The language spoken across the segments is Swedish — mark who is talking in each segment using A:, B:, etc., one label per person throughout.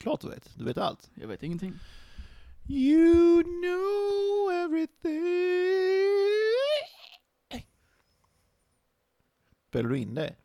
A: Klart du vet. Du vet allt.
B: Jag vet ingenting.
A: You know everything. Spelar du in det?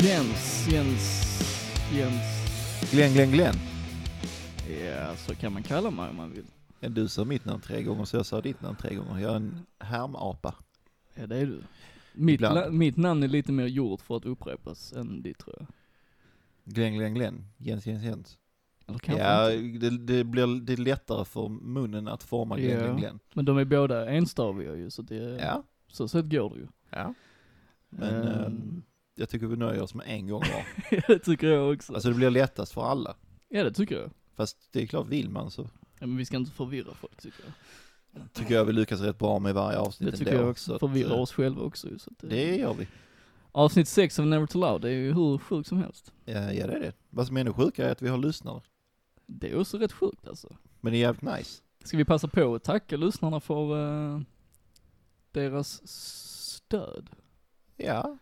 B: Jens, Jens, Jens.
A: Glenn, Glenn, Glenn.
B: Ja, så kan man kalla mig om man vill.
A: Du sa mitt namn tre gånger så jag sa ditt namn tre gånger. Jag är en härmapa.
B: Ja, det är du. Mitt,
A: Ibland.
B: la, mitt namn är lite mer gjort för att upprepas än ditt tror jag.
A: Glenn, Glenn, Glenn. Jens, Jens, Jens.
B: Eller kanske
A: Ja,
B: inte.
A: det, det blir det är lättare för munnen att forma Glenn,
B: Ja.
A: Glenn, Glenn.
B: Men de är båda enstaviga ju, så det,
A: Ja,
B: så sätt går det ju.
A: ja. Men ehm, jag tycker vi nöjer oss med en gång var.
B: ja, det tycker jag också.
A: Alltså det blir lättast för alla.
B: ja, det tycker jag.
A: Fast det är klart, vill man så
B: Ja, men vi ska inte förvirra folk tycker jag.
A: tycker jag vi lyckas rätt bra med varje avsnitt
B: Det tycker
A: ändå.
B: jag
A: Så
B: också.
A: att,
B: Förvirra
A: eh,
B: oss själva också ju, så att eh, det,
A: Det gör vi.
B: Avsnitt 6 av Never to Loud, det är ju hur sjukt som helst.
A: Eh, Ja, det är det. Vad som är ännu sjukare är att vi har lyssnare.
B: Det är också rätt sjukt alltså.
A: Men det är jävligt nice.
B: Ska vi passa på att tacka lyssnarna för eh, deras stöd?
A: Ja.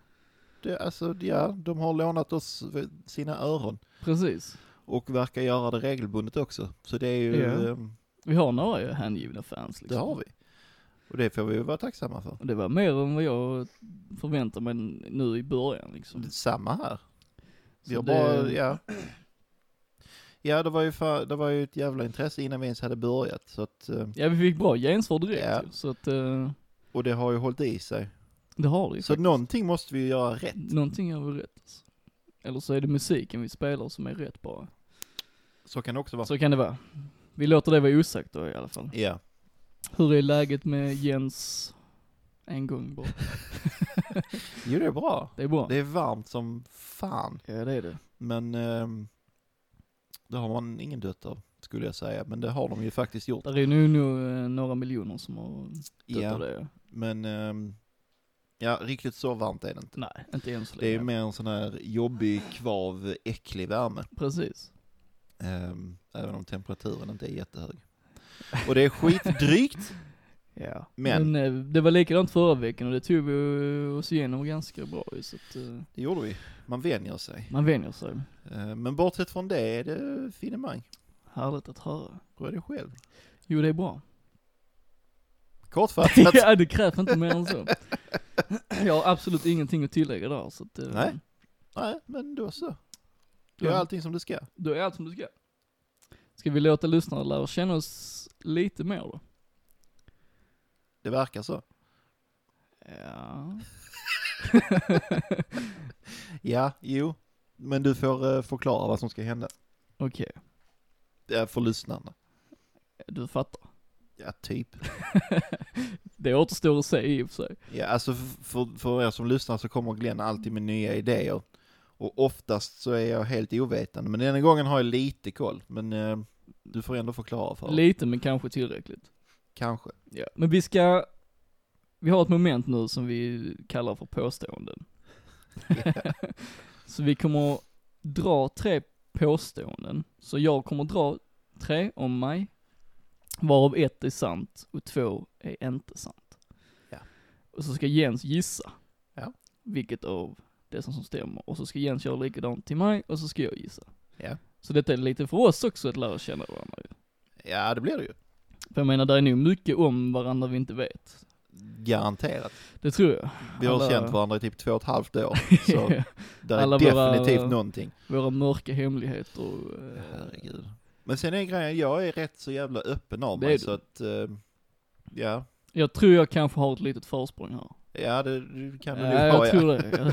A: Det, alltså, ja, de har lånat oss sina öron.
B: Precis.
A: Och verkar göra det regelbundet också. Så det är ju,
B: Ja.
A: ehm,
B: Vi har några ju hängivna fans
A: det
B: liksom.
A: har vi. Och det får vi ju vara tacksamma för.
B: Och det var mer än vad jag förväntade mig nu i början liksom.
A: Samma här. Vi
B: Så
A: har
B: det-
A: bara, ja. Ja, det var, ju fa- det var ju ett jävla intresse innan vi ens hade börjat. Så att, eh,
B: Ja vi fick bra gensvar direkt
A: Ja.
B: ju, så att eh,
A: och det har ju hållit i sig.
B: det har det ju
A: Så
B: faktiskt.
A: någonting måste vi ju göra rätt.
B: Någonting är väl rätt alltså. Eller så är det musiken vi spelar som är rätt bara.
A: Så kan det också vara.
B: Så kan det vara. Vi låter det vara osagt då i alla fall.
A: Ja.
B: Hur är läget med Jens? En gång bara.
A: Jo, det är bra.
B: Det är bra.
A: Det är varmt som fan.
B: Ja det är det.
A: Men ehm, det har man ingen dött av, skulle jag säga. Men det har de ju faktiskt gjort.
B: Där är nu nog eh, några miljoner som har dött
A: Ja,
B: av det.
A: men ehm, ja, riktigt så varmt är det inte.
B: Nej, inte än så
A: Det är
B: länge.
A: mer en sån här jobbig, kvav, äcklig värme.
B: Precis.
A: Ehm, även om temperaturen inte är jättehög. Och det är skitdrygt.
B: Ja.
A: Men-
B: Men, eh, det var likadant förra veckan och det tog vi eh, oss igenom ganska bra ju, så att eh,
A: Det gjorde vi. Man vänjer sig.
B: man vänjer sig.
A: Ehm, men bortsett från det är det finemang.
B: Härligt att höra.
A: Hur är det själv?
B: Jo det är bra.
A: Kortfattat.
B: ja det krävs inte mer än så. Jag har absolut ingenting att tillägga där så att, eh,
A: Nej. Nej, men då så. Du gör
B: Ja.
A: allting som det ska.
B: Då är allt som du ska. Ska vi lära lyssnarna lära känna oss lite mer då?
A: Det verkar så.
B: Ja.
A: Ja, jo. Men du får eh, förklara vad som ska hända.
B: Okej,
A: Eh, för lyssnarna.
B: du fattar.
A: Ja, typ.
B: Det återstår att se i och för sig.
A: Ja, alltså f- för, för er som lyssnar så kommer Glenn alltid med nya idéer. Och oftast så är jag helt ovetande. Men denna gången har jag lite koll. Men eh, du får ändå förklara för mig.
B: Lite men kanske tillräckligt.
A: Kanske.
B: Ja. Men vi ska, vi har ett moment nu som vi kallar för påståenden. så vi kommer dra tre påståenden. Så jag kommer dra tre om mig, varav ett är sant och två är inte sant.
A: Ja.
B: Och så ska Jens gissa.
A: Ja.
B: Vilket av det som, som stämmer. Och så ska Jens göra likadant till mig och så ska jag gissa.
A: Ja.
B: Så detta är lite för oss också att lära känna varandra ju.
A: Ja, det blir det ju.
B: För jag menar, det är nog mycket om varandra vi inte vet.
A: Garanterat.
B: Det tror jag.
A: Vi har
B: Alla-
A: känt varandra i typ två och ett halvt år. Så där är
B: Alla våra-
A: definitivt någonting.
B: Våra mörka hemligheter och... eh,
A: Herregud. Men sen är grejen, jag är rätt så jävla öppen av
B: Det
A: mig
B: är du.
A: så att, eh, ja,
B: Jag tror jag kanske har ett litet försprång här.
A: ja det, det kan du
B: Ja,
A: nog ha
B: jag
A: ja.
B: tror det.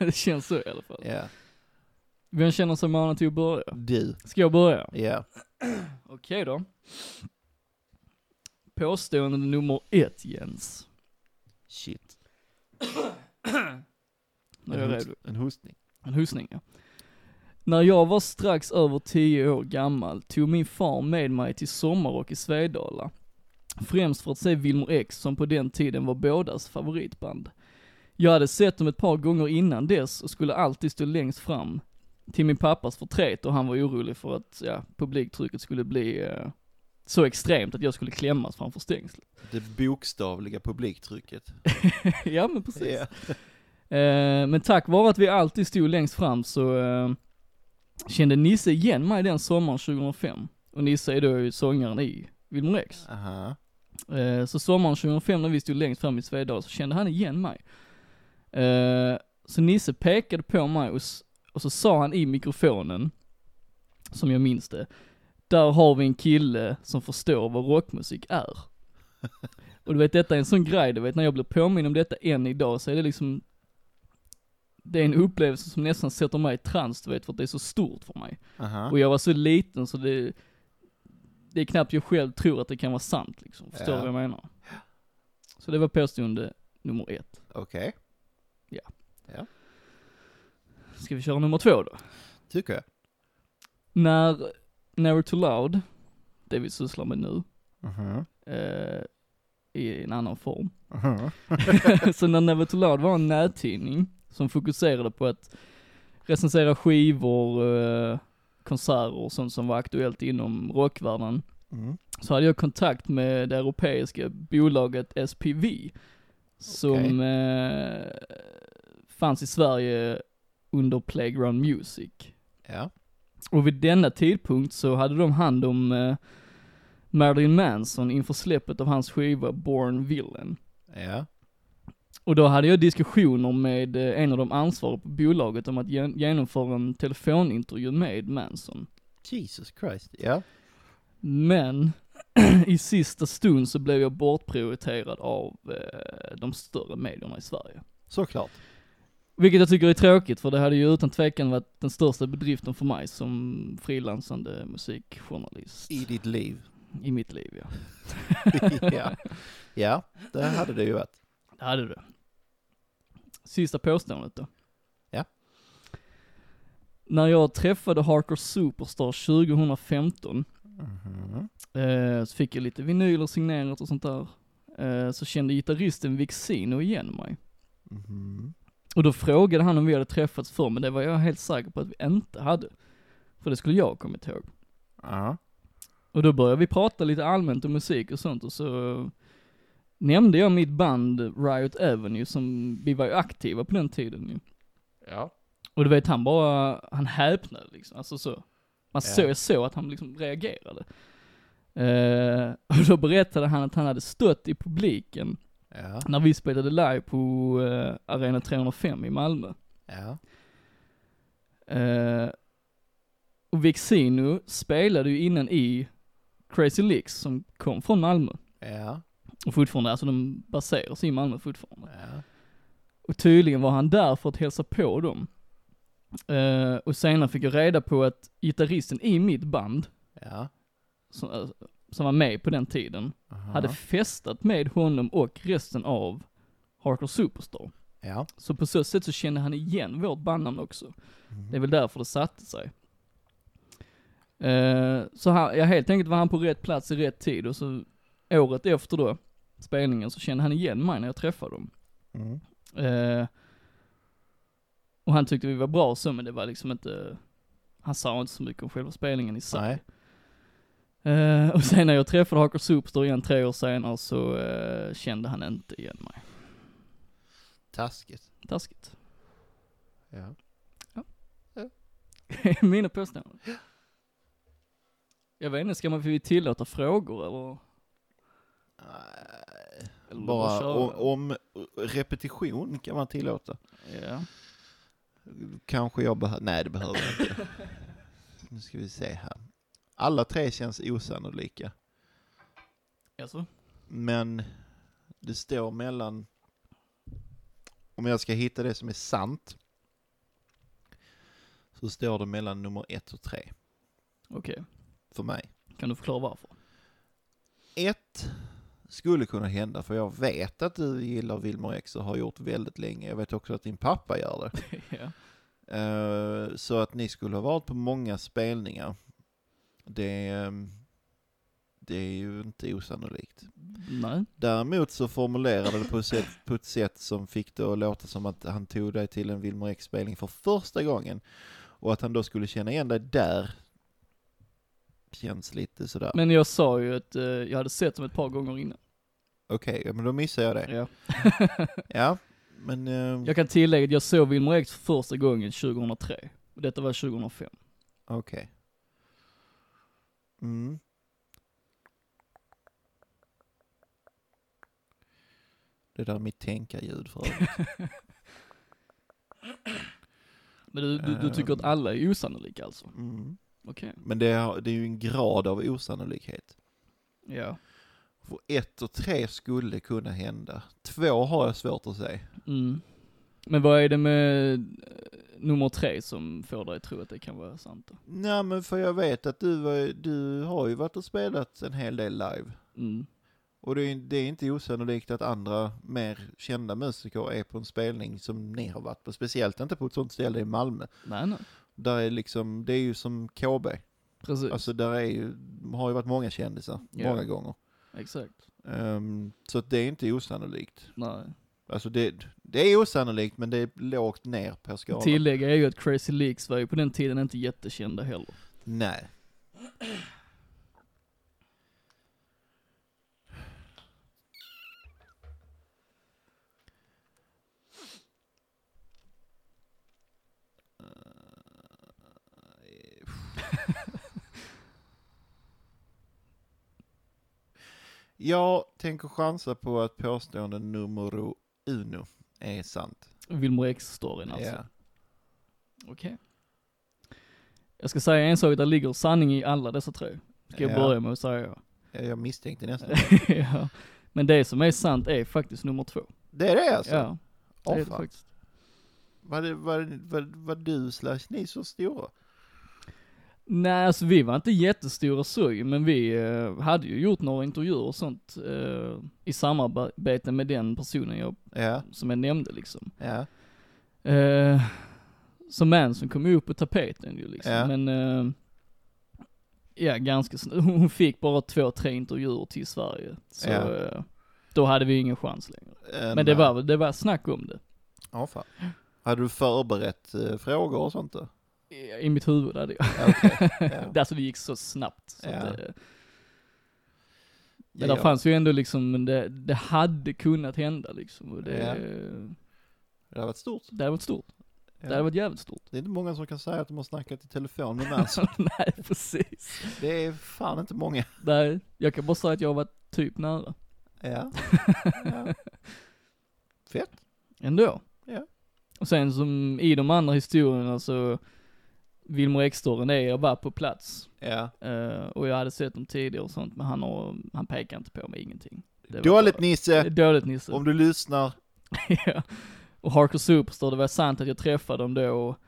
B: det känns så i alla fall.
A: ja.
B: Vem känner sig manad till att börja?
A: Du.
B: Ska jag börja?
A: Ja.
B: Okej då. Påstående nummer ett Jens.
A: Shit.
B: Nu är
A: En,
B: jag
A: host,
B: redo.
A: en hostning.
B: En husning ja. När jag var strax över 10 år gammal tog min far med mig till Sommarrock i Svedala. Främst för att se Wilmer X som på den tiden var bådas favoritband. Jag hade sett dem ett par gånger innan dess och skulle alltid stå längst fram. Till min pappas förtret och han var orolig för att, ja, publiktrycket skulle bli eh, så extremt att jag skulle klämmas framför stängslet.
A: Det bokstavliga publiktrycket.
B: ja men precis.
A: Ja.
B: Eh, men tack vare att vi alltid stod längst fram så eh, kände Nisse igen mig den sommaren 2005. Och Nisse är då ju sångaren i Wilmer X.
A: Aha.
B: Eh, så sommaren 2005 när vi stod längst fram i Svedala så kände han igen mig. Eh, så Nisse pekade på mig och, s- och så sa han i mikrofonen, som jag minns det, där har vi en kille som förstår vad rockmusik är. Och du vet detta är en sån grej, du vet när jag blir påminn om detta än idag så är det liksom, det är en upplevelse som nästan sätter mig i trans du vet för att det är så stort för mig.
A: Aha.
B: Och jag var så liten så det, det är knappt jag själv tror att det kan vara sant liksom. Förstår du
A: Ja.
B: vad jag menar? Så det var påstående nummer ett.
A: Okej.
B: Ska vi köra nummer två då?
A: Tycker jag.
B: När Never Too Loud, det vi sysslar med nu,
A: Mhm.
B: eh, i en annan form.
A: Mhm.
B: så när Never Too Loud var en nättidning som fokuserade på att recensera skivor, eh, konserter och sånt som var aktuellt inom rockvärlden.
A: Mm.
B: så hade jag kontakt med det europeiska bolaget SPV. Som eh, fanns i Sverige under Playground Music.
A: Ja.
B: Och vid denna tidpunkt så hade de hand om eh, Marilyn Manson inför släppet av hans skiva Born Villain.
A: Ja.
B: Och då hade jag diskussioner med eh, en av de ansvariga på bolaget om att gen- genomföra en telefonintervju med Manson.
A: Jesus Christ. Ja.
B: Men i sista stund så blev jag bortprioriterad av eh, de större medierna i Sverige.
A: Såklart.
B: Vilket jag tycker är tråkigt, för det hade ju utan tvekan varit den största bedriften för mig som frilansande musikjournalist
A: I ditt liv.
B: i mitt liv ja.
A: ja. ja, det hade det ju varit.
B: Det hade du. Sista påståendet då.
A: Ja.
B: När jag träffade Harker Superstar 2015
A: Mhm.
B: Eh, så fick jag lite vinyler signerat och sånt där. Eh, så kände gitarristen Vixino igen mig.
A: Mhm.
B: Och då frågade han om vi hade träffats förr, men det var jag helt säker på att vi inte hade. För det skulle jag ha kommit ihåg.
A: Ja.
B: Och då började vi prata lite allmänt om musik och sånt och så nämnde jag mitt band Riot Avenue som, vi var ju aktiva på den tiden ju.
A: Ja.
B: Och du vet han bara, han häpnade liksom, alltså så. Man
A: Ja.
B: såg, jag såg att han liksom reagerade. Eh, och då berättade han att han hade stött i publiken
A: Ja.
B: när vi spelade live på eh, Arena 305 i Malmö.
A: Ja.
B: Eh, och Vexino spelade ju innan i Crazy Licks som kom från Malmö.
A: Ja.
B: Och fortfarande, alltså de baserar sig i Malmö fortfarande.
A: Ja.
B: Och tydligen var han där för att hälsa på dem. Eh, och senare fick jag reda på att gitarristen i mitt band,
A: Ja.
B: som, eh, som var med på den tiden,
A: Aha.
B: hade festat med honom och resten av Harker Superstar.
A: Ja.
B: Så på så sätt så kände han igen vårt bandnamn också.
A: Mhm.
B: Det är väl därför det satte sig. Eh, så han, ja, helt enkelt var han på rätt plats i rätt tid och så året efter då, spelningen, så kände han igen mig när jag träffade dem.
A: Mm.
B: Eh, och han tyckte vi var bra och så, men det var liksom inte, han sa inte så mycket om själva spelningen i sig.
A: Nej.
B: Eh, och sen när jag träffade Haker Superstar igen tre år senare så eh, kände han inte igen mig.
A: Taskigt.
B: Taskigt.
A: Ja.
B: Mina påståenden. Jag vet inte, ska man vi tillåta frågor eller? eller
A: Bara
B: köra?
A: om, om repetition kan man tillåta.
B: Ja.
A: Kanske jag behöver, nej det behöver jag inte. Nu ska vi se här. Alla tre känns osannolika.
B: Alltså?
A: Men det står mellan, om jag ska hitta det som är sant, så står det mellan nummer ett och tre
B: Okej,
A: för mig.
B: kan du förklara varför?
A: Ett skulle kunna hända, för jag vet att du gillar Wilmer X och har gjort väldigt länge. Jag vet också att din pappa gör det.
B: ja.
A: Eh, så att ni skulle ha varit på många spelningar, det, eh, det är ju inte osannolikt.
B: Nej.
A: Däremot så formulerade det på ett, sätt, på ett sätt som fick det att låta som att han tog dig till en Wilmer X-spelning för första gången. Och att han då skulle känna igen dig där känns lite sådär.
B: Men jag sa ju att eh, jag hade sett dem ett par gånger innan.
A: Okej, ja, men då missar jag det.
B: Ja.
A: Ja, men... eh,
B: Jag kan tillägga att jag såg Wilmer X för första gången 2003. Och detta var 2005.
A: Okej. Mm. Det där är mitt tänkarljud för övrigt.
B: Men du, du, du tycker att alla är osannolika alltså?
A: mm.
B: Okej.
A: Men det är, det är ju en grad av osannolikhet.
B: Ja.
A: För ett och tre skulle kunna hända. Två har jag svårt att säga.
B: Mm. Men vad är det med eh, nummer tre som får dig att tro att det kan vara sant då?
A: Nej men för jag vet att du, var- du har ju varit och spelat en hel del live.
B: Mm.
A: Och det är, det är inte osannolikt att andra mer kända musiker är på en spelning som ni har varit på. Speciellt inte på ett sånt ställe i Malmö.
B: Nej, nej.
A: Där är liksom, det är ju som KB.
B: Precis.
A: Alltså där är ju, har ju varit många kändisar,
B: Ja.
A: många gånger.
B: Exakt.
A: Ehm, så att det är inte osannolikt.
B: Nej.
A: Alltså det, det är osannolikt men det är lågt ner på skalan.
B: Tillägga är ju att Crazy Leaks var ju på den tiden inte jättekända heller.
A: Nej. Jag tänker chansa på att påstående nummer uno är sant.
B: Wilmer X-storyn alltså.
A: Ja.
B: Okej. Jag ska säga en sak, där ligger sanning i alla dessa tre. Ska jag
A: Ja.
B: börja med att säga.
A: Ja, Jag misstänkte nästan.
B: ja. Men det som är sant är faktiskt nummer två.
A: Det är det alltså?
B: ja, det
A: Åh,
B: är det
A: fan.
B: faktiskt.
A: Var, det, var, det- var, var du slash ni så stora?
B: Nej, alltså vi var inte jättestora så ju, men vi eh, hade ju gjort några intervjuer och sånt eh, i samarbete med den personen jag,
A: Ja,
B: som jag nämnde liksom.
A: ja.
B: Eh, som man som kom upp på tapeten ju liksom,
A: Ja.
B: men eh, ja, ganska snabbt. Hon fick bara två, tre intervjuer till Sverige. Så
A: Ja.
B: eh, då hade vi ingen chans längre.
A: Eh,
B: Men
A: nej.
B: det var, väl- det var snack om det.
A: Ja, fan. Hade du förberett eh, frågor och sånt då?
B: I- I mitt huvud hade jag.
A: Ja, okej. Ja.
B: Alltså det gick så snabbt. Så
A: Ja.
B: att det,
A: Ja,
B: Men där
A: jag-
B: fanns ju ändå liksom, men det, det hade kunnat hända liksom. Och det,
A: Ja.
B: det
A: Det har varit stort.
B: hade varit stort.
A: Ja.
B: Det hade varit jävligt stort.
A: Det är inte många som kan säga att de har snackat i telefon med Nancy.
B: Nej, precis.
A: det är fan inte många.
B: Nej, jag kan bara säga att jag var typ nära.
A: Ja. ja. Fett.
B: Ändå.
A: Ja.
B: Och sen som i de andra historierna så, Wilmer Ekstoren är, jag var på plats.
A: Ja.
B: eh, och jag hade sett dem tidigare och sånt, men han, har, han pekade inte på mig ingenting. Det var
A: Dåligt
B: bara-
A: Nisse,
B: Dåligt Nisse.
A: om du lyssnar.
B: Ja. Och Harker Superstar, det var sant att jag träffade dem då. och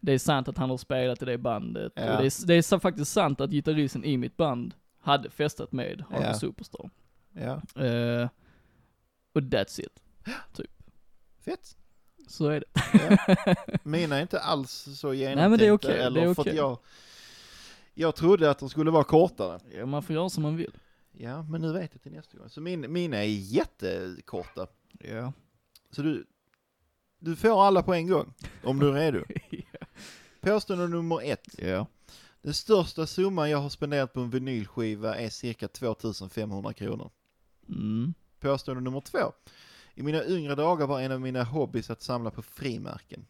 B: Det är sant att han har spelat i det bandet.
A: Ja.
B: Och det, är, det är så faktiskt sant att gitarristen i mitt band hade festat med Harker
A: Ja.
B: Superstar.
A: Ja.
B: Eh, och that's it.
A: Fett.
B: Så är det.
A: Ja. Mina är inte alls så genomtänkta.
B: men det är okej,
A: Eller
B: det är
A: för att
B: okej.
A: jag, jag trodde att de skulle vara kortare.
B: Ja, man får göra som man vill.
A: Ja, men nu vet jag till nästa gång. Så min, mina är jättekorta.
B: Ja.
A: Så du, du får alla på en gång, om du är redo. Påstående nummer ett.
B: Ja.
A: Den största summan jag har spenderat på en vinylskiva är cirka 2500 kronor.
B: Mm.
A: Påstående nummer två. I mina yngre dagar var en av mina hobbys att samla på frimärken.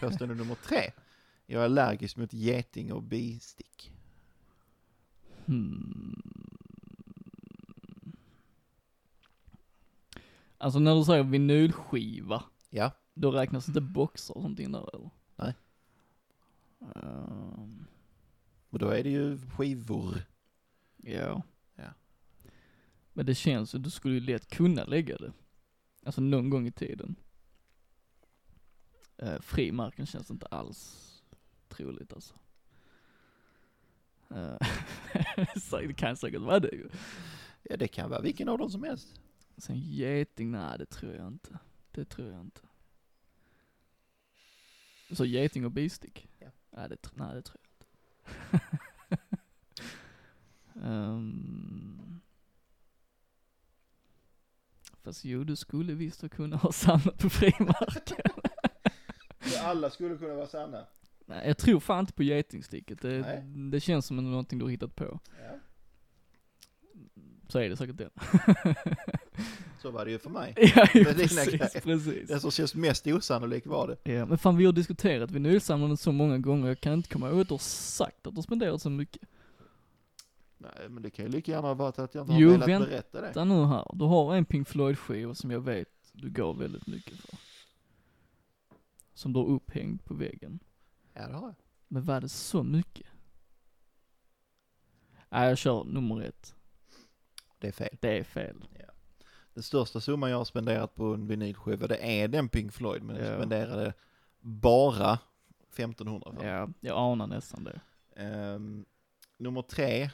A: Påstående nummer tre. Jag är allergisk mot geting och bistick.
B: Hmm. Alltså när du säger vinylskiva,
A: Ja,
B: då räknas inte boxar och sånt in där eller?
A: Nej.
B: Ehm.
A: och då är det ju skivor.
B: Ja.
A: Ja.
B: Men det känns ju, du skulle ju lätt kunna lägga det. Alltså någon gång i tiden. Eh, frimarken känns inte alls troligt alltså. Eh, så det kan säkert vara det ju.
A: Ja, det kan vara vilken av dem som helst.
B: Sen Alltså, geting, nej det tror jag inte. Det tror jag inte. Så geting och bistick?
A: Ja.
B: Nej, det, tr- nej, det tror jag inte. Ehm. fast jo, du skulle visst ha kunnat ha samma på frimarken.
A: Alla skulle kunna vara sanna.
B: Nej, jag tror fan inte på getingsticket. Det,
A: Nej.
B: det känns som någonting du har hittat på.
A: Ja.
B: Så är det säkert det.
A: Så var det ju för mig.
B: ja, ju
A: Det är dina
B: precis,
A: grejer.
B: precis.
A: Den som känns mest osannolik var det.
B: Ja, men fan vi har diskuterat vinylsamlandet så många gånger, jag kan inte komma ihåg att du har sagt att du har spenderat så mycket.
A: Nej, men det kan ju lika gärna ha varit att jag inte har
B: Jo,
A: velat
B: vänt-
A: berätta det.
B: Vänta nu här, du har en Pink Floyd-skiva som jag vet du gav väldigt mycket för. Som du har upphängd på väggen.
A: Ja, det har jag.
B: Men var det så mycket? Nej, jag kör nummer ett.
A: Det är fel.
B: Det är fel.
A: Den största summan jag har spenderat på en vinylskiva, det är den Pink Floyd, men
B: Ja.
A: jag spenderade bara 1500 för.
B: Ja, jag anar nästan det.
A: Ehm, nummer tre,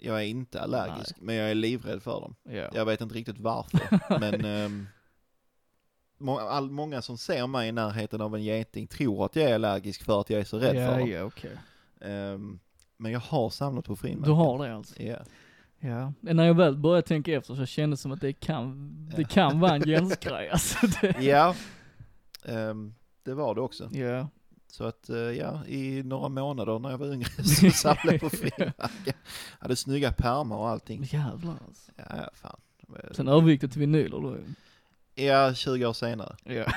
A: jag är inte allergisk, men jag är livrädd för dem.
B: Ja.
A: Jag vet inte riktigt varför, men ehm, må, all, många som ser mig i närheten av en geting tror att jag är allergisk för att jag är så rädd för
B: ja,
A: dem.
B: ja, okej.
A: Ehm, men jag har samlat på frimärken.
B: Du har det alltså?
A: Ja.
B: Ja. När jag väl började tänka efter så kändes det som att det kan, det
A: Ja.
B: kan vara en Jens-grej alltså. Det,
A: ja. Ehm, det var det också.
B: ja.
A: Så att eh, ja, i några månader när jag var yngre så samlade jag på frimärken. Jag hade snygga pärmar och allting.
B: Jävlar alltså.
A: Ja, ja, fan.
B: Sen övergick det till vinyler då ju.
A: Ja, 20 år senare.
B: Ja.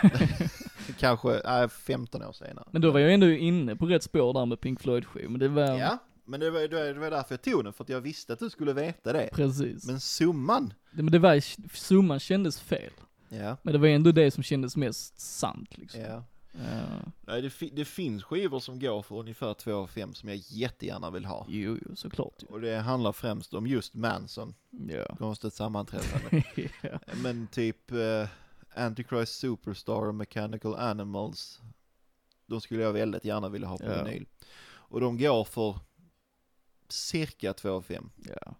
A: Kanske, nej, 15 år senare.
B: Men ehm, då var jag ändå inne på rätt spår där med Pink floyd skiv men det var...
A: Ja, men det var, det var- det var därför jag tog den, för att jag visste att du skulle veta det.
B: Precis. Men,
A: Men summan!
B: men det var, summan kändes fel.
A: Ja,
B: Men det var ändå det som kändes mest sant liksom.
A: ja.
B: Ja.
A: Nej, det, fi- det finns skivor som går för ungefär 2 5 som jag jättegärna vill ha.
B: Jo, jo, såklart ju.
A: Och det handlar främst om just Manson,
B: Ja.
A: konstigt sammanträffande.
B: ja.
A: Men typ eh, Antichrist Superstar och Mechanical Animals, de skulle jag väldigt gärna vilja ha på
B: Ja.
A: vinyl. Och de går för cirka 2 5
B: Ja.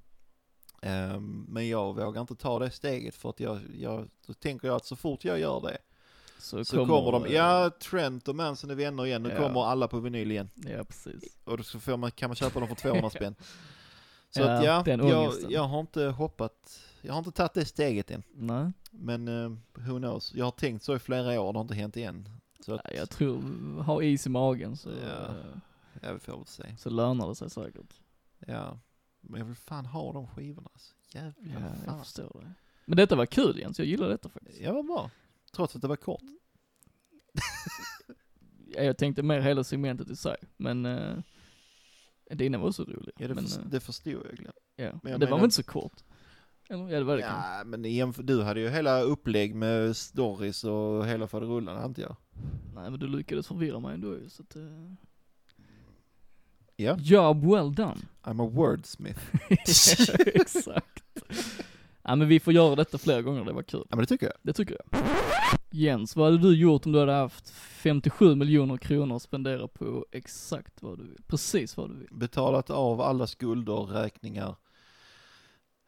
A: Ehm, Men jag vågar inte ta det steget för att jag, jag då tänker jag att så fort jag gör det
B: Så,
A: så kommer, de, ja Trent och Manson är vänner igen, nu
B: eh, Ja.
A: kommer alla på vinyl igen.
B: Ja, precis.
A: Och då så får man, kan man köpa dem för 200 spänn. Så
B: Ja,
A: att ja,
B: den
A: jag,
B: ångesten.
A: jag har inte hoppat, jag har inte tagit det steget än.
B: Nej.
A: Men eh, who knows, jag har tänkt så i flera år, det har inte hänt igen. Så att,
B: Nej, jag tror, ha is i magen så,
A: Ja.
B: eh,
A: ja, vi får väl se.
B: så lönar det sig säkert.
A: Ja. Men jag vill fan ha de skivorna alltså. Jävlar
B: Ja, jag
A: fan.
B: förstår det. Men detta var kul Jens, jag gillar detta faktiskt.
A: Ja, vad bra. Trots att det var kort.
B: Ja, jag tänkte mer hela segmentet i sig, men uh, dina var så roliga.
A: Ja, det,
B: men,
A: för,
B: eh,
A: det förstod jag Glenn.
B: ja.
A: jag
B: det var
A: menar-
B: väl inte så kort? Eller, ja, det var det kanske.
A: Ja, men jämf- du hade ju hela upplägg med stories och hela faderullan, hade inte jag?
B: Nej, men du lyckades förvirra mig ändå ju, så att... eh,
A: Ja.
B: Job well done.
A: I'm a wordsmith.
B: Exakt. ja, men vi får göra detta fler gånger, det var kul.
A: Ja, men det tycker jag.
B: Det tycker jag. Jens, vad hade du gjort om du hade haft 57 miljoner kronor att spendera på exakt vad du vill? Precis vad du vill.
A: Betalat av alla skulder, räkningar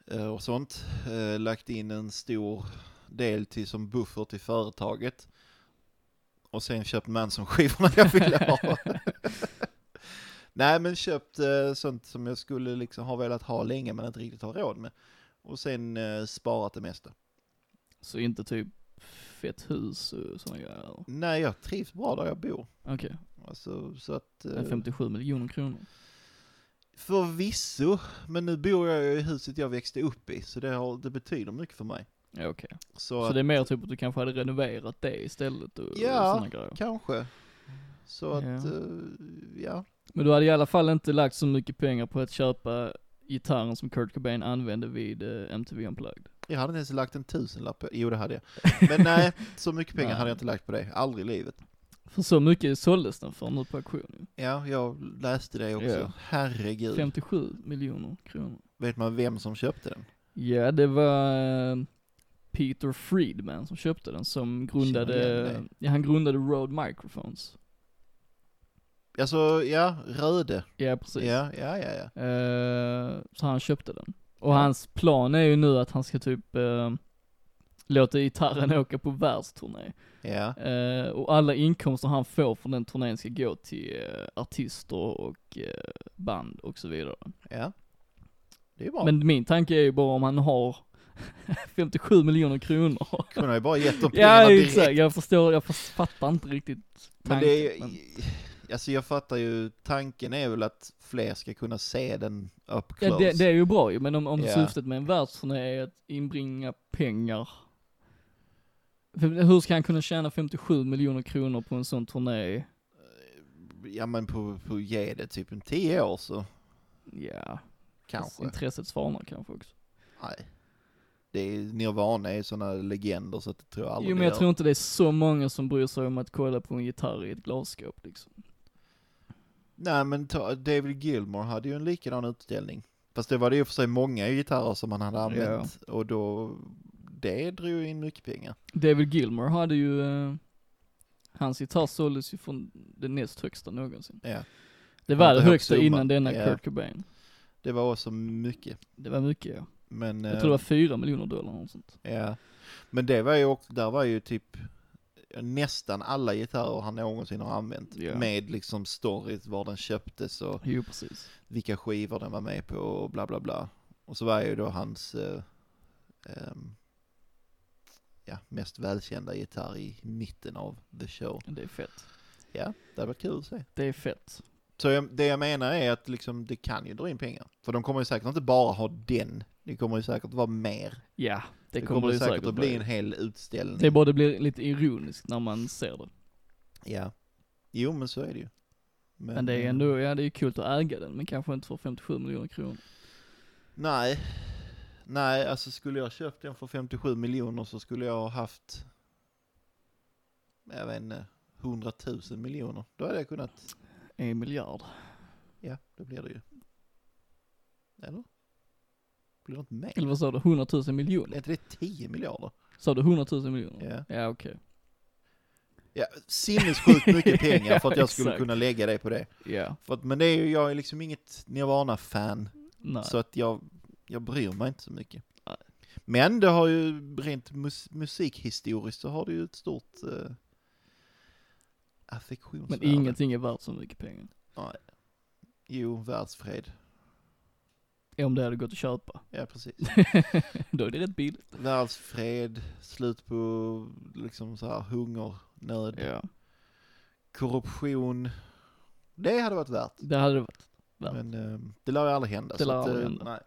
A: eh, och sånt. Eh, Lagt in en stor del till som buffert till företaget. Och sen köpt Manson-skivorna jag ville ha. Nej, men köpt eh, sånt som jag skulle liksom ha velat ha länge men inte riktigt har råd med. Och sen eh, sparat det mesta.
B: Så inte typ fett hus och sådana grejer.
A: Nej, jag trivs bra där jag bor.
B: Okej,
A: Alltså, så att...
B: men
A: eh,
B: 57 miljoner kronor.
A: Förvisso, men nu bor jag ju i huset jag växte upp i, så det, har, det betyder mycket för mig.
B: Ja, okej.
A: Så,
B: Så
A: att,
B: det är mer typ att du kanske hade renoverat det istället och,
A: Ja.
B: och sådana grejer.
A: kanske. Så
B: Ja.
A: att, eh, ja.
B: Men du hade i alla fall inte lagt så mycket pengar på att köpa gitarren som Kurt Cobain använde vid eh, MTV Unplugged.
A: Jag hade inte ens lagt en tusenlapp, på- jo det hade jag. Men nej, så mycket pengar
B: Nej.
A: hade jag inte lagt på det, aldrig i livet.
B: För så mycket såldes den för nu på auktion
A: Ja, jag läste det också.
B: Ja. ju.
A: Herregud.
B: 57 miljoner kronor.
A: Vet man vem som köpte den?
B: Ja, det var eh, Peter Friedman som köpte den, som
A: Känner
B: grundade,
A: igen dig.
B: ja, han grundade Rode Microphones.
A: Alltså, ja, Röde.
B: Ja, precis.
A: Ja, ja, ja, ja.
B: Eh, så han köpte den. Och
A: Ja.
B: hans plan är ju nu att han ska typ eh, låta gitarren åka på världsturné.
A: Ja,
B: Eh, och alla inkomster han får från den turnén ska gå till eh, artister och eh, band och så vidare.
A: ja. Det är ju bra. Men...
B: Men min tanke är ju bara om han har 57 miljoner kronor.
A: Kunde ha ju bara gett dem pengarna
B: ja
A: direkt.
B: exakt, jag förstår, jag fast- fattar inte riktigt tanken.
A: Men det är ju,
B: men-
A: alltså jag fattar ju, tanken är väl att fler ska kunna se den up
B: Ja,
A: close.
B: det, det är ju bra ju, men om, om
A: Ja.
B: syftet med en världsturné är att inbringa pengar. För Hur ska han kunna tjäna 57 miljoner kronor på en sån turné?
A: Ja men på, på ge det typ en tio år så
B: Ja,
A: kanske.
B: intresset svalnar kanske också.
A: Nej. Det är, Nirvana är ju sådana legender så att det tror jag aldrig
B: Jo men
A: det
B: jag
A: gör.
B: tror inte det är så många som bryr sig om att kolla på en gitarr i ett glasskåp liksom.
A: Nej men ta, David Gilmore hade ju en likadan utställning. Fast det var det ju för sig många gitarrer som han hade använt och då, det drog ju in mycket pengar.
B: David Gilmour hade ju, eh, hans gitarr såldes ju från den näst högsta någonsin.
A: Ja.
B: Det
A: Var
B: var det
A: inte hög
B: högsta
A: summa.
B: innan denna
A: Ja.
B: Kurt Cobain.
A: Det var också mycket.
B: Det var mycket ja.
A: Men,
B: Jag
A: eh,
B: tror det var 4 miljoner dollar eller sånt.
A: Ja, men det var ju också, där var ju typ nästan alla gitarrer han någonsin har använt.
B: Ja.
A: Med liksom stories, var den köptes och
B: Jo precis.
A: vilka skivor den var med på och bla bla bla. Och så var ju då hans, eh, ehm, ja, mest välkända gitarr i mitten av the show.
B: Det är fett.
A: Ja, det hade varit kul att se.
B: Det är fett.
A: Så jag, det jag menar är att liksom, det kan ju dra in pengar. För de kommer ju säkert inte bara ha den, det kommer ju säkert vara mer.
B: Ja, det,
A: Det
B: kommer,
A: kommer, ju
B: det
A: säkert,
B: säkert
A: att bli en hel utställning.
B: Det är bara det blir lite ironiskt när man ser det.
A: Ja. Jo, men så är det ju. eh,
B: Men det är ändå, ja det är ju kul att äga den, men kanske inte för 57 miljoner kronor.
A: Nej. Nej, alltså skulle jag köpt den för 57 miljoner så skulle jag ha haft, jag vet inte, 100 000 miljoner. Då hade jag kunnat,
B: En miljard.
A: ja, då blir det ju. Eller? Blir det inte mer?
B: Eller vad sa du? 100 000
A: Är
B: miljoner?
A: inte det 10 miljarder?
B: Sa du 100 000 miljoner?
A: Ja.
B: Ja okej.
A: ja sinnessjukt mycket pengar för att
B: Ja,
A: jag skulle
B: exakt.
A: kunna lägga det på det.
B: Ja.
A: För att, men det är ju, jag är liksom inget Nirvana-fan.
B: Nej.
A: Så att jag, jag bryr mig inte så mycket.
B: Nej.
A: Men det har ju, rent mus musikhistoriskt så har det ju ett stort eh, affektionsvärde.
B: Men ingenting är värt så mycket pengar.
A: Jo, världsfred.
B: Om det hade gått att köpa.
A: Ja, precis.
B: Då är det rätt billigt.
A: Världsfred, slut på liksom så här hunger, nöd,
B: Ja.
A: korruption. Det hade varit värt.
B: Det hade det varit. Värt.
A: Men eh, det lär ju aldrig hända.
B: Det
A: så
B: lär
A: att, eh,
B: aldrig hända.
A: Nej.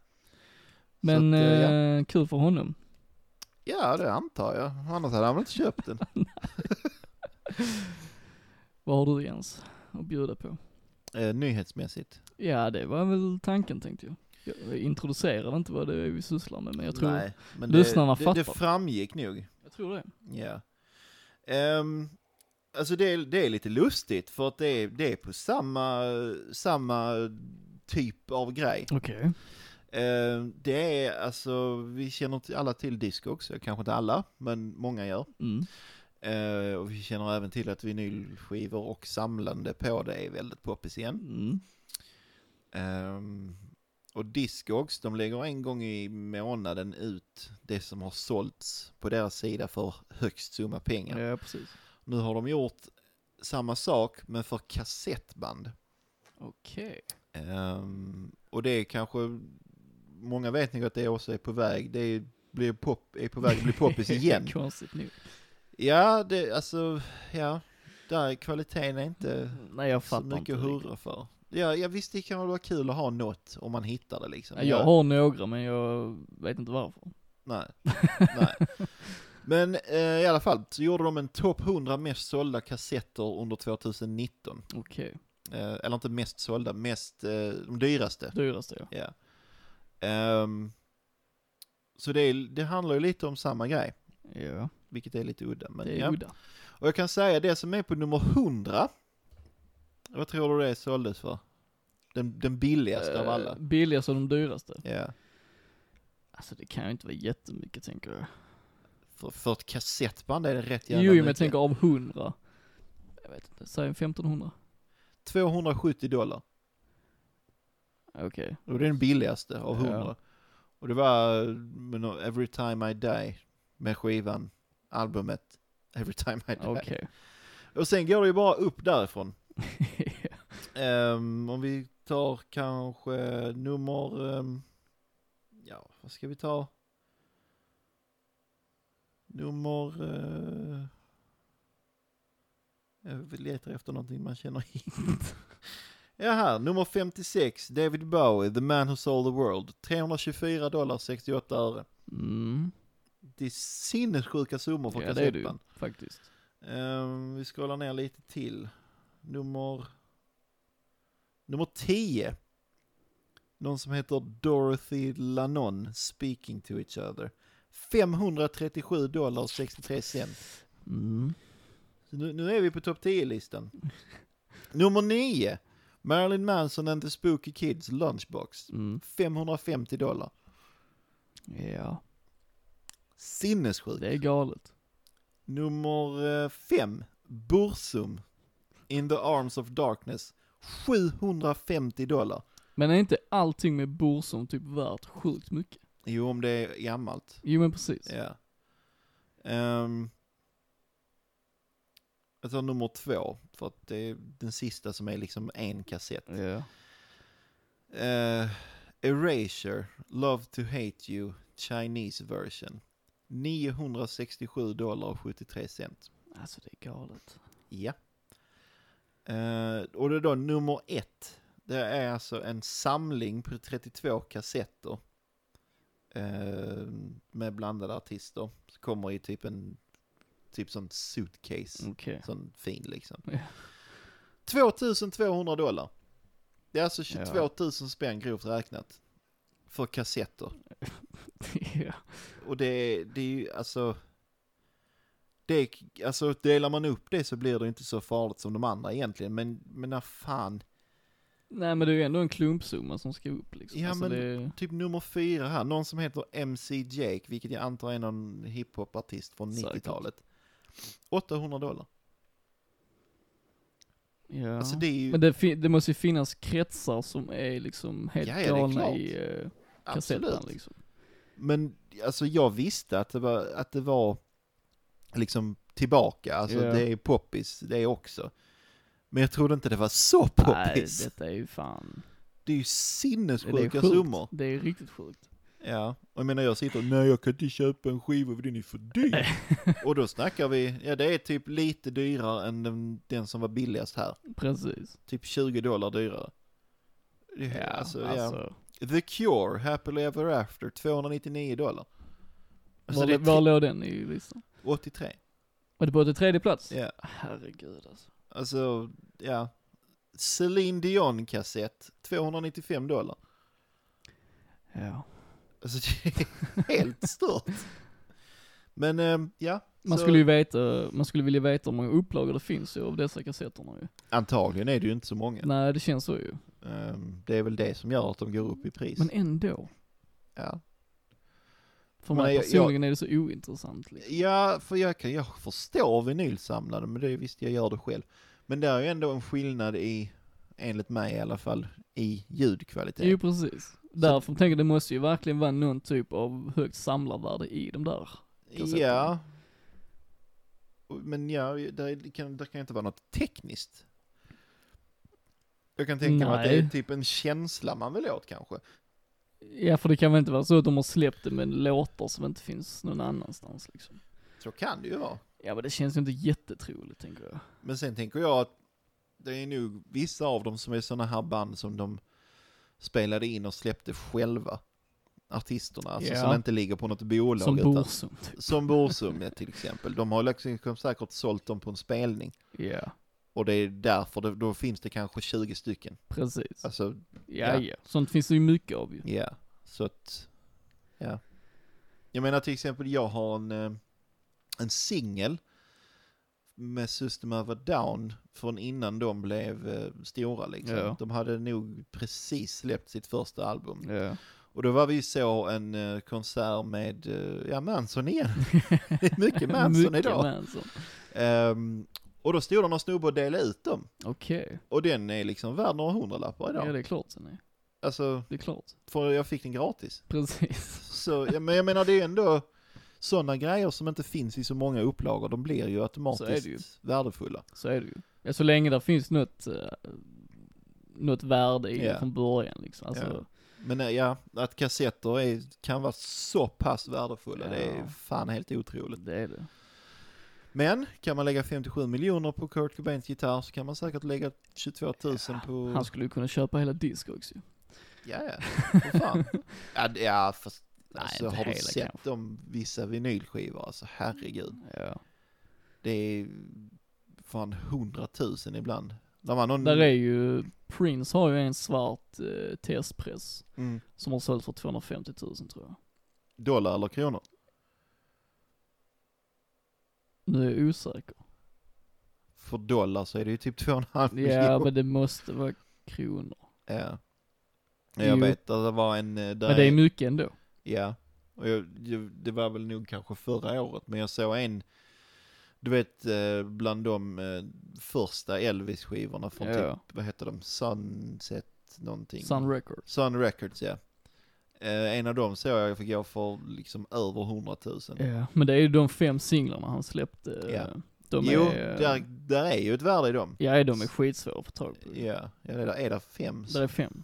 B: Men
A: Så att, eh, ja.
B: eh, kul för honom.
A: ja, det antar jag. Annars hade han väl inte köpt den.
B: Vad har du Jens att bjuda på?
A: Eh, nyhetsmässigt.
B: Ja det var väl tanken tänkte jag. Jag introducerade inte vad det är vi sysslar med men jag tror,
A: Nej, men
B: lyssnarna
A: det, det, det
B: fattar.
A: framgick nog.
B: jag tror det.
A: Ja. Ehm, alltså det är, det är lite lustigt för att det är, det är på samma, samma typ av grej.
B: Okej.
A: Ehm, det är alltså, vi känner till- alla till Discogs, kanske inte alla, men många gör.
B: Mm.
A: Ehm, och vi känner även till att vinylskivor och samlande på det är väldigt poppis igen.
B: Mm.
A: Ehm, och Discogs, de lägger en gång i månaden ut det som har sålts på deras sida för högst summa pengar.
B: Ja precis.
A: Nu har de gjort samma sak men för kassettband.
B: Okej.
A: Ehm, och det är kanske, många vet nog att det också är på väg, det är, blir pop, är på väg att bli poppis igen.
B: Konstigt nog.
A: Ja, det, alltså, ja, där är kvaliteten är inte
B: Nej jag
A: så
B: fattar inte.
A: mycket
B: riktigt.
A: hurra för. Ja, ja, visst det kan väl vara kul att ha något om man hittar det liksom.
B: Nej, Jag har några men jag vet inte varför.
A: Nej. nej. Men eh, i alla fall så gjorde de en topp 100 mest sålda kassetter under 2019.
B: Okej.
A: Eh, eller inte mest sålda, mest eh, de dyraste.
B: Dyraste ja.
A: Ja. Ehm, så det, är, det handlar ju lite om samma grej,
B: Ja.
A: vilket är lite udda. Men,
B: det är
A: ja.
B: udda.
A: Och jag kan säga det som är på nummer 100, vad tror du det såldes för? Den, den billigaste av
B: Eh,
A: alla.
B: Billigaste och de dyraste.
A: Ja.
B: Alltså det kan ju inte vara jättemycket tänker jag.
A: För, för ett kassettband är det rätt jävla
B: Jo, men jag
A: mycket.
B: tänker av 100. Jag vet inte, säg 1500.
A: 270 dollar.
B: Okej.
A: Det var den billigaste av
B: Ja.
A: 100. Och det var eh, med nå- Every Time I Die med skivan, albumet Every Time I Die.
B: Okej.
A: Och sen går det ju bara upp därifrån. Ehm, om vi tar kanske nummer, ehm, ja vad ska vi ta? Nummer, eh, jag letar efter någonting man känner igen. ja här, nummer 56, David Bowie, The Man Who Sold The World, 324 dollar 68 öre.
B: Mm.
A: Det är sinnessjuka summor för
B: Ja, det är det ju,
A: kassettband.
B: faktiskt.
A: Ehm, vi scrollar ner lite till. Nummer... Nummer 10. Någon som heter Dorothy Lannon, Speaking to each other. 537 dollar och 63 cent.
B: Mm.
A: Så nu, nu är vi på topp 10-listan. Nummer 9. Marilyn Manson and the Spooky Kids Lunchbox.
B: Mm.
A: 550 dollar.
B: Ja,
A: Sinnessjukt.
B: det är galet.
A: Nummer 5, Bursum, In the Arms of Darkness, 750 dollar.
B: Men är inte allting med Borsum typ värt sjukt mycket?
A: Jo, om det är gammalt.
B: Jo men precis.
A: Ja. Um, jag tar nummer två, för att det är den sista som är liksom en kassett.
B: Ja.
A: Eh, Erasure, Love to Hate You, Chinese version. 967 dollar och 73 cent.
B: Alltså det är galet.
A: Ja. Eh, och det är då nummer ett. Det är alltså en samling på 32 kassetter. Eh, med blandade artister. Så kommer i typ en, typ sån suitcase.
B: Okej.
A: Sån fin liksom.
B: Mm. Ja.
A: 2200 dollar. Det är alltså 22
B: Ja.
A: 000 spänn grovt räknat. För kassetter.
B: ja.
A: Och det, det är ju alltså... Det, är- alltså delar man upp det så blir det inte så farligt som de andra egentligen. Men, men när fan.
B: Nej men det är ju ändå en klumpsumma som ska upp liksom.
A: Ja,
B: alltså,
A: men-
B: det...
A: Typ nummer fyra här, någon som heter MC Jake, vilket jag antar är någon hiphopartist från
B: Säkert.
A: 90-talet. 800 dollar.
B: Ja.
A: Alltså det är ju...
B: Men det, fin- det måste ju finnas kretsar som är liksom helt
A: Ja, ja, det är
B: galna
A: klart.
B: i uh, kassetten
A: absolut.
B: liksom.
A: Men alltså jag visste att det var, att det var liksom tillbaka, alltså
B: Ja.
A: det är poppis det också. Men jag trodde inte det var så poppis.
B: Nej,
A: det...
B: detta är ju fan.
A: är ju
B: Det är
A: sinnessjuka
B: sjukt.
A: summor.
B: Det är riktigt sjukt.
A: Ja, och jag menar jag sitter och, nej jag kan inte köpa en skiva för den är för dyr. och då snackar vi, ja det är typ lite dyrare än den, den som var billigast här.
B: Precis.
A: Typ 20 dollar dyrare. Det är-
B: Ja, alltså.
A: Ja. The Cure, Happily Ever After, 299 dollar. Alltså
B: var,
A: det är
B: var
A: tre-
B: låg den i listan?
A: 83.
B: Var det på till tredje plats?
A: Ja,
B: Herregud alltså.
A: alltså, ja. Celine Dion-kassett, 295 dollar.
B: Ja.
A: Alltså det är helt stört. Men, ehm, ja.
B: Man
A: så-
B: skulle ju veta, man skulle vilja veta hur många upplagor det finns ju av dessa kassetterna ju.
A: Antagligen är det ju inte så många.
B: Nej, det känns så ju.
A: Ehm, Det är väl det som gör att de går upp i pris.
B: Men ändå.
A: ja.
B: För
A: Men
B: mig
A: jag-
B: personligen är det så ointressant liksom.
A: ja, för jag, kan, jag förstår vinylsamlare, men det är visst jag gör det själv. Men det är ju ändå en skillnad i, enligt mig i alla fall, i ljudkvalitet.
B: Jo precis. Därför tänker jag det måste ju verkligen vara någon typ av högt samlarvärde i de där. kassetterna.
A: ja. Men ja, där kan, där kan inte vara något tekniskt. Jag kan tänka mig att det är
B: Nej.
A: typ en känsla man vill åt kanske.
B: Ja för det kan väl inte vara så att de har släppt det med låtar som inte finns någon annanstans liksom.
A: Så kan det ju vara.
B: Ja men det känns ju inte jättetroligt tänker jag.
A: Men sen tänker jag att det är nog vissa av dem som är sådana här band som de spelade in och släppte själva. Artisterna, alltså
B: Ja.
A: som inte ligger på något bolag.
B: Som
A: utan-
B: Borsum typ.
A: Som Borsum ja, till exempel. De har liksom säkert sålt dem på en spelning.
B: Ja,
A: Och det är därför, det, då finns det kanske 20 stycken.
B: precis.
A: Alltså,
B: Ja,
A: Ja.
B: ja. Sånt finns det ju mycket av ju.
A: ja. Så att, ja. Jag menar till exempel, jag har en, eh, en singel med System of a Down från innan de blev eh, stora liksom.
B: Ja.
A: De hade nog precis släppt sitt första album.
B: Ja.
A: Och då var vi ju så en eh, konsert med, eh, ja Manson igen. Det är mycket Manson
B: Mycket
A: idag.
B: Manson.
A: Ehm, och då stod det någon snubbe och delade ut dem.
B: Okej.
A: Och den är liksom värd några hundralappar
B: Ja.
A: idag.
B: det är klart sen är.
A: Alltså,
B: Det är klart.
A: för jag fick den gratis.
B: Precis.
A: Så, ja, men jag menar det är ändå sådana grejer som inte finns i så många upplagor, de blir ju
B: Så är det ju.
A: automatiskt värdefulla.
B: Så är det ju. Ja, så länge där finns något, eh, något värde i
A: Ja.
B: det från början liksom. Alltså,
A: Ja. Men eh, ja, att kassetter är, kan vara så pass värdefulla, det är
B: Ja.
A: fan helt otroligt.
B: det är det.
A: Men kan man lägga 57 miljoner på Kurt Cobains gitarr så kan man säkert lägga 22 000 på...
B: Han skulle ju kunna köpa hela disco också ju.
A: Ja, ja. För fan. ja, det- ja fast,
B: Nej,
A: alltså,
B: inte
A: har du
B: hela
A: sett
B: kanske.
A: de vissa vinylskivor? Alltså herregud.
B: Ja.
A: Det är fan 100 000 ibland. Där var någon...
B: Där är ju, Prince har ju en svart eh, testpress
A: Mm,
B: som har sålt för 250 000 tror jag.
A: dollar eller kronor?
B: Nu är jag osäker.
A: För dollar så är det ju typ 2,5
B: Ja
A: miljoner.
B: men det måste vara kronor.
A: Ja. Jag
B: Jo.
A: vet att det var en... eh, Där
B: Men det är mycket ändå.
A: Ja, och jag, jag, det var väl nog kanske förra året, men jag såg en, du vet, eh, bland de eh, första Elvis-skivorna från
B: Ja.
A: typ, vad heter de, Sunset någonting?
B: Sun Records.
A: Sun Records, ja. Eh, en av dem såg jag, jag fick gå för liksom över 100 000.
B: Ja. Men det är ju de fem singlarna han släppte.
A: Ja.
B: eh, De
A: jo,
B: är, eh,
A: där, där är ju ett värde i dem.
B: Ja de är skitsvåra att få tag på.
A: Ja, ja det där är där fem.
B: Där är fem.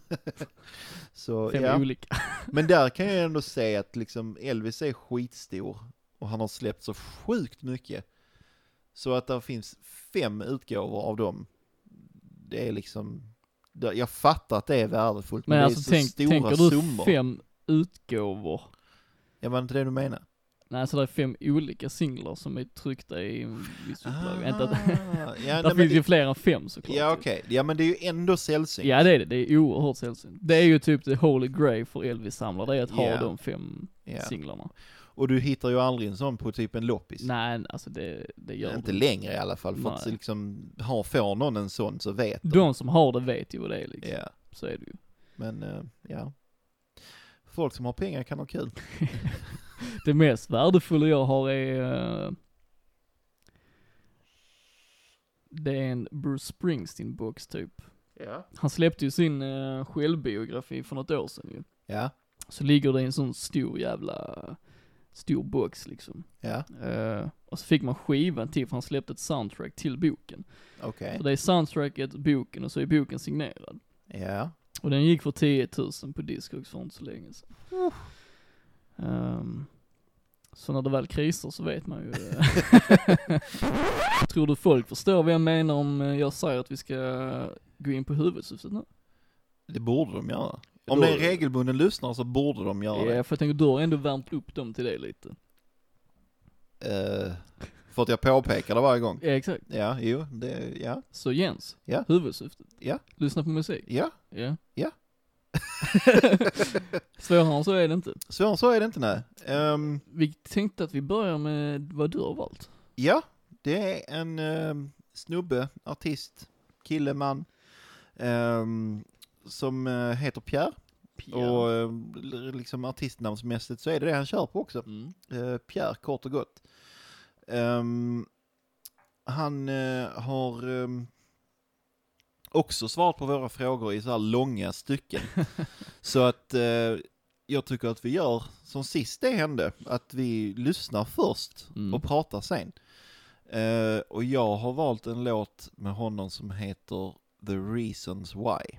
A: Så,
B: Fem
A: ja.
B: olika.
A: Men där kan jag ändå säga att liksom Elvis är skitstor och han har släppt så sjukt mycket. Så att där finns fem utgåvor av dem. Det är liksom, det- jag fattar att det är värdefullt men,
B: Men
A: det är
B: alltså
A: så
B: tänk,
A: stora
B: tänker du
A: summor.
B: fem utgåvor?
A: Ja var det inte det du menar?
B: Nej alltså det är fem olika singlar som är tryckta i en viss upplaga. Inte att,
A: Ah, ja,
B: där
A: nej, men
B: finns ju
A: det,
B: fler än fem såklart.
A: ja
B: ju.
A: okej, ja men det är ju ändå sällsynt.
B: Ja det är det, det är oerhört sällsynt. Det är ju typ the holy grail för Elvis-samlare, det är att ha
A: Ja.
B: de fem
A: Ja.
B: singlarna.
A: Och du hittar ju aldrig en sån på typ en loppis.
B: Nej alltså det, det gör
A: inte
B: de.
A: längre i alla fall, för att
B: Nej.
A: liksom, har, får någon en sån så vet
B: De som har det vet ju vad det är liksom.
A: Ja.
B: Så är det ju.
A: Men eh, ja. Folk som har pengar kan ha kul.
B: Det mest värdefulla jag har är eh, det är en Bruce Springsteen-box typ.
A: Ja.
B: Han släppte ju sin uh, självbiografi för något år sedan ju.
A: Ja.
B: Så ligger det i en sån stor jävla, stor box liksom.
A: Ja.
B: Eh, och så fick man skivan till, för han släppte ett soundtrack till boken.
A: Okej.
B: Så det är soundtracket, boken och så är boken signerad.
A: Ja.
B: Och den gick för 10 000 på Discogs för inte så länge sedan. Ehm, så när det väl krisar så vet man ju. eh. Tror du folk förstår vad jag menar om eh, jag säger att vi ska gå in på huvudsyftet nu?
A: Det borde de göra.
B: Det
A: Om det är
B: borde de.
A: regelbunden lyssnare så borde de göra
B: Ja, för jag tänker du har ändå värmt upp dem till det lite.
A: det. Eh, för att jag påpekar det varje gång.
B: Ja, exakt.
A: Ja, jo, det, ja,
B: Så Jens,
A: Ja.
B: huvudsyftet.
A: Ja.
B: Lyssna på musik.
A: ja.
B: Ja.
A: Ja.
B: Svårare än så är det inte.
A: Svårare än så är det inte nej. Ehm,
B: Vi tänkte att vi börjar med vad du har valt.
A: ja, det är en ehm, snubbe, artist, kille, man. ehm, som eh, heter Pierre. Och ehm, l- liksom artistnamnsmässigt så är det det han kör på också.
B: Mm.
A: eh, Pierre kort och gott. Ehm, han eh, har ehm, också svarat på våra frågor i så här långa stycken. så att eh, jag tycker att vi gör som sist det hände, att vi lyssnar först
B: Mm.
A: och pratar sen. Eh, och jag har valt en låt med honom som heter The Reasons Why.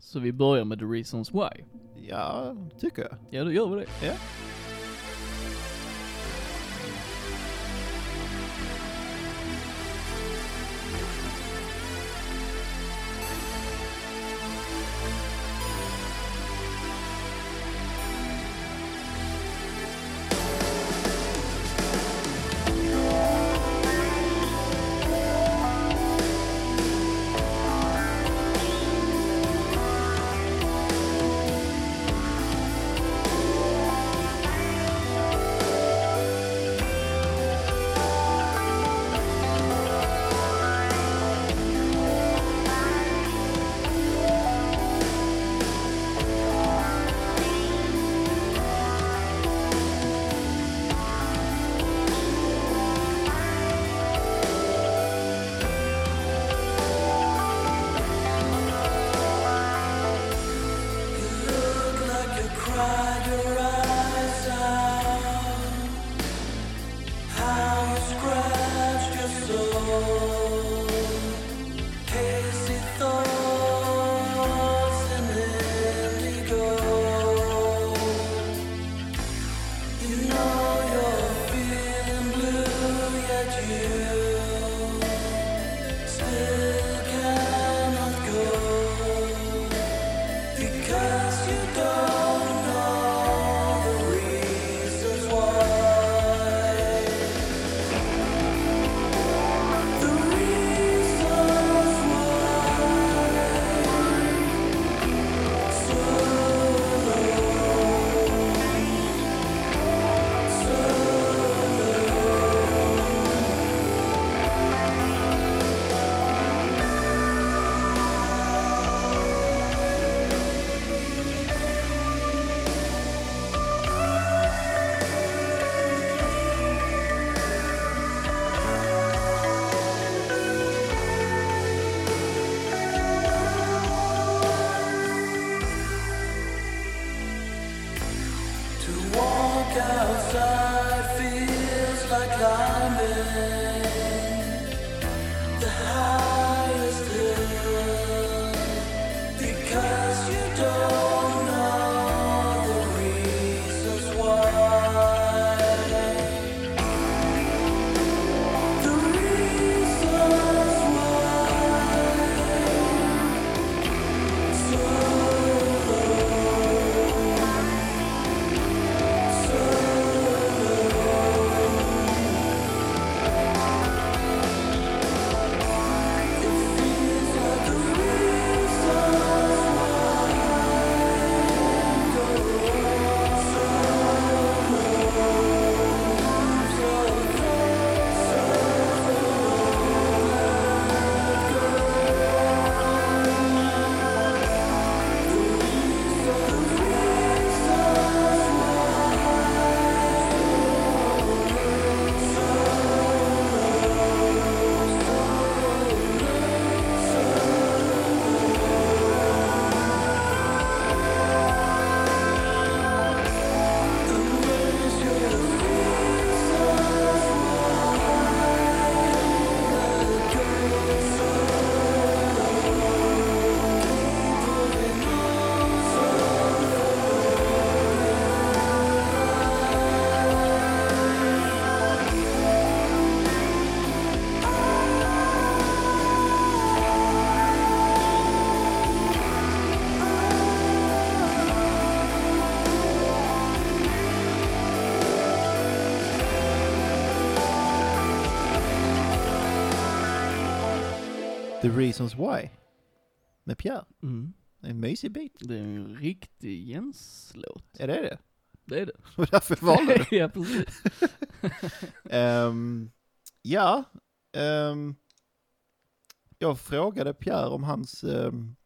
B: Så vi börjar med the reasons why.
A: Ja, tycker jag.
B: Ja, då gör vi det.
A: Ja.
C: Outside feels like climbing the highest hill because you don't know the reasons why. The reasons why. So low.
A: The Reasons Why. Med Pierre.
B: Mm.
A: En mysig bit.
B: Det är en riktig Jens-låt.
A: Är det det?
B: Det är det.
A: Det var därför jag valde det.
B: ja, precis.
A: Ehm, ja. ehm, jag frågade Pierre om hans... Um,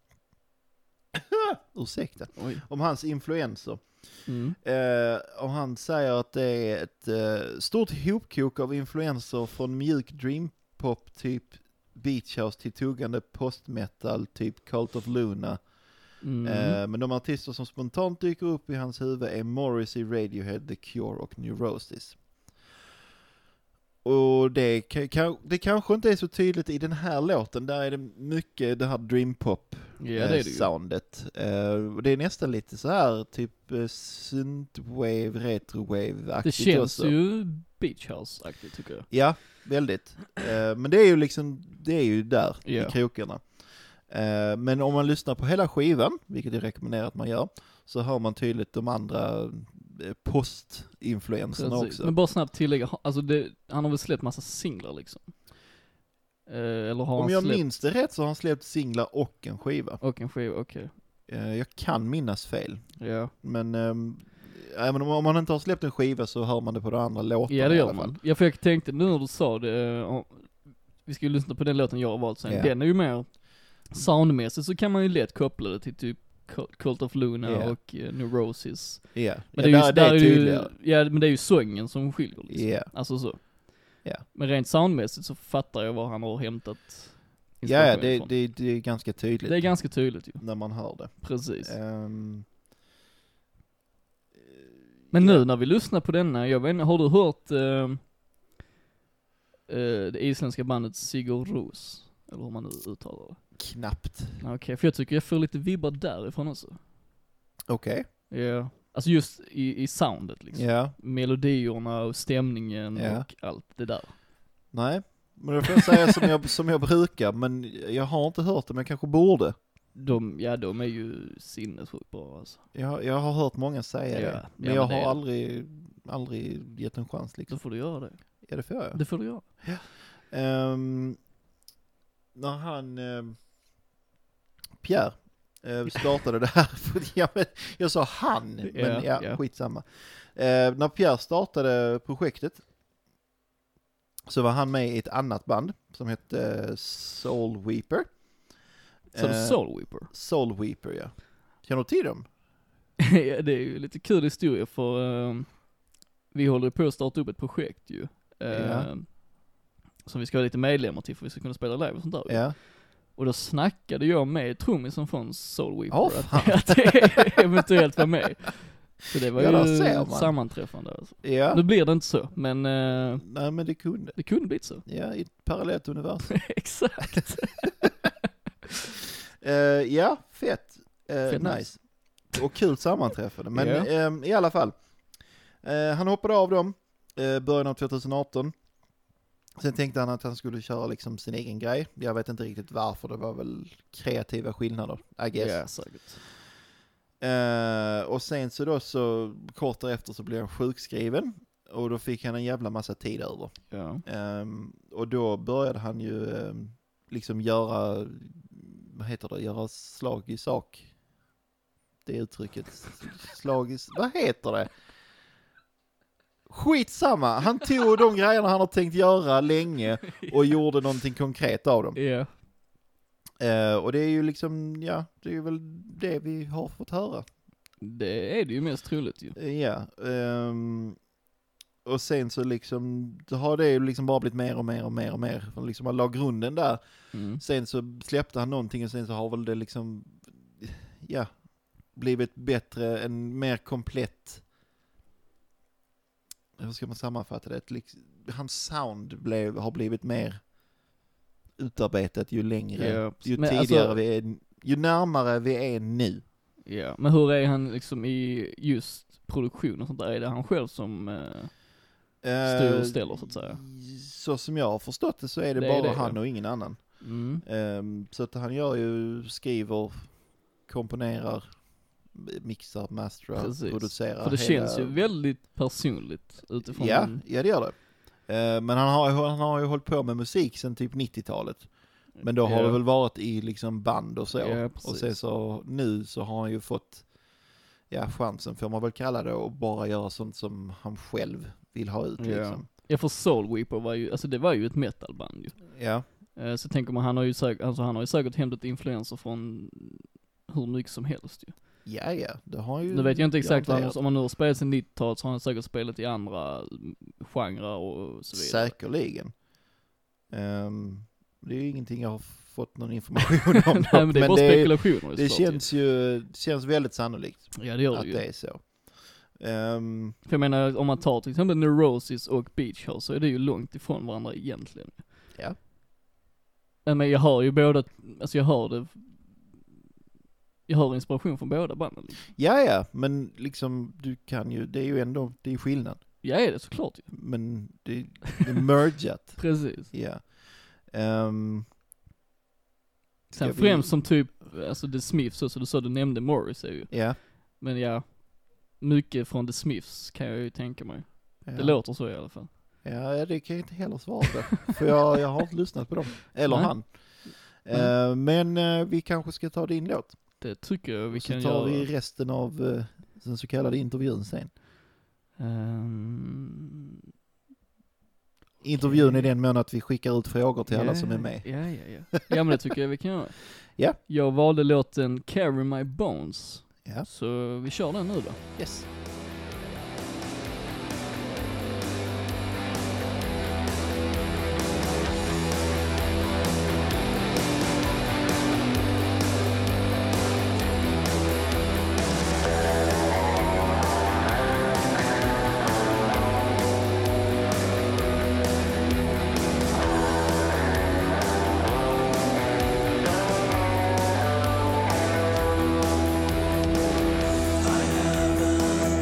A: ursäkta.
B: Oj.
A: Om hans influenser.
B: Mm.
A: Eh, och han säger att det är ett eh, stort hopkok av influenser från mjuk dreampop typ Beach House till tuggande postmetal typ Cult of Luna.
B: Mm.
A: Eh, men de artister som spontant dyker upp i hans huvud är Morrissey, Radiohead, The Cure och Neurosis. Och det, ka- ka- det kanske inte är så tydligt i den här låten, där är det mycket det här dreampop
B: ja, det är det ju.
A: soundet. Eh, och det är nästan lite så här typ eh, synthwave, retrowave-aktigt
B: Det känns
A: också.
B: ju beach house-aktigt tycker jag.
A: Ja, väldigt. Eh, men det är ju liksom, det är ju där
B: Ja.
A: i krokarna. Eh, men om man lyssnar på hela skivan, vilket jag rekommenderar att man gör, så hör man tydligt de andra eh, postinfluenserna
B: Precis.
A: också.
B: Men bara snabbt tillägga, ha- alltså det, han har väl släppt massa singlar liksom? Eh, eller har
A: Om
B: han
A: jag
B: släppt?
A: minns det rätt så har han släppt singlar och en skiva.
B: Och en skiva, okej.
A: Eh, jag kan minnas fel,
B: Ja.
A: men ehm, även om, om man inte har släppt en skiva så hör man det på de andra låtarna
B: ja det
A: i
B: gör
A: alla fall.
B: man. Ja för jag tänkte nu när du sa det, eh, om- vi ska ju lyssna på den låten jag har valt sen.
A: Ja.
B: Den är ju mer, soundmässigt så kan man ju lätt koppla det till typ Cult- Cult of Luna
A: Ja.
B: och eh, Neurosis.
A: Ja, ja,
B: Men det, är ju,
A: där, där är
B: ju,
A: tydligare.
B: ja, men det är ju sången som skiljer liksom.
A: Ja.
B: Alltså så.
A: Ja.
B: Men rent soundmässigt så fattar jag var han har hämtat
A: Ja, ja,
B: inspiration
A: det,
B: ifrån.
A: det, det är ganska tydligt
B: det är ganska tydligt ju,
A: när man hör det.
B: precis.
A: Ehm,
B: Men nu när vi lyssnar på denna, jag vet inte, har du hört eh, eh, det isländska bandet Sigur Rós? Eller hur man nu uttalar det.
A: knappt.
B: Okej, för jag tycker jag får lite vibbar därifrån också.
A: Okej.
B: Ja. Alltså just i, i soundet liksom.
A: Ja.
B: Melodierna och stämningen
A: Ja.
B: och allt det där.
A: Nej. Men då får jag säga som jag, som jag brukar, men jag har inte hört det, men jag kanske borde.
B: De, ja de är ju sinnessjukt bra alltså.
A: Jag, jag har hört många säga
B: Ja,
A: det,
B: ja,
A: men
B: men
A: jag
B: det är
A: har
B: det.
A: aldrig, aldrig gett en chans
B: Då
A: liksom.
B: får du göra det.
A: Ja, det får jag.
B: Det får du göra.
A: Ehm, när han, ehm, Pierre, eh, startade det här, för- ja, men jag sa han, men
B: Ja,
A: ja,
B: ja.
A: skitsamma. Eh, när Pierre startade projektet så var han med i ett annat band som hette eh, Soul Weeper.
B: Så
A: Eh,
B: uh, Soul Weeper.
A: Soul Weeper, ja. Känner du till dem?
B: Ja, det är ju lite kul historia för ehm, vi håller på att starta upp ett projekt ju. ehm, Som vi ska ha lite medlemmar till för vi ska kunna spela live och sånt där. ju.
A: Ja.
B: Och då snackade jag med trummisen från Soul Weeper
A: Åh, fan.
B: att, att eventuellt vara med. Så det var
A: Ja, där
B: ju
A: ser man.
B: sammanträffande alltså. Nu
A: Ja,
B: blir det inte så, men eh,
A: nej men det kunde.
B: det kunde blivit så.
A: Ja, i ett parallellt universum.
B: Exakt.
A: Eh, ja, fett. Eh,
B: Fett
A: nice.
B: nice.
A: Och kul sammanträffande. Men
B: Ja.
A: ehm, i alla fall. Eh, han hoppade av dem eh, början av 2018. Sen tänkte han att han skulle köra liksom sin egen grej. Jag vet inte riktigt varför, det var väl kreativa skillnader, I guess.
B: Ja, säkert.
A: Eh, och sen så då så kort därefter så blev han sjukskriven och då fick han en jävla massa tid över.
B: Ja.
A: Ehm, och då började han ju ehm, liksom göra, vad heter det, göra slag i sak. Det uttrycket. Slag i, vad heter det? Skitsamma, han tog de grejerna han har tänkt göra länge och gjorde någonting konkret av dem.
B: Ja,
A: Eh, och det är ju liksom, ja, det är ju väl det vi har fått höra.
B: det är det ju mest troligt ju.
A: Eh, Ja, ehm, och sen så liksom då har det ju liksom bara blivit mer och mer och mer och mer. Och liksom han la grunden där.
B: Mm.
A: Sen så släppte han någonting och sen så har väl det liksom, ja, blivit bättre, en mer komplett, hur ska man sammanfatta det? Ett Liksom, hans sound blev, har blivit mer utarbetat ju längre,
B: Ja,
A: ju
B: men alltså-
A: tidigare vi är, ju närmare vi är nu.
B: Ja, men hur är han liksom i just produktion och sånt där? Är det han själv som, eh, Styr och ställer, så att säga.
A: Eh, Så som jag har förstått det så är det,
B: Det är
A: bara
B: det,
A: han
B: ja.
A: och ingen annan.
B: mm,
A: Ehm, så att han gör ju, skriver, komponerar, mixar, masterar,
B: Precis.
A: producerar.
B: för det
A: hela-
B: känns ju väldigt personligt utifrån
A: Ja,
B: den-
A: ja det gör det. Ehm, men han har, han har ju hållit på med musik sedan typ 90-talet. Men då har
B: Ja.
A: det väl varit i liksom band och så.
B: Ja, precis.
A: och sen så nu så har han ju fått, ja chansen får man väl kalla det, och bara göra sånt som han själv vill ha ut
B: Ja.
A: liksom.
B: Ja för Soul Weeper var ju, alltså det var ju ett metalband ju.
A: Ja,
B: Eh, Så tänker man, han har ju säkert, alltså han har ju säkert hämtat influenser från hur mycket som helst ju.
A: ja, ja. det har ju...
B: Nu vet jag inte exakt vad han,
A: Garanterat.
B: om han nu har spelat sedan 90-talet så har han säkert spelat i andra mm, genrer och så vidare.
A: Säkerligen. Ehm, det är ju ingenting jag har fått någon information om. dock,
B: Nej men det är bara
A: det,
B: spekulationer
A: det
B: såklart ju.
A: känns ju det känns väldigt sannolikt
B: Ja det gör
A: att
B: det ju.
A: det är så. Ehm,
B: För jag menar om man tar till exempel Neurosis och Beach House så är det ju långt ifrån varandra egentligen.
A: Ja.
B: Nej, Men jag har ju båda, alltså jag har det, jag har inspiration från båda banden liksom.
A: ja, ja, men liksom du kan ju, det är ju ändå, det är skillnad.
B: Ja det är det såklart ju.
A: Men det, det är mergat.
B: Precis.
A: Ja. Ehm,
B: Sen
A: Ska vi-
B: främst som typ, alltså The Smiths också, du sa du nämnde Morris ju.
A: ja.
B: Men ja, mycket från The Smiths kan jag ju tänka mig.
A: ja.
B: Det låter så i alla fall.
A: Ja, det kan jag inte heller svara på. för jag, jag har inte lyssnat på dem. Eller
B: Nej.
A: han. Ehm, men eh, vi kanske ska ta din låt.
B: Det tycker jag vi
A: Så tar
B: kan göra.
A: vi resten av eh, den så kallade intervjun sen.
B: Ehm,
A: Intervjun
B: Okej.
A: i den mån att vi skickar ut frågor till alla
B: ja,
A: som är med.
B: Ja, ja, ja. Ja men det tycker jag vi kan göra.
A: Ja.
B: Jag valde låten Carry My Bones.
A: Ja.
B: Så vi kör den nu då.
A: Yes.
C: I haven't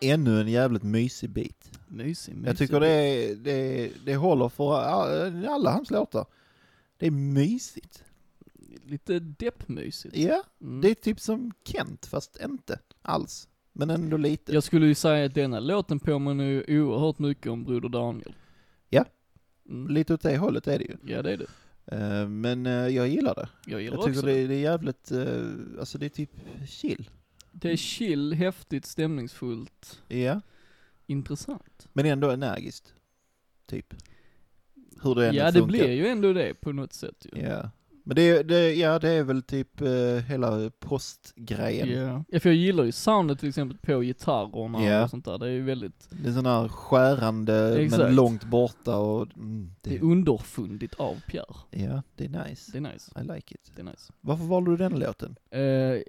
A: ännu en jävligt mysig bit.
B: Mysig, mysig.
A: Jag tycker det, är- det, det håller för a- alla hans låtar. Det är mysigt.
B: Lite deppmysigt.
A: Ja,
B: Mm.
A: det är typ som Kent fast inte alls. Men ändå lite.
B: Jag skulle ju säga att denna låten påminner ju oerhört mycket om Broder Daniel.
A: Ja.
B: Mm.
A: Lite åt det hållet är det ju.
B: Ja det är det.
A: Eh, Men eh, jag gillar det.
B: Jag gillar
A: Jag tycker
B: också
A: det
B: det.
A: är, det är jävligt, eh, alltså det är typ chill.
B: Det är chill, häftigt, stämningsfullt,
A: Ja.
B: intressant.
A: Men ändå energiskt. Typ. Hur det än
B: ja det
A: funkar.
B: blir ju ändå det på något sätt ju.
A: Ja. Men det, är- det, ja, det är väl typ eh, hela postgrejen.
B: Ja. Ja, för jag gillar ju soundet till exempel på gitarrerna
A: Ja.
B: och sånt där. Det är ju väldigt,
A: Det är sån här skärande
B: Exakt.
A: men långt borta och mm,
B: det
A: det,
B: är underfundigt av Pierre.
A: ja, det är nice.
B: Det är nice.
A: I like it.
B: Det är nice.
A: Varför valde du den låten?
B: Eh,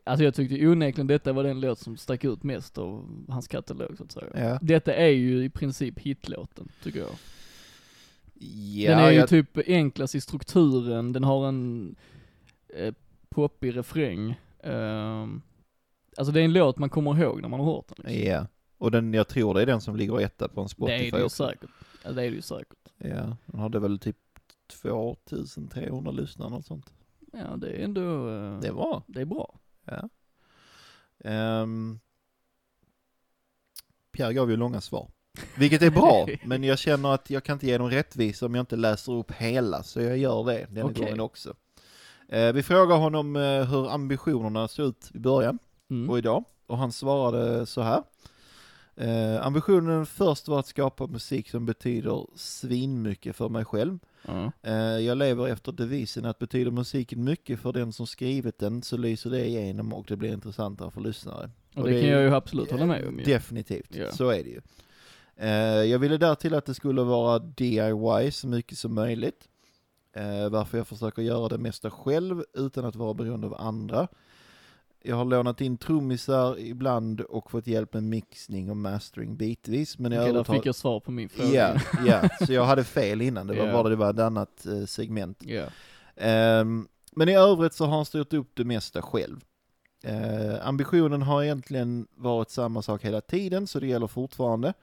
B: alltså jag tyckte onekligen detta var den låt som stack ut mest av hans katalog så att säga.
A: Ja.
B: Detta är ju i princip hitlåten, tycker jag.
A: Ja,
B: den är ju
A: jag,
B: typ enklast i strukturen, den har en eh, poppig refräng. Ehm, alltså det är en låt man kommer ihåg när man har hört den. Liksom.
A: ja. Och den, jag tror det är den som ligger etta på en Spotify
B: det är det ju
A: också.
B: säkert. Ja, det är det ju säkert.
A: Ja, den hade väl typ 2300 lyssnare eller sånt.
B: Ja, det är ändå, eh,
A: Det var.
B: det är bra.
A: Ja. Ehm, Pierre gav ju långa svar. Vilket är bra, men jag känner att jag kan inte ge dem rättvisa om jag inte läser upp hela, så jag gör det den
B: Okej.
A: gången också. Eh, vi frågar honom eh, hur ambitionerna såg ut i början
B: Mm.
A: och idag, och han svarade så här. Eh, ambitionen först var att skapa musik som betyder svinmycket för mig själv.
B: Ja.
A: Eh, Jag lever efter devisen att betyder musiken mycket för den som skrivit den så lyser det igenom och det blir intressantare för lyssnare.
B: Och,
A: Och
B: det,
A: det
B: kan
A: är-
B: jag ju absolut hålla med om ju.
A: Definitivt,
B: Ja.
A: så är det ju. Eh, Jag ville därtill att det skulle vara DIY så mycket som möjligt. Eh, Varför jag försöker göra det mesta själv utan att vara beroende av andra. Jag har lånat in trummisar ibland och fått hjälp med mixning och mastering bitvis. Men jag
B: Okej, där
A: övertar-
B: fick jag svar på min fråga.
A: Ja, ja, så jag hade fel innan. Det var
B: Ja.
A: bara det var ett annat eh, segment.
B: Ja.
A: Ehm, men i övrigt så har han styrt upp det mesta själv. Eh, ambitionen har egentligen varit samma sak hela tiden, så det gäller fortfarande.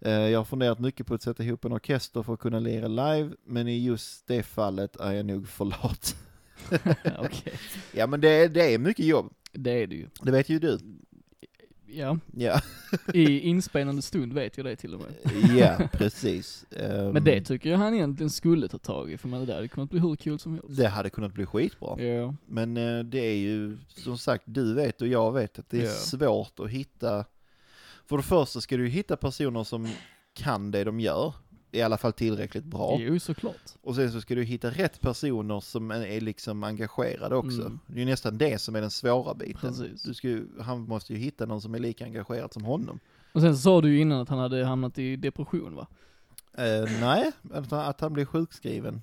A: Eh, jag har funderat mycket på att sätta ihop en orkester för att kunna lira live, men i just det fallet är jag nog för lat.
B: Okej,
A: ja, men det, det är mycket jobb.
B: det är det ju.
A: Det vet ju du.
B: Ja,
A: Ja,
B: i inspelande stund vet jag det till och med.
A: ja precis. Ehm,
B: Men det tycker jag han egentligen skulle ta tag i, för man det där det kommer att bli hur kul som helst.
A: det hade kunnat bli skitbra.
B: Ja.
A: Men eh, det är ju som sagt, du vet och jag vet att det är
B: Ja.
A: svårt att hitta. För det första ska du ju hitta personer som kan det de gör, i alla fall tillräckligt bra.
B: Jo, såklart.
A: Och sen så ska du hitta rätt personer som är- är liksom engagerade också.
B: Mm.
A: Det är ju nästan det som är den svåra biten.
B: Precis.
A: Du ska ju, han måste ju hitta någon som är lika engagerad som honom.
B: Och sen så sa du ju innan att han hade hamnat i depression va?
A: Eh, nej, att han, att han blev sjukskriven.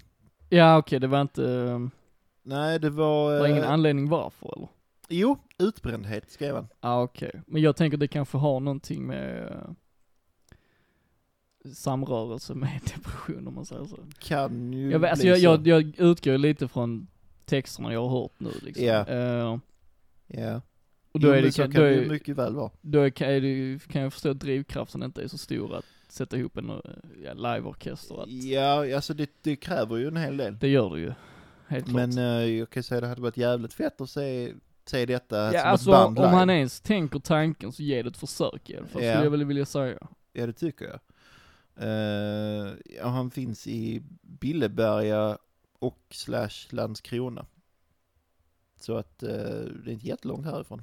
B: Ja okej, det var inte, eh,
A: Nej, det var... eh,
B: det var ingen anledning varför eller?
A: jo, utbrändhet skrev han.
B: Ja ah, okej, men jag tänker det kanske har någonting med eh, samrörelse med depression om man säger så.
A: Kan ju
B: Jag, vet- alltså
A: bli
B: jag,
A: så.
B: jag, jag utgår lite från texterna jag har hört nu liksom.
A: Ja.
B: Eh,
A: Ja.
B: och då,
A: jo,
B: är
A: men
B: det,
A: så
B: kan,
A: kan
B: då,
A: det ju
B: är,
A: mycket väl vara.
B: då är, kan, är det, ju- kan jag förstå att drivkraften inte är så stor att sätta ihop en eh, ja, liveorkester. och Att,
A: Ja, alltså det, det kräver ju en hel del.
B: Det gör det ju, helt klart.
A: Men eh, jag kan ju säga att det hade varit jävligt fett att se, se detta
B: Ja,
A: eh, som
B: alltså
A: ett band
B: om
A: live.
B: han ens tänker tanken så ge det ett försök i alla fall,
A: Ja.
B: skulle jag väl vilja säga.
A: Ja, det tycker jag. Eh, ja, han finns i Billeberga och slash Landskrona. Så att eh, det är inte jättelångt härifrån.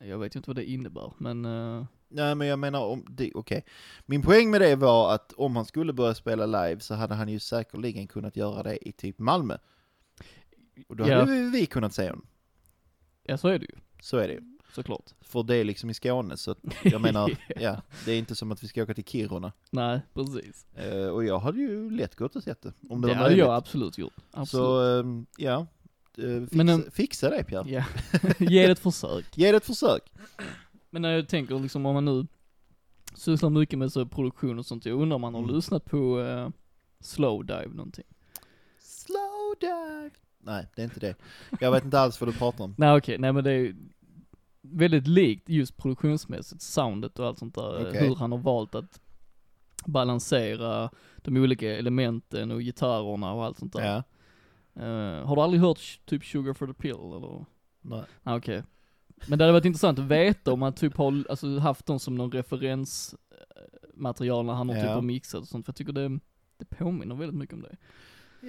B: Jag vet ju inte vad det innebär, men eh,
A: Nej, men jag menar om det, okej. Min poäng med det var att om han skulle börja spela live så hade han ju säkerligen kunnat göra det i typ Malmö. Och då
B: Ja.
A: hade vi, vi kunnat se honom.
B: ja så är det ju,
A: Så är det ju.
B: såklart.
A: För det är liksom i Skåne, så att jag menar, ja, det är inte som att vi ska åka till Kiruna.
B: Nej, precis.
A: Eh, och jag hade ju lätt gått och sett det, om det,
B: Det
A: var
B: hade
A: möjligt.
B: jag absolut gjort. Absolut.
A: Så, ehm, ja. Eh, fixa,
B: Men, ehm,
A: fixa det Pierre.
B: ja. ge det ett försök.
A: Ge det ett försök.
B: Men när jag tänker liksom om man nu sysslar mycket med så här produktion och sånt, jag undrar om man har
A: Mm.
B: lyssnat på eh, Slowdive någonting.
A: Slow dive. Nej, det är inte det. Jag vet inte alls vad du pratar om.
B: Nej okej, nej men det är ju, väldigt likt just produktionsmässigt, soundet och allt sånt där. eh,
A: Okej.
B: Hur han har valt att balansera de olika elementen och gitarrerna och allt sånt där.
A: Ja.
B: Eh, har du aldrig hört sh- typ Sugar for the Pill eller?
A: Nej.
B: Ah, Okej. Men det hade varit intressant att veta om han typ har alltså, haft dem som någon referensmaterial när han har
A: Ja.
B: typ har mixat och sånt, för jag tycker det, det påminner väldigt mycket om det.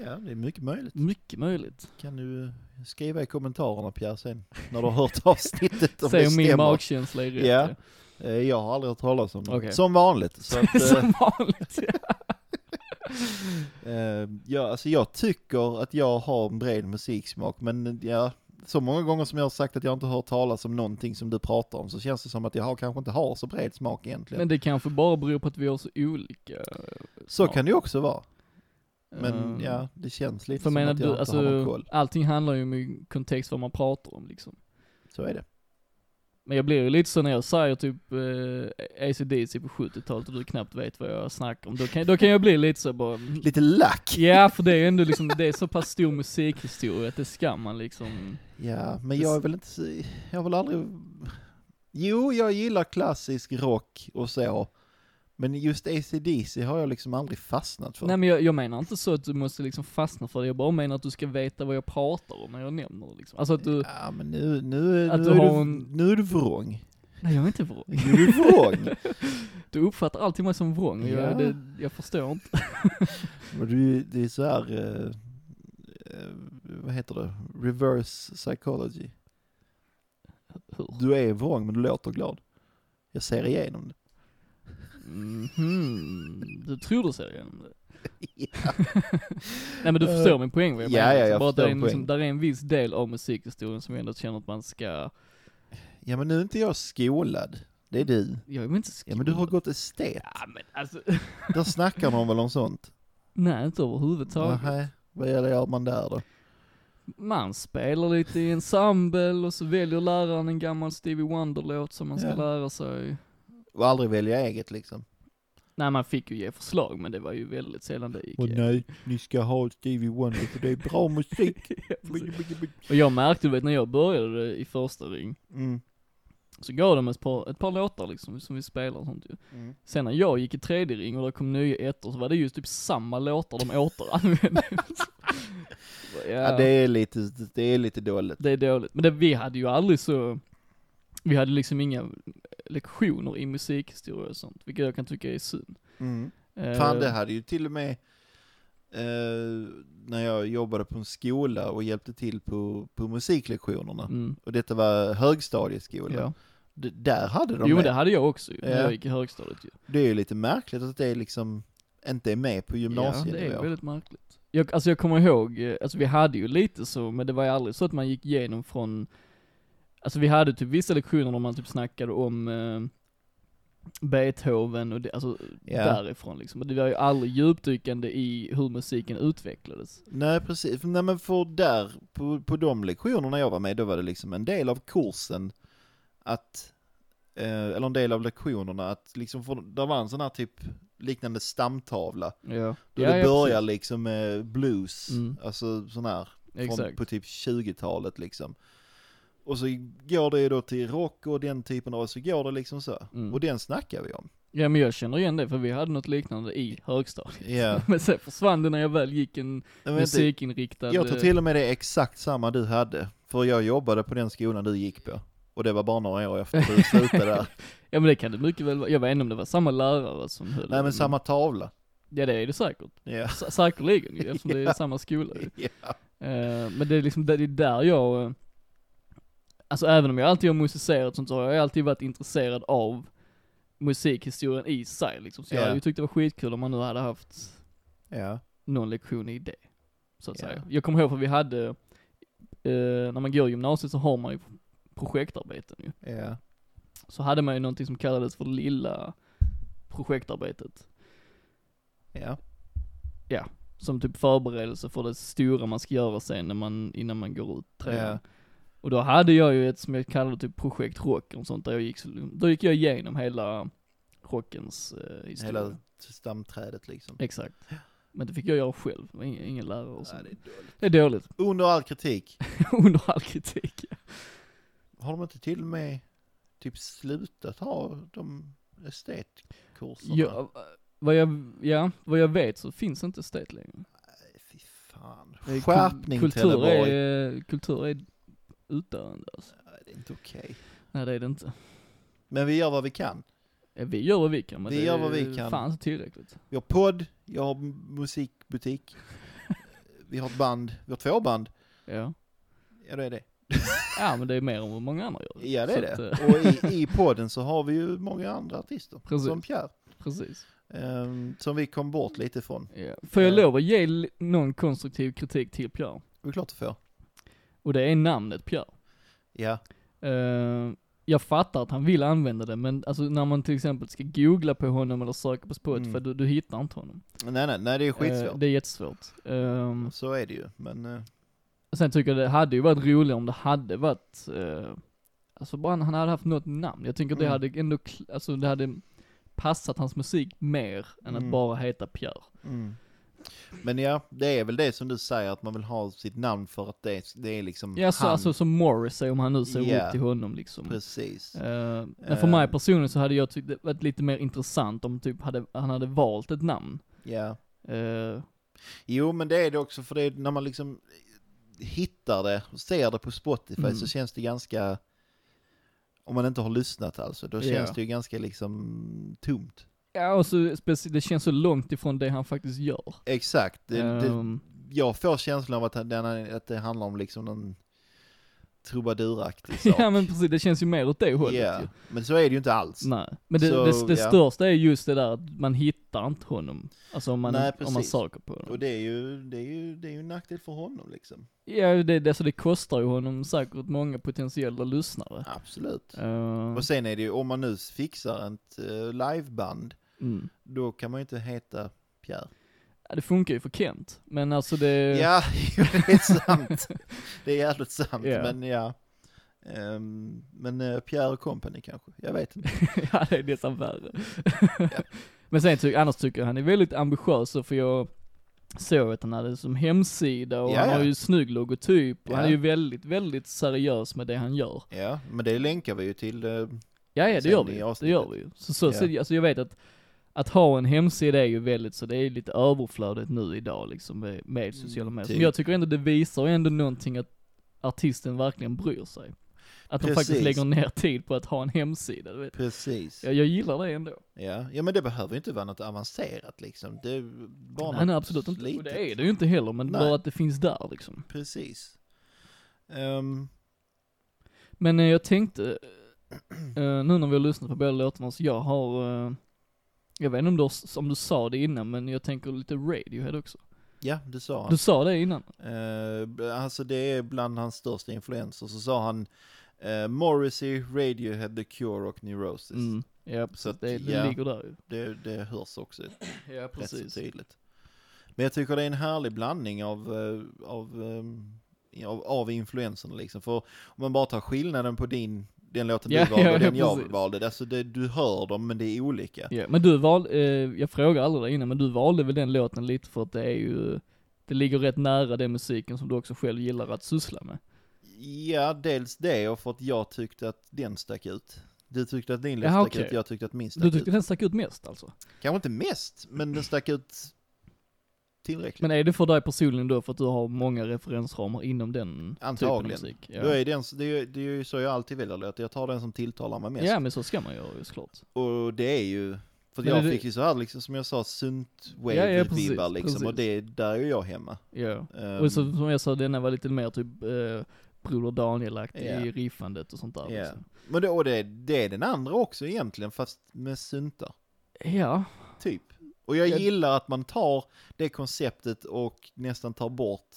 A: ja, det är mycket möjligt.
B: Mycket möjligt.
A: Kan du skriva i kommentarerna Pierre sen, när du har hört avsnittet om
B: Säg
A: det
B: om min
A: stämmer.
B: magkänsla är rätt.
A: Ja. Eh, Jag har aldrig hört talas om det.
B: Okej.
A: Som vanligt. Så att,
B: ja.
A: eh,
B: Som vanligt. ja.
A: Eh, ja, alltså jag tycker att jag har en bred musiksmak, men eh, ja, så många gånger som jag har sagt att jag inte har hört talas om någonting som du pratar om så känns det som att jag har, kanske inte har så bred smak egentligen.
B: Men det kanske bara beror på att vi har så olika.
A: så kan det ju också vara, men
B: eh,
A: ja, det känns lite
B: För
A: som
B: menar
A: att jag
B: du,
A: inte har någon
B: alltså
A: koll.
B: allting handlar ju om i kontext vad man pratar om liksom.
A: Så är det.
B: Men jag blir ju lite så när jag säger typ eh, ACDC på 70-talet och du knappt vet vad jag snackar om. Då kan, då kan jag bli lite så bara... mm,
A: Lite lack.
B: Ja, för det är ju ändå liksom, det är så pass stor musikhistoria att det ska man liksom.
A: Ja, men jag är väl inte, så- jag har väl aldrig, jo, jag gillar klassisk rock och så, men just ACDC har jag liksom aldrig fastnat för.
B: Nej men jag, jag menar inte så att du måste liksom fastna för det, jag bara menar att du ska veta vad jag pratar om när jag nämner det liksom. Alltså att du,
A: Ja, men nu, nu,
B: Att
A: nu,
B: du
A: är,
B: har
A: du,
B: en-
A: nu är du vrång.
B: nej jag är inte vrång.
A: Nu är du vrång.
B: Du uppfattar alltid mig som vrång och
A: Ja.
B: jag, det, jag förstår inte.
A: Men du, det är så här, eh, eh, vad heter det, reverse psychology.
B: Hur?
A: Du är vrång men du låter glad. Jag ser igenom det.
B: Mhm. Du tror du ser igenom det? Nej men du förstår min poäng vad jag
A: Ja,
B: menar.
A: ja,
B: liksom.
A: jag
B: Bara att det är
A: förstår
B: en, liksom,
A: poäng.
B: Där är en viss del av musikhistorien som jag ändå känner att man ska,
A: Ja men nu är inte jag skolad, det är du.
B: jag är väl inte
A: Ja men du har gått estet,
B: Ja men alltså,
A: där snackar de väl om sånt?
B: nej inte överhuvudtaget.
A: Nej, vad gör- gör man där då?
B: Man spelar lite i ensemble och så väljer läraren en gammal Stevie Wonder-låt som man ska
A: Ja.
B: lära sig.
A: Och aldrig välja eget liksom.
B: Nej man fick ju ge förslag men det var ju väldigt sällan det gick.
A: Och nej, ni ska ha Stevie Wonder för det är bra musik.
B: Ja, precis. och jag märkte du vet när jag började i första ring,
A: Mm.
B: så gav de ett par, ett par låtar liksom som vi spelar och sånt ju.
A: Mm.
B: Sen när jag gick i tredje ring och det kom nya ettor så var det just typ samma låtar de återanvände. ja,
A: Ja, det är lite, det är lite dåligt.
B: det är dåligt. Men det, vi hade ju aldrig så, vi hade liksom inga lektioner i musikhistoria och sånt, vilket jag kan tycka är synd.
A: Mm.
B: Eh,
A: Fan, det hade ju till och med eh, när jag jobbade på en skola och hjälpte till på, på musiklektionerna.
B: Mm,
A: Och detta var högstadieskola.
B: ja.
A: D- där hade de
B: Jo
A: det.
B: men det hade jag också ju, när
A: Ja.
B: jag gick i högstadiet ju.
A: Det är ju lite märkligt att det är liksom inte är med på
B: Ja, det är
A: gymnasienivå.
B: väldigt märkligt. Jag, alltså jag kommer ihåg, eh, alltså vi hade ju lite så, men det var ju aldrig så att man gick igenom från, alltså vi hade typ vissa lektioner där man typ snackade om eh, Beethoven och det, alltså
A: Ja.
B: därifrån liksom. Och det var ju aldrig djupdykande i hur musiken utvecklades.
A: Nej precis, nej men för där, på, på de lektionerna jag var med, då var det liksom en del av kursen att, eh, eller en del av lektionerna att liksom, för, där var en sån här typ liknande stamtavla.
B: Ja.
A: Då
B: ja,
A: det börjar liksom med blues,
B: Mm.
A: alltså sån här,
B: precis.
A: från,
B: Exakt.
A: på typ 20-talet liksom. Och så går det ju då till rock och den typen av, så går det liksom så.
B: Mm.
A: Och den snackar vi om.
B: Ja men jag känner igen det, för vi hade något liknande i högstadiet.
A: Ja.
B: Men sen försvann det när jag väl gick en
A: Men vänta,
B: musikinriktad...
A: jag tror
B: eh,
A: till och med det är exakt samma du hade, för jag jobbade på den skolan du gick på. Och det var bara några år efter du slutade där.
B: Ja men det kan det mycket väl vara. Jag vet inte om det var samma lärare som höll
A: Nej men samma tavla.
B: Ja det är det säkert.
A: Ja.
B: S- säkerligen ju, eftersom det är samma skola ju.
A: Ja.
B: Eh, Men det är liksom, det är där jag, eh, alltså även om jag alltid har musicerat sånt så har jag alltid varit intresserad av musikhistorien i sig liksom. Så jag
A: Ja.
B: hade ju tyckt det var skitkul om man nu hade haft
A: ja.
B: någon lektion i det. Så att
A: Ja.
B: säga. Jag kommer ihåg för vi hade, eh, när man går i gymnasiet så har man ju projektarbeten ju.
A: Ja.
B: Så hade man ju någonting som kallades för lilla projektarbetet.
A: Ja.
B: som typ förberedelse för det stora man ska göra sen när man, innan man går ut trean.
A: Ja.
B: Och då hade jag ju ett som jag kallade typ projekt rock och sånt där jag gick, så- då gick jag igenom hela rockens eh, historia.
A: Hela stamträdet liksom.
B: Exakt. Men det fick jag göra själv, Det var ingen, ingen lärare och
A: Ja,
B: sånt.
A: det är dåligt.
B: det är dåligt,
A: Under all kritik.
B: under all kritik.
A: har de inte till och med typ slutat ha de estetkurserna?
B: Ja, eh, vad jag, ja, vad jag vet så finns inte estate längre.
A: Nej, Fy fan.
B: Det är Eh, kul-
A: Skärpning
B: kultur
A: Trelleborg.
B: är, kultur är utdöende alltså.
A: Nej, Det är inte okej.
B: Nej det är det inte.
A: Men vi gör vad vi kan.
B: Ja, Vi gör vad vi kan men
A: Vi
B: det
A: gör
B: är
A: vad vi kan.
B: fan inte tillräckligt.
A: Vi har podd, jag har musikbutik, vi har ett band, vi har två band.
B: Ja.
A: Ja, det är det.
B: ja men det är mer än vad många andra gör.
A: Ja, det
B: Så
A: är
B: att,
A: det.
B: eh,
A: Och i, i podden så har vi ju många andra artister,
B: Precis.
A: som Pierre,
B: Precis.
A: ehm, som vi kom bort lite ifrån.
B: Ja. Får jag
A: Ja.
B: lov att ge l- någon konstruktiv kritik till Pierre?
A: Det är klart du får.
B: Och det är namnet Pierre.
A: Ja,
B: Eh, jag fattar att han vill använda det, men alltså när man till exempel ska googla på honom eller söka på Spotify,
A: Mm.
B: du, du hittar inte honom.
A: nej, nej, nej det är skitsvårt.
B: Eh, det är jättesvårt. Um,
A: Så är det ju, men eh,
B: sen tycker jag det hade ju varit roligare om det hade varit, eh, alltså bara han han hade haft något namn. Jag tycker det
A: Mm.
B: hade ändå, kl- alltså det hade passat hans musik mer än
A: Mm.
B: att bara heta Pierre.
A: mm. Men ja, det är väl det som du säger, att man vill ha sitt namn för att det, det är liksom
B: Ja, så,
A: han.
B: alltså som Morrissey om han nu ser
A: Ja.
B: upp till honom liksom.
A: Precis.
B: Eh, men för
A: Eh.
B: mig personligen så hade jag tyckt det varit lite mer intressant om typ hade, han hade valt ett namn.
A: Ja.
B: Eh,
A: Jo, men det är det också, för det är, när man liksom hittar det och ser det på Spotify
B: Mm.
A: så känns det ganska, om man inte har lyssnat alltså, då
B: Ja.
A: känns det ju ganska liksom tomt.
B: Ja, och så speci- det känns så långt ifrån det han faktiskt gör.
A: Exakt, det, det,
B: Ehm,
A: jag får känslan av att, han- den, är- att det handlar om liksom någon trubaduraktig sak.
B: ja men precis, det känns ju mer åt det hållet
A: Ja,
B: ju.
A: Men så är det ju inte alls.
B: Nej, men det,
A: Så,
B: det, det
A: ja.
B: största är just det där att man hittar inte honom. Alltså om man,
A: Nej,
B: om man
A: precis.
B: söker på honom.
A: Och det är ju, det är ju, det är ju en nackdel för honom liksom.
B: Ja, det, det, alltså det kostar ju honom säkert många potentiella lyssnare.
A: Absolut.
B: Ehm,
A: Och sen är det ju, om man nu fixar ett eh, liveband,
B: mm.
A: då kan man ju inte heta Pierre.
B: ja, det funkar ju för Kent, men alltså det...
A: Ja, jo, det är sant. Det är jävligt sant,
B: Ja.
A: men ja. Ehm, men eh, Pierre och Company kanske, jag vet inte.
B: ja, det är nästan värre. Men sen tycker, annars tycker jag han är väldigt ambitiös, för jag såg att han hade som hemsida och
A: Ja,
B: han
A: ja.
B: har ju snygg logotyp och
A: Ja.
B: han är ju väldigt, väldigt seriös med det han gör.
A: Ja, men det länkar vi ju till. eh,
B: Ja, ja det
A: Sen
B: gör
A: i
B: vi ju. Det
A: avsnittet.
B: gör vi ju. Så, så, så
A: Ja.
B: alltså jag vet att, att ha en hemsida är ju väldigt så, det är lite överflödigt nu idag liksom med, med sociala medier.
A: typ.
B: Men jag tycker ändå det visar ändå någonting att artisten verkligen bryr sig. Att de faktiskt
A: Precis.
B: lägger ner tid på att ha en hemsida, du vet.
A: precis.
B: Jag, jag gillar det ändå.
A: Ja. ja, men det behöver ju inte vara något avancerat liksom. Det är bara
B: Nej,
A: något
B: nej absolut inte.
A: litet.
B: Och det är det ju inte heller, men
A: Nej.
B: bara att det finns där liksom.
A: Precis. Ehm,
B: Men eh, jag tänkte, eh, nu när vi har lyssnat på båda låtarna, så jag har, eh, jag vet inte om du, har- om du sa det innan, men jag tänker lite Radiohead också.
A: ja, det sa han.
B: Du sa det innan?
A: Eh, alltså det är bland hans största influenser. Så sa han eh, Morrissey, Radiohead, The Cure och Neurosis.
B: Mm. Ja,
A: Så att,
B: det, det
A: ja,
B: ligger där ju.
A: det, det hörs också
B: Ja,
A: rätt så tydligt. Men jag tycker det är en härlig blandning av, eh, av, ehm, ja, av, av influenserna liksom. För om man bara tar skillnaden på din, den låten
B: Ja,
A: du valde
B: ja,
A: och den jag
B: precis.
A: valde. Alltså det, du hör dem men det är olika.
B: Ja, men du valde, eh, jag frågade aldrig dig innan, men du valde väl den låten lite för att det är ju, det ligger rätt nära den musiken som du också själv gillar att syssla med.
A: Ja, dels det och för att jag tyckte att den stack ut. Du tyckte att din låt
B: Jaha,
A: stack
B: okej.
A: ut, jag tyckte att min stack
B: Du tyckte
A: ut.
B: den stack ut mest alltså?
A: Kanske inte mest, men den stack ut tillräckligt.
B: Men är det för dig personligen då för att du har många referensramar inom den typen av
A: Antagligen.
B: musik?
A: Då är den, det, är, det är ju så jag alltid väljer låtar, jag tar den som tilltalar mig mest.
B: Ja men så ska man göra ju såklart.
A: Och det är ju, för
B: Men
A: jag
B: är det-
A: fick ju så här liksom som jag sa,
B: Ja, ja,
A: syntwave-vibbar
B: precis,
A: liksom,
B: precis.
A: och det, där är ju jag hemma.
B: Ja.
A: Ehm,
B: Och så, som jag sa, denna var lite mer typ eh, Broder Daniel-aktig
A: Ja.
B: i riffandet och sånt där.
A: ja.
B: liksom.
A: Men det, och det, det är den andra också egentligen, fast med syntar,
B: Ja,
A: typ. Och jag
B: Ja.
A: gillar att man tar det konceptet och nästan tar bort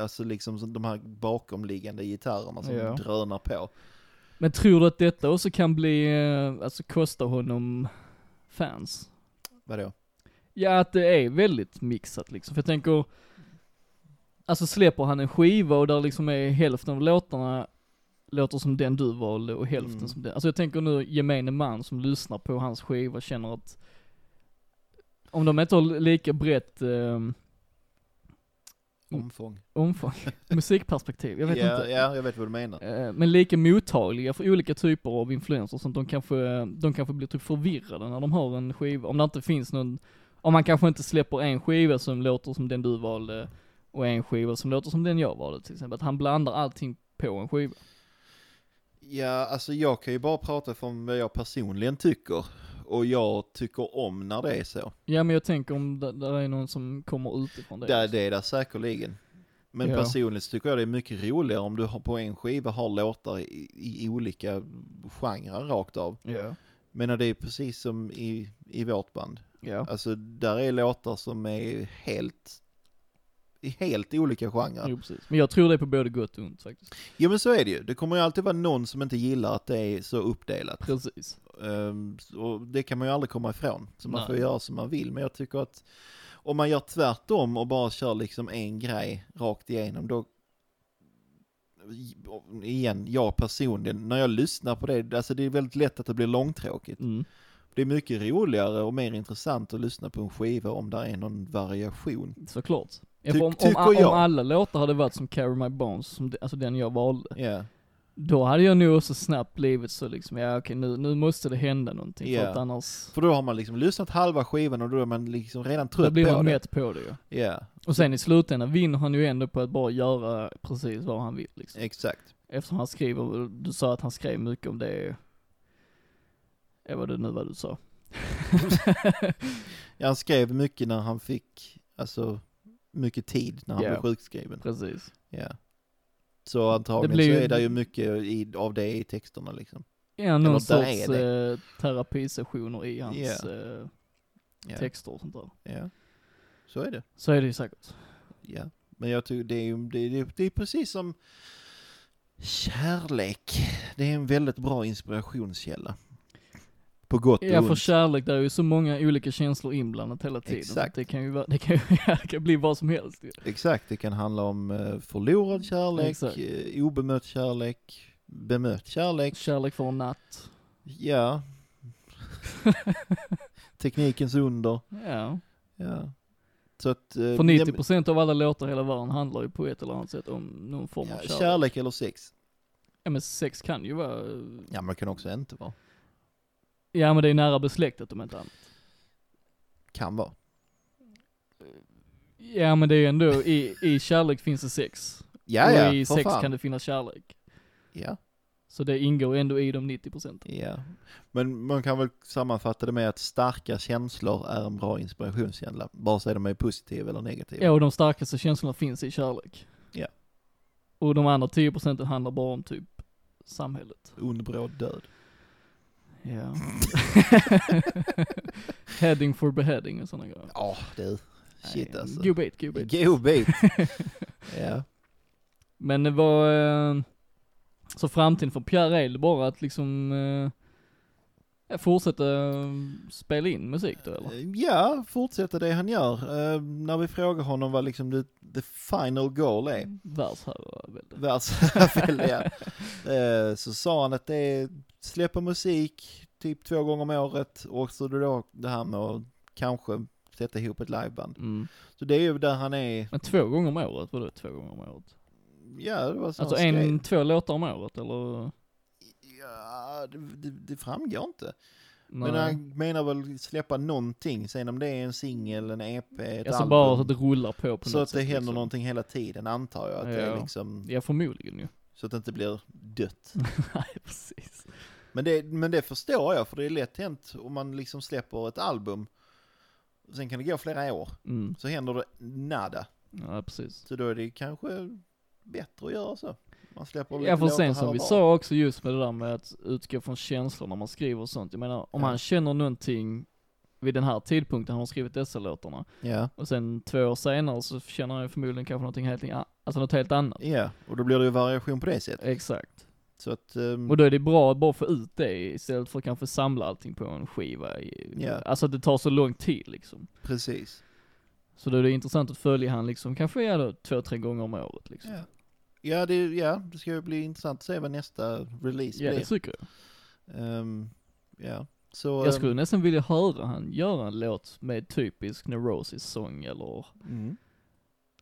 A: Alltså liksom så- de här bakomliggande gitarrerna som
B: Ja.
A: drönar på.
B: Men tror du att detta också kan bli, eh, alltså kosta honom fans?
A: Vadå?
B: Ja, att det är väldigt mixat liksom. För jag tänker, alltså släpper han en skiva och där liksom är hälften av låtarna låter som den du valde och hälften
A: Mm.
B: som den. Alltså jag tänker nu gemene man som lyssnar på hans skiva känner att om de inte har lika brett eh,
A: omfång.
B: omfång, musikperspektiv, jag vet
A: ja,
B: inte.
A: ja, jag vet vad du menar.
B: Eh, Men lika mottagliga för olika typer av influenser, så att de kanske, de kanske blir typ förvirrade när de hör en skiva, om det inte finns någon, om man kanske inte släpper en skiva som låter som den du valde, och en skiva som låter som den jag valde till exempel, att han blandar allting på en skiva.
A: Ja, alltså jag kan ju bara prata från vad jag personligen tycker. Och jag tycker om när det är så.
B: Ja men jag tänker om det, det är någon som kommer utifrån det.
A: Där, det är där säkerligen. Men
B: Ja.
A: personligen så tycker jag det är mycket roligare om du har- på en skiva har låtar i, i olika genrer rakt av.
B: Ja.
A: Men det är precis som i, i vårt band.
B: Ja.
A: Alltså där är låtar som är helt, i helt olika genrer.
B: Jo, precis. Men jag tror det är på både gott och ont faktiskt.
A: Ja men så är det ju. Det kommer ju alltid vara någon som inte gillar att det är så uppdelat.
B: Precis.
A: Ehm, och det kan man ju aldrig komma ifrån. Så man
B: Nej.
A: får göra som man vill. Men jag tycker att om man gör tvärtom och bara kör liksom en grej rakt igenom då igen, jag personligen, när jag lyssnar på det, alltså det är väldigt lätt att det blir långtråkigt.
B: Mm.
A: Det är mycket roligare och mer intressant att lyssna på en skiva om där är någon variation.
B: Såklart. Ja,
A: Ty-
B: för om, om,
A: tycker
B: a- om
A: jag.
B: alla låtar hade varit som Carry My Bones, som de, alltså den jag valde,
A: Ja,
B: då hade jag nog också snabbt blivit så liksom, ja okej nu, nu måste det hända någonting
A: Ja.
B: för att annars,
A: För då har man liksom lyssnat halva skivan och då är man liksom redan
B: då
A: trött
B: blir
A: på
B: man
A: det.
B: mätt på det ju.
A: Ja,
B: Och sen i slutändan vinner han ju ändå på att bara göra precis vad han vill liksom.
A: exakt.
B: Eftersom han skriver, du sa att han skrev mycket om det, ja vad det nu var du sa.
A: Ja, han skrev mycket när han fick, alltså mycket tid när han
B: Ja.
A: blev sjukskriven.
B: Precis.
A: Ja. Så antagligen
B: blir
A: så
B: ju-
A: är det ju mycket i, av det i texterna liksom.
B: Ja, någon
A: Eller där är
B: sorts eh, terapisessioner i hans eh,
A: Ja.
B: texter och sånt där.
A: Ja. Så är det.
B: Så är det ju säkert.
A: Ja. Men jag tycker det är ju, det, det, det är precis som kärlek. Det är en väldigt bra inspirationskälla. På gott
B: Ja
A: och
B: för
A: ont.
B: kärlek, där är ju så många olika känslor inblandat hela tiden.
A: Exakt.
B: Så Det kan ju vara, det kan, ju- det kan bli vad som helst ju.
A: Exakt, det kan handla om eh, förlorad kärlek,
B: Exakt.
A: eh, obemött kärlek, bemött kärlek.
B: Kärlek för en natt.
A: Ja. Teknikens under.
B: Ja.
A: Ja. Så att... eh,
B: För
A: det-
B: 90% typ av alla låtar i hela världen handlar ju på ett eller annat sätt om någon form av
A: Ja,
B: kärlek.
A: kärlek eller sex.
B: Ja men sex kan ju vara, eh,
A: Ja, men det kan också inte vara.
B: ja men det är nära besläktat om inte annat.
A: Kan vara.
B: Ja men det är ändå, i, i kärlek finns det sex.
A: Ja,
B: och
A: ja,
B: i
A: för
B: sex
A: fan.
B: kan det finnas kärlek.
A: Ja,
B: Så det ingår ändå i de 90%.
A: ja. Men man kan väl sammanfatta det med att starka känslor är en bra inspirationskälla, vare sig de är positiva eller negativa.
B: Ja och de starkaste känslorna finns i kärlek.
A: Ja.
B: Och de andra 10% handlar bara om typ samhället.
A: Ond, bråd, död.
B: Ja. Heading for beheading och sådana grejer.
A: Ja, du. Shit alltså.
B: Go bait, go bait.
A: Godbit. ja.
B: Men det var, eh, så framtiden för Pierre är det bara att liksom, eh, ja, fortsätta eh, spela in musik då eller?
A: Eh, ja, fortsätta det han gör. Eh, när vi frågar honom vad liksom the, the final goal är,
B: Mm. Världsherravälde.
A: världsvälde, ja. Eh, Så sa han att det är släppa musik typ två gånger om året och så då det här med att kanske sätta ihop ett liveband.
B: Mm.
A: Så det är ju där han är,
B: Men två gånger om året, vadå två gånger om året?
A: ja det var så
B: Alltså
A: han
B: en,
A: skrev.
B: två låtar om året eller?
A: Ja, det, det, det framgår inte.
B: Nej.
A: Men han menar väl släppa någonting, sen om det är en singel, en EP, ett
B: alltså
A: album.
B: bara så att det rullar på på
A: så
B: något
A: att det
B: sätt,
A: händer
B: liksom.
A: någonting hela tiden antar jag. Att det är
B: Ja.
A: liksom,
B: Ja förmodligen ju.
A: så att det inte blir dött.
B: Nej precis.
A: Men det, men det förstår jag, för det är lätt hänt om man liksom släpper ett album. Sen kan det gå flera år,
B: Mm.
A: så händer det nada.
B: Ja precis.
A: Så då är det kanske bättre att göra så. Man släpper lite
B: Ja för
A: låtar
B: sen
A: här
B: som
A: och
B: vi
A: var.
B: sa också just med det där med att utgå från känslor när man skriver och sånt. Jag menar om
A: Ja.
B: han känner någonting vid den här tidpunkten han har skrivit dessa låtarna
A: Ja.
B: och sen två år senare så känner han ju förmodligen kanske någonting helt, an- alltså något helt annat.
A: ja, och då blir det ju variation på det sättet.
B: Exakt.
A: Så att, ehm,
B: Och då är det bra att bara få ut det istället för att kanske samla allting på en skiva. i-
A: Ja.
B: Alltså att det tar så lång tid liksom.
A: precis.
B: Så då är det intressant att följa han liksom kanske ja, då, två, tre gånger om året liksom.
A: Ja. Ja det, ja, det ska ju bli intressant att se vad nästa release
B: Ja, det
A: blir.
B: tycker jag.
A: Ehm, ja, så...
B: Jag skulle nästan vilja höra han göra en låt med typisk neurosis-sång eller
A: ehm, mm.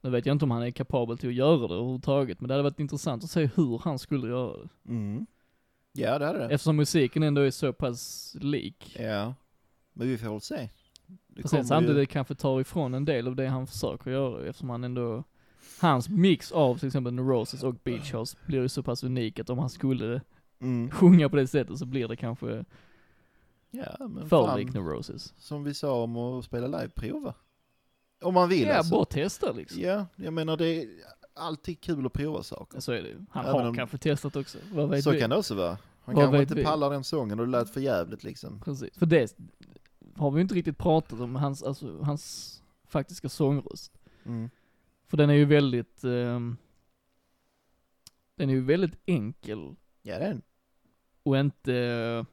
B: Nu vet jag inte om han är kapabel till att göra det överhuvudtaget, men det hade varit intressant att se hur han skulle göra det.
A: Mm. Ja, det hade det.
B: Eftersom musiken ändå är så pass lik.
A: Ja. Men vi får väl se. Det
B: Precis,
A: kommer ju-
B: samtidigt kanske tar ifrån en del av det han försöker göra eftersom han ändå, hans mix av till exempel Neurosis och Beach House blir ju så pass unik att om han skulle
A: Mm.
B: sjunga på det sättet så blir det kanske
A: Ja, men
B: för lik
A: fan,
B: Neurosis.
A: som vi sa om att spela live, prova. Om man vill
B: Ja,
A: alltså.
B: bara testa liksom.
A: Ja, jag menar det är alltid kul att prova saker.
B: Så är det ju. Han
A: Även
B: har
A: om-
B: kanske testat också, vad vet
A: Så
B: vi?
A: kan det också vara. Han
B: Vad
A: kanske
B: vet
A: inte
B: vi?
A: pallar den sången och det lät för jävligt liksom.
B: Precis, för det har vi ju inte riktigt pratat om, hans, alltså, hans faktiska sångröst.
A: Mm.
B: För den är ju väldigt, ehm, den är ju väldigt enkel
A: Ja, det är en.
B: och inte, eh,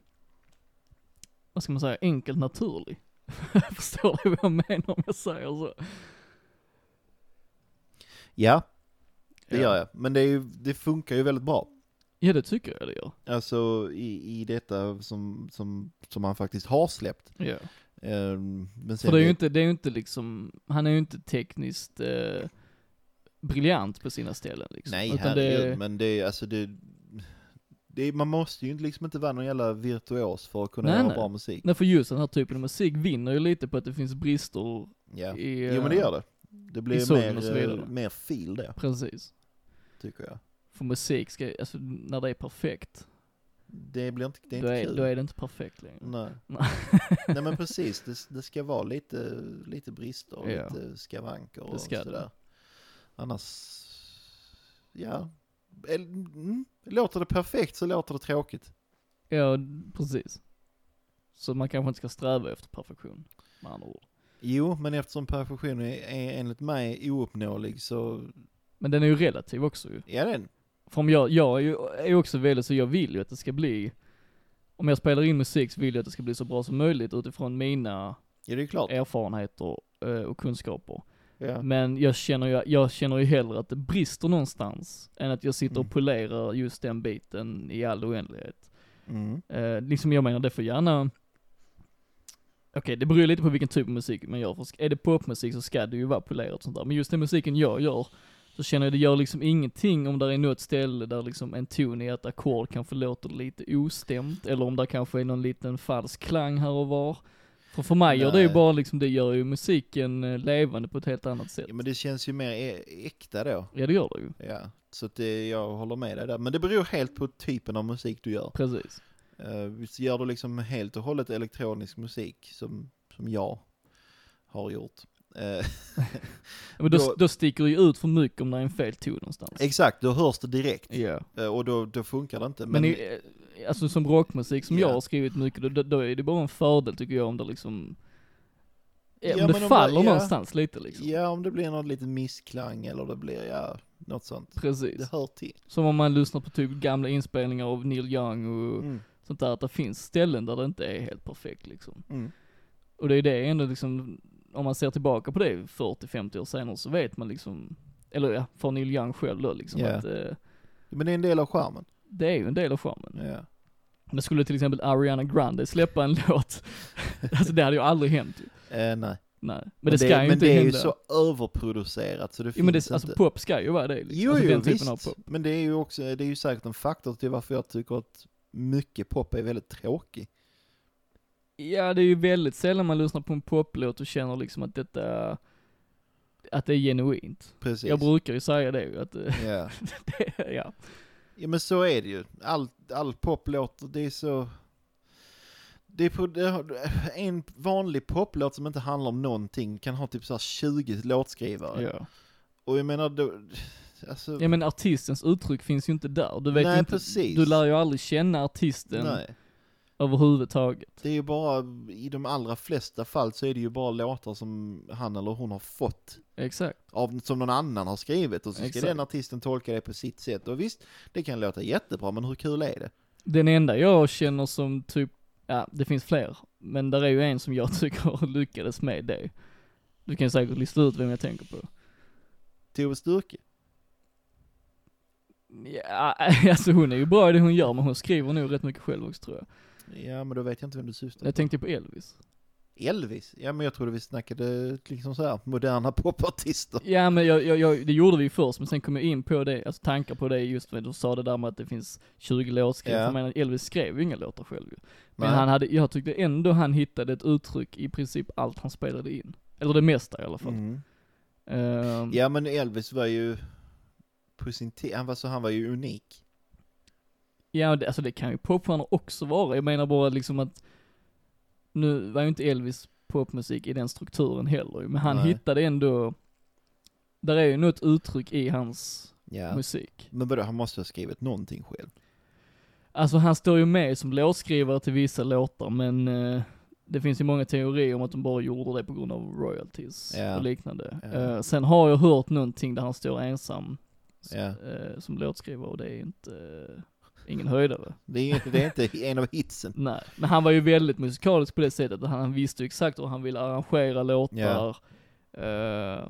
B: vad ska man säga, enkelt naturlig. Förstår du vad jag menar om jag säger så?
A: Ja, det gör jag. Men det, är ju, det funkar ju väldigt bra.
B: Ja det tycker jag det gör.
A: Alltså i, i detta som, som, som han faktiskt har släppt.
B: Ja.
A: Ehm, Men sen
B: För det är ju inte, det är ju inte liksom, han är ju inte tekniskt eh, briljant på sina ställen liksom.
A: Nej,
B: Utan
A: herregud,
B: det,
A: men det är alltså det, det är, Man måste ju inte- liksom inte vara någon jävla virtuos för att kunna
B: Nej,
A: göra
B: nej.
A: bra musik.
B: Nej för just den här typen av musik vinner ju lite på att det finns brister
A: Ja.
B: i... eh,
A: Jo men det gör det. Det blir
B: sången och så
A: mer,
B: vidare.
A: eh, mer feel det,
B: Precis.
A: tycker jag.
B: För musik ska, alltså när det är perfekt,
A: Det blir inte, det är
B: då,
A: inte
B: är,
A: kul.
B: då är det inte perfekt längre.
A: Nej.
B: Nej.
A: Nej men precis, det, det ska vara lite, lite brister och
B: Ja.
A: lite skavanker
B: Det
A: och
B: ska det.
A: sådär. Annars, ja. Eller, mm, Låter det perfekt så låter det tråkigt.
B: Ja, precis. Så man kanske inte ska sträva efter perfektion, med andra ord.
A: Jo, men eftersom perfektion är, är enligt mig ouppnåelig så,
B: Men den är ju relativ också ju.
A: ja den,
B: För om jag, jag är ju är ju också väldigt så, jag vill ju att det ska bli, om jag spelar in musik så vill jag att det ska bli så bra som möjligt utifrån mina
A: ja Mm. det är klart.
B: erfarenheter eh, och kunskaper.
A: Ja.
B: Men jag känner ju, jag känner ju hellre att det brister någonstans, än att jag sitter och
A: Mm.
B: polerar just den biten i all oändlighet.
A: Mm.
B: Eh, liksom jag menar, det får gärna... Okej, det beror ju lite på vilken typ av musik man gör. För sk- är det popmusik så ska det ju vara polerat och sånt där. Men just den musiken jag gör, så känner jag det gör liksom ingenting om där är något ställe där liksom en ton i ett ackord kanske låter lite ostämt, eller om där kanske är någon liten falsk klang här och var. För för mig gör det ju
A: Nej.
B: bara liksom, det gör ju musiken eh, levande på ett helt annat sätt.
A: ja men det känns ju mer ä- äkta då.
B: Ja det gör det ju.
A: Ja, så att det, jag håller med dig där. Men det beror helt på typen av musik du gör.
B: Precis.
A: Uh, gör du liksom helt och hållet elektronisk musik som, som jag har gjort. Eh,
B: Men då,
A: Då-
B: då sticker det ju ut för mycket om det är en fel ton någonstans.
A: exakt, då hörs det direkt
B: Ja.
A: Eh, och då, då funkar det inte. Men,
B: Men, i, eh, alltså som rockmusik som
A: Ja.
B: jag har skrivit mycket, då- då, då är det bara en fördel tycker jag om det liksom, eh,
A: Ja,
B: om
A: men
B: det
A: om
B: faller
A: det- ja.
B: någonstans lite liksom.
A: ja, om det blir något liten missklang eller det blir, ja, något sånt.
B: Precis.
A: Det hör till.
B: Som om man lyssnar på typ gamla inspelningar av Neil Young och
A: Mm.
B: sånt där, att det finns ställen där det inte är helt perfekt liksom.
A: Mm.
B: Och det är det ändå liksom, om man ser tillbaka på det 40-50 år senare så vet man liksom, eller ja, för Neil Young själv då liksom
A: Ja.
B: att eh,
A: Men det är en del av charmen.
B: det är ju en del av charmen.
A: Ja.
B: Men skulle till exempel Ariana Grande släppa en låt, alltså det hade ju aldrig hänt ju.
A: Eh, nej. Men,
B: Nej, men, det ska ju
A: men
B: inte
A: det är ju
B: hända.
A: så överproducerat så det
B: jo,
A: finns
B: men det, alltså
A: inte.
B: pop ska ju vara det liksom.
A: Jo,
B: alltså,
A: jo,
B: den typen
A: visst.
B: av pop.
A: Men det är ju också, det är ju säkert en faktor till varför jag tycker att mycket pop är väldigt tråkig.
B: Ja, det är ju väldigt sällan man lyssnar på en poplåt och känner liksom att detta, att det är genuint.
A: Precis.
B: Jag brukar ju säga det ju, att, eh,
A: Ja.
B: det, ja.
A: ja, men så är det ju. All, all pop låter, det är så... Det är på, det har, en vanlig poplåt som inte handlar om någonting kan ha typ så här 20 låtskrivare.
B: ja.
A: Och jag menar då, alltså...
B: Ja men artistens uttryck finns ju inte där. Du vet
A: Nej,
B: inte,
A: precis.
B: du lär ju aldrig känna artisten
A: Nej,
B: överhuvudtaget.
A: det är ju bara, i de allra flesta fall så är det ju bara låtar som han eller hon har fått
B: Exakt.
A: av, som någon annan har skrivit och så ska
B: Exakt.
A: den artisten tolka det på sitt sätt. Och visst, det kan låta jättebra, men hur kul är det?
B: Den enda jag känner som typ, ja det finns fler, men där är ju en som jag tycker lyckades med det. Du kan säkert lista ut vem jag tänker på.
A: Tove Styrke?
B: Ja, alltså hon är ju bra i det hon gör, men hon skriver nog rätt mycket själv också tror jag.
A: Ja, men då vet jag inte vem du syftar på.
B: Jag tänkte på Elvis.
A: Elvis? Ja, men jag trodde vi snackade liksom så här moderna popartister.
B: Ja men jag, jag, jag, det gjorde vi först, men sen kom jag in på det, alltså tankar på det just vad du sa det där med att det finns 20 låtskriv.
A: Ja.
B: Jag menar Elvis skrev ju inga låtar själv ju. Men
A: Nej.
B: han hade, jag tyckte ändå han hittade ett uttryck i princip allt han spelade in. Eller det mesta i alla fall.
A: Mm.
B: Ehm,
A: Ja, men Elvis var ju på sin tid, han var så, han var ju unik.
B: Ja, det, alltså det kan ju popstjärnor också vara. Jag menar bara liksom att, nu var ju inte Elvis popmusik i den strukturen heller ju, men han
A: Nej.
B: hittade ändå, där är ju något uttryck i hans
A: Ja.
B: musik.
A: Men vadå, han måste ha skrivit någonting själv.
B: Alltså han står ju med som låtskrivare till vissa låtar, men eh, det finns ju många teorier om att de bara gjorde det på grund av royalties
A: Ja.
B: och liknande.
A: Ja.
B: Eh, sen har jag hört någonting där han står ensam s-
A: Ja.
B: eh, som låtskrivare och det är inte, eh, ingen höjdare.
A: Det är, det är inte en av hitsen.
B: Nej, men han var ju väldigt musikalisk på det sättet att han visste ju exakt hur han ville arrangera låtar.
A: Ja.
B: Eh,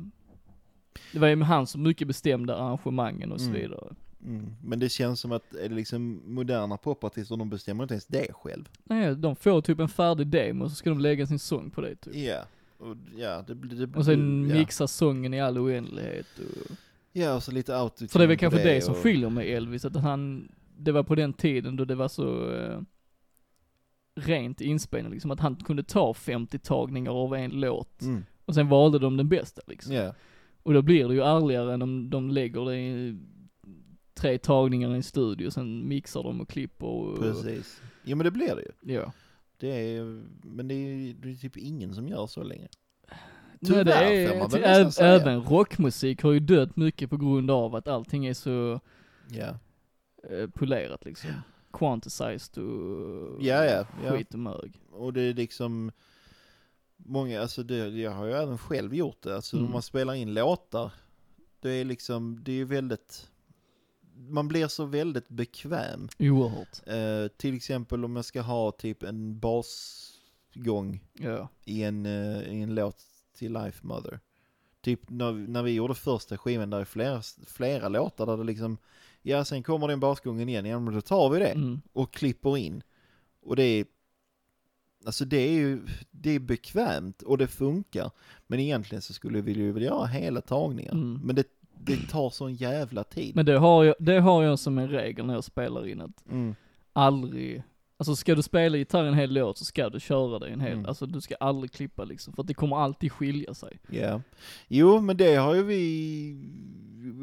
B: det var ju han som mycket bestämde arrangemangen och så
A: Mm.
B: vidare.
A: Mm. Men det känns som att eh, liksom, moderna popartister, de bestämmer inte ens det själv.
B: Nej, de får typ en färdig demo och så ska de lägga sin sång på det typ.
A: Ja. Och, ja, det, blir- det,
B: Och sen
A: ja.
B: mixa sången i all oändlighet och...
A: Ja, och så lite autotune
B: För det är väl kanske det, som
A: och-
B: skiljer med Elvis, att han, det var på den tiden då det var så eh, rent inspelning liksom, att han kunde ta 50 tagningar av en låt
A: Mm.
B: och sen valde de den bästa liksom.
A: Ja.
B: Och då blir det ju ärligare än om de lägger det i tre tagningar i en studio, sen mixar de och klipper och...
A: Precis. Jo men det blir det ju.
B: Ja.
A: Det är, men det är, det är typ ingen som gör så länge.
B: Nej, det
A: Tyvärr, får
B: är,
A: man väl
B: ä-
A: nästan säga.
B: även rockmusik har ju dött mycket på grund av att allting är så
A: Ja.
B: eh, polerat liksom. Quantisized och
A: Ja, ja, ja.
B: skit och mög.
A: Och det är liksom, många, alltså det, jag har ju även själv gjort det, alltså
B: Mm.
A: när man spelar in låtar, det är liksom, det är ju väldigt, man blir så väldigt bekväm.
B: Oerhört.
A: Eh, till exempel om jag ska ha typ en basgång
B: Ja.
A: i en, eh, i en låt till Life Mother. Typ när, när vi gjorde första skivan, där är flera, flera låtar där det liksom, ja sen kommer den basgången igen, ja men då tar vi det
B: Mm.
A: och klipper in. Och det är, alltså det är ju, det är bekvämt och det funkar. Men egentligen så skulle vi ju vilja göra hela tagningar.
B: Mm.
A: Men det, det tar sån jävla tid.
B: Men det har, jag, det har jag som en regel när jag spelar in att
A: Mm.
B: aldrig, alltså ska du spela gitarr en hel låt så ska du köra det en hel,
A: Mm.
B: alltså du ska aldrig klippa liksom, för att det kommer alltid skilja sig.
A: Ja. Jo, men det har ju vi,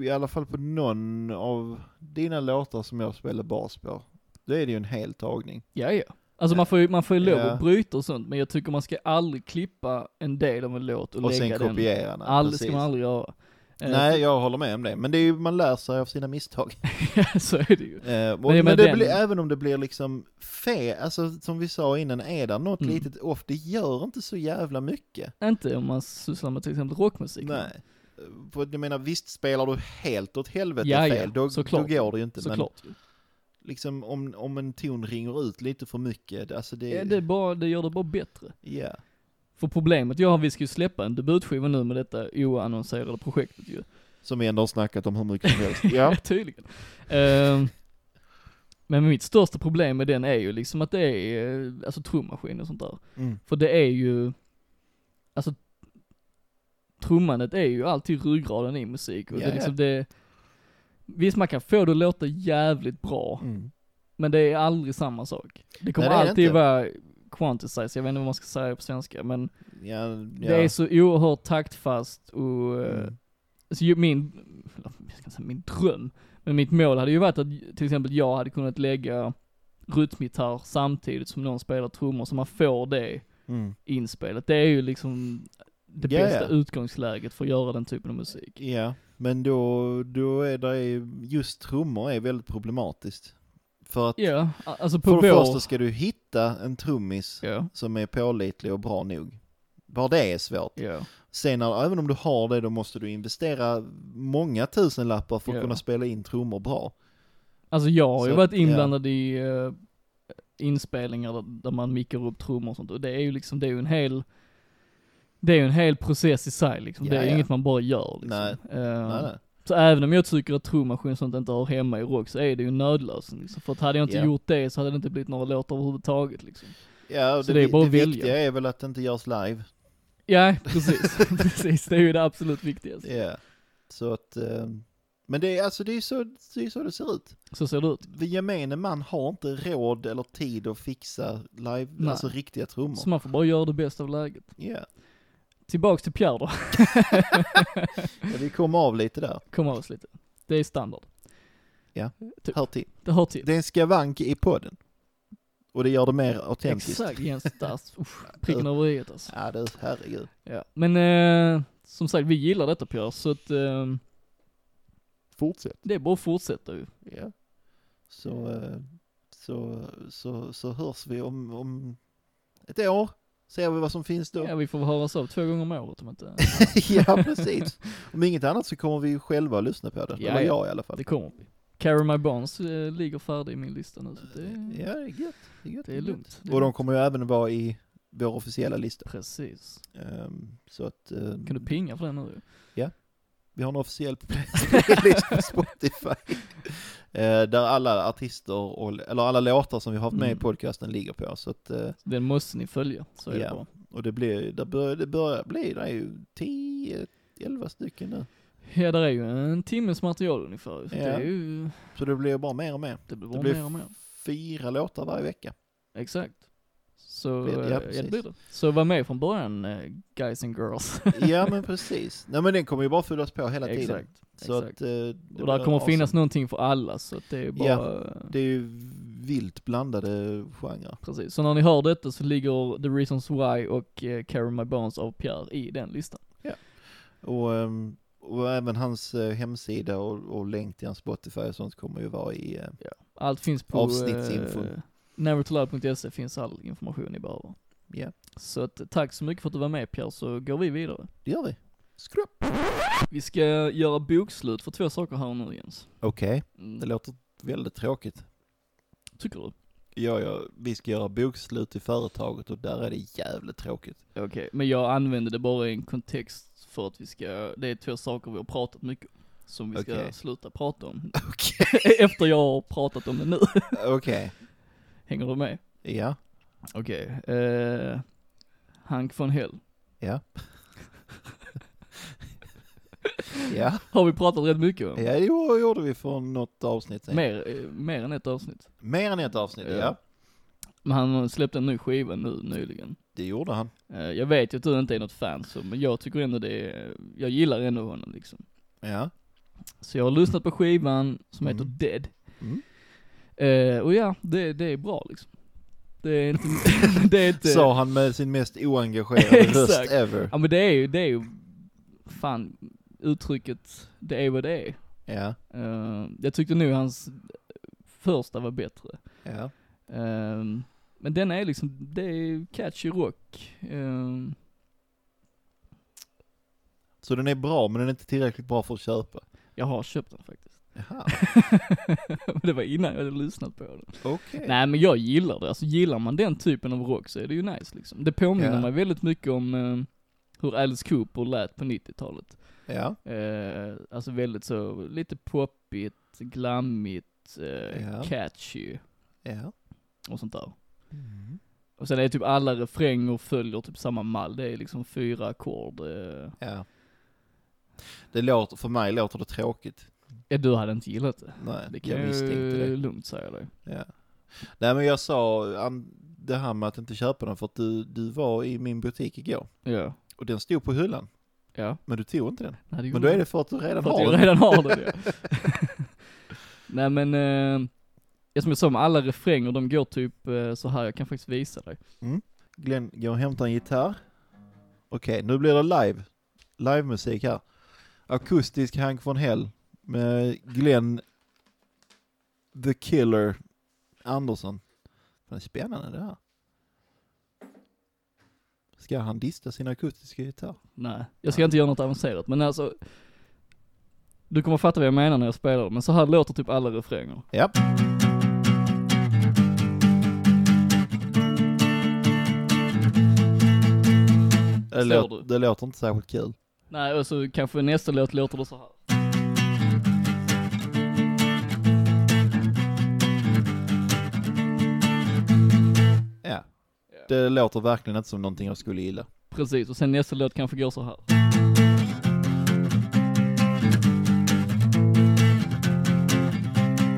A: i alla fall på någon av dina låtar som jag spelar bas på. Då är det ju en hel tagning.
B: Ja, ja. Alltså man får ju, man får ju lov
A: Ja.
B: att bryta och sånt, men jag tycker man ska aldrig klippa en del av en låt och,
A: Och sen
B: lägga den.
A: kopiera den.
B: Aldrig,
A: precis.
B: ska man aldrig göra. Eh,
A: Nej, jag håller med om det. Men det är ju, man lär sig av sina misstag.
B: så är det ju.
A: Eh, och,
B: Men jag
A: men
B: menar
A: det
B: den-
A: blir, även om det blir liksom fe, alltså som vi sa innan, är där något
B: Mm.
A: litet off, det gör inte så jävla mycket.
B: Inte om man sysslar med till exempel rockmusik.
A: Nej. Eh, För Jag menar, visst spelar du helt åt helvete
B: Ja, ja,
A: fel, då, då
B: såklart.
A: går det ju inte. Men
B: Såklart ju.
A: liksom om, om en ton ringer ut lite för mycket, alltså det...
B: Ja, det, är bara, det gör det bara bättre.
A: Ja.
B: För problemet jag har, vi ska ju släppa en debutskiva nu med detta oannonserade projektet ju.
A: Som vi ändå har snackat om hur mycket som helst. Ja.
B: Tydligen. Ehm, men mitt största problem med den är ju liksom att det är, eh, alltså trummaskin och sånt där.
A: Mm.
B: För det är ju, alltså trummandet är ju alltid ryggraden i musik och det
A: Ja,
B: är
A: ja.
B: liksom det, visst man kan få det att låta jävligt bra,
A: Mm.
B: men det är aldrig samma sak. Det kommer
A: Nej, det är det
B: alltid
A: inte.
B: vara quantisized, jag vet inte vad man ska säga på svenska, men
A: Ja, ja.
B: det är så oerhört taktfast och eh,
A: Mm.
B: Alltså ju min, eller jag ska säga min dröm, men mitt mål hade ju varit att till exempel jag hade kunnat lägga rytmgitarr samtidigt som någon spelar trummor så man får det
A: Mm.
B: inspelat. Det är ju liksom det
A: Ja,
B: bästa
A: ja.
B: utgångsläget för att göra den typen av musik.
A: Ja, men då, då är det ju- just trummor är väldigt problematiskt. För att
B: Ja, a- alltså på
A: för det
B: vår...
A: första ska du hitta en trummis
B: Ja,
A: som är pålitlig och bra nog. Bara det är svårt.
B: ja,
A: Sen när, även om du har det, då måste du investera många tusen lappar för att
B: Ja.
A: kunna spela in trummor bra.
B: Alltså jag har ju
A: Så,
B: varit inblandad i eh, inspelningar där, där man mickar upp trummor och sånt och det är ju liksom, det är ju en hel det är ju en hel process i sig liksom. det är
A: Ja,
B: ju
A: ja.
B: inget man bara gör liksom.
A: Nej.
B: Eh,
A: Nej, nej.
B: Så även om jag tycker att trummaskin och sånt inte hör hemma i rock så är det ju en nödlösning liksom. För att hade jag inte
A: Ja.
B: gjort det så hade det inte blivit några låtar överhuvudtaget liksom.
A: Ja, och
B: Så
A: det,
B: det är
A: vi-
B: bara
A: det
B: att välja.
A: viktiga är väl att det inte görs live.
B: Ja, precis. precis. Det är ju det absolut viktigaste.
A: Ja. Så att, eh, men det är alltså det är så det, är så det ser ut.
B: Så ser det ut.
A: Den Gemene man har inte råd eller tid att fixa live,
B: Nej.
A: alltså riktiga trummor.
B: Så man får bara göra det bästa av läget.
A: Ja.
B: Tillbaks till Pierre då.
A: ja, vi kommer av lite där.
B: Kom av oss lite. Det är standard.
A: Ja.
B: Typ.
A: Hör till.
B: Det hör till.
A: Det är en skavank i podden. Och det gör det mer autentiskt.
B: Exakt, Jens Dass. Usch, Pricken över i alltså.
A: Ja, du, herregud.
B: Ja. Men eh, som sagt, vi gillar detta Pierre, så att eh,
A: Fortsätt.
B: det är bara att fortsätta ju.
A: Ja. Så, eh, så, så, så hörs vi om, om ett år. Ser vi vad som finns då.
B: Ja, vi får väl höras av två gånger om året om inte eh,
A: ja, precis. Om inget annat så kommer vi ju själva att lyssna på det.
B: Ja,
A: Eller
B: ja.
A: jag i alla fall.
B: det kommer vi. Carry My Bonds eh, ligger färdig i min lista nu, så det,
A: Ja, det är gött. Det är, gött.
B: det är lugnt. Det är
A: Och de
B: lugnt.
A: kommer ju även vara i vår officiella lista.
B: Precis.
A: Ehm, så att ehm,
B: Kan du pinga för den nu?
A: vi har en officiell playlist på Spotify. Eh, där alla artister, och, eller alla låtar som vi har haft med
B: Mm.
A: i podcasten ligger på. Så att, eh,
B: Den måste ni följa, så är
A: Ja.
B: det bra.
A: och det blir, där bör, det börjar bli, det är ju 10, 11 stycken nu.
B: Ja, där är ju en timmes material ungefär, så
A: Ja.
B: det är ju,
A: Så det blir bara mer och mer.
B: det blir
A: Det
B: bara mer och
A: blir
B: mer.
A: fyra låtar varje vecka.
B: Exakt. Så,
A: Ja,
B: eh, ja, det
A: precis.
B: blir det. Så var med från början, eh, guys and girls.
A: Ja men precis. Nej men den kommer ju bara fyllas på hela tiden.
B: Exakt.
A: Så att,
B: exakt.
A: eh, det
B: Och där
A: blir
B: kommer finnas
A: awesome.
B: någonting för alla, så att det är bara...
A: Det är ju vilt blandade genrer.
B: Precis, så när ni hör detta så ligger The Reasons Why och eh, Carry My Bones av Pierre i den listan.
A: Och, ehm, och även hans eh, hemsida och, och länk till hans Spotify och sånt kommer ju vara i... eh,
B: Allt finns på...
A: Avsnittsinfon.
B: Eh, nevertolive.se E finns all information ni behöver.
A: Ja,
B: Så att, eh, tack så mycket för att du var med Pierre, så går vi vidare.
A: det gör vi. Skrupp!
B: Vi ska göra bokslut för två saker här nu Jens.
A: Okej,
B: Mm,
A: det låter väldigt tråkigt.
B: Tycker du?
A: Ja, ja, vi ska göra bokslut i företaget och där är det jävligt tråkigt.
B: Okej, men jag använder det bara i en kontext för att vi ska, det är två saker vi har pratat mycket om, som vi ska
A: Okej.
B: sluta prata om.
A: Okej.
B: Efter jag har pratat om det nu.
A: Okej.
B: Hänger du med?
A: Ja.
B: Okej, eh, Hank von Hell.
A: Ja. ja.
B: Har vi pratat rätt mycket om?
A: Ja, det gjorde- gjorde vi för något avsnitt sen.
B: Mer, eh, mer än ett avsnitt.
A: Mer än ett avsnitt, ja.
B: Ja. Men han släppte en ny skiva nu nyligen.
A: Det gjorde han.
B: Eh, Jag vet ju att du inte är något fan så, men jag tycker ändå det är, jag gillar ändå honom liksom.
A: Ja.
B: Så jag har lyssnat på skivan som heter
A: Mm.
B: Dead.
A: Mm.
B: Eh, och ja, det, det är bra liksom. Det är inte, det är inte...
A: Sa han med sin mest oengagerade röst
B: Exakt.
A: ever.
B: Ja men det är ju, det är ju, fan, uttrycket, det är vad det är.
A: Ja.
B: Eh, jag tyckte nog hans första var bättre.
A: Ja.
B: Ehm, men den är liksom, det är catchy rock. Ehm,
A: Så den är bra, men den är inte tillräckligt bra för att köpa.
B: jag har köpt den faktiskt.
A: Jaha,
B: Men det var innan jag hade lyssnat på den.
A: okej.
B: Nej men jag gillar det, alltså gillar man den typen av rock så är det ju nice liksom. Det påminner
A: Ja.
B: mig väldigt mycket om eh, hur Alice Cooper lät på 90-talet.
A: Ja.
B: Eh, alltså väldigt så, lite poppigt, glammigt, eh,
A: Ja.
B: catchy
A: Ja. Mm.
B: och sånt där. Och sen är typ alla refränger följer typ samma mall, det är liksom fyra ackord. Eh,
A: Ja. Det låter, för mig låter det tråkigt.
B: Ja, du hade inte gillat det.
A: Nej,
B: Det kan
A: jag misstänkte
B: jag
A: det.
B: lugnt säga dig.
A: Ja. Nej men jag sa an- det här med att inte köpa den för att du, du var i min butik igår.
B: Ja.
A: Och den stod på hyllan,
B: Ja.
A: men du tog inte den.
B: Nej,
A: Men då är det för att du redan
B: för att
A: har
B: jag
A: den.
B: redan har den ja. Nej men, eh, ja, som jag sa med alla refränger, de går typ eh, så här. jag kan faktiskt visa dig.
A: Glenn, gå och hämta en gitarr. Okej, nu blir det live. Livemusik här. Akustisk Hank von Hell med Glenn The Killer Andersson. Fan, spännande det här. Ska han dista sin akustiska gitarr?
B: Nej, jag ska inte göra något avancerat men alltså, du kommer fatta vad jag menar när jag spelar det, men så här låter typ alla refränger.
A: Ja. Det,
B: Förstår
A: låter,
B: du?
A: det låter inte särskilt kul.
B: Nej, och så kanske nästa låt låter det så här.
A: Ja.
B: Ja.
A: Det låter verkligen inte som någonting jag skulle gilla.
B: Precis, och sen nästa låt kanske går så här.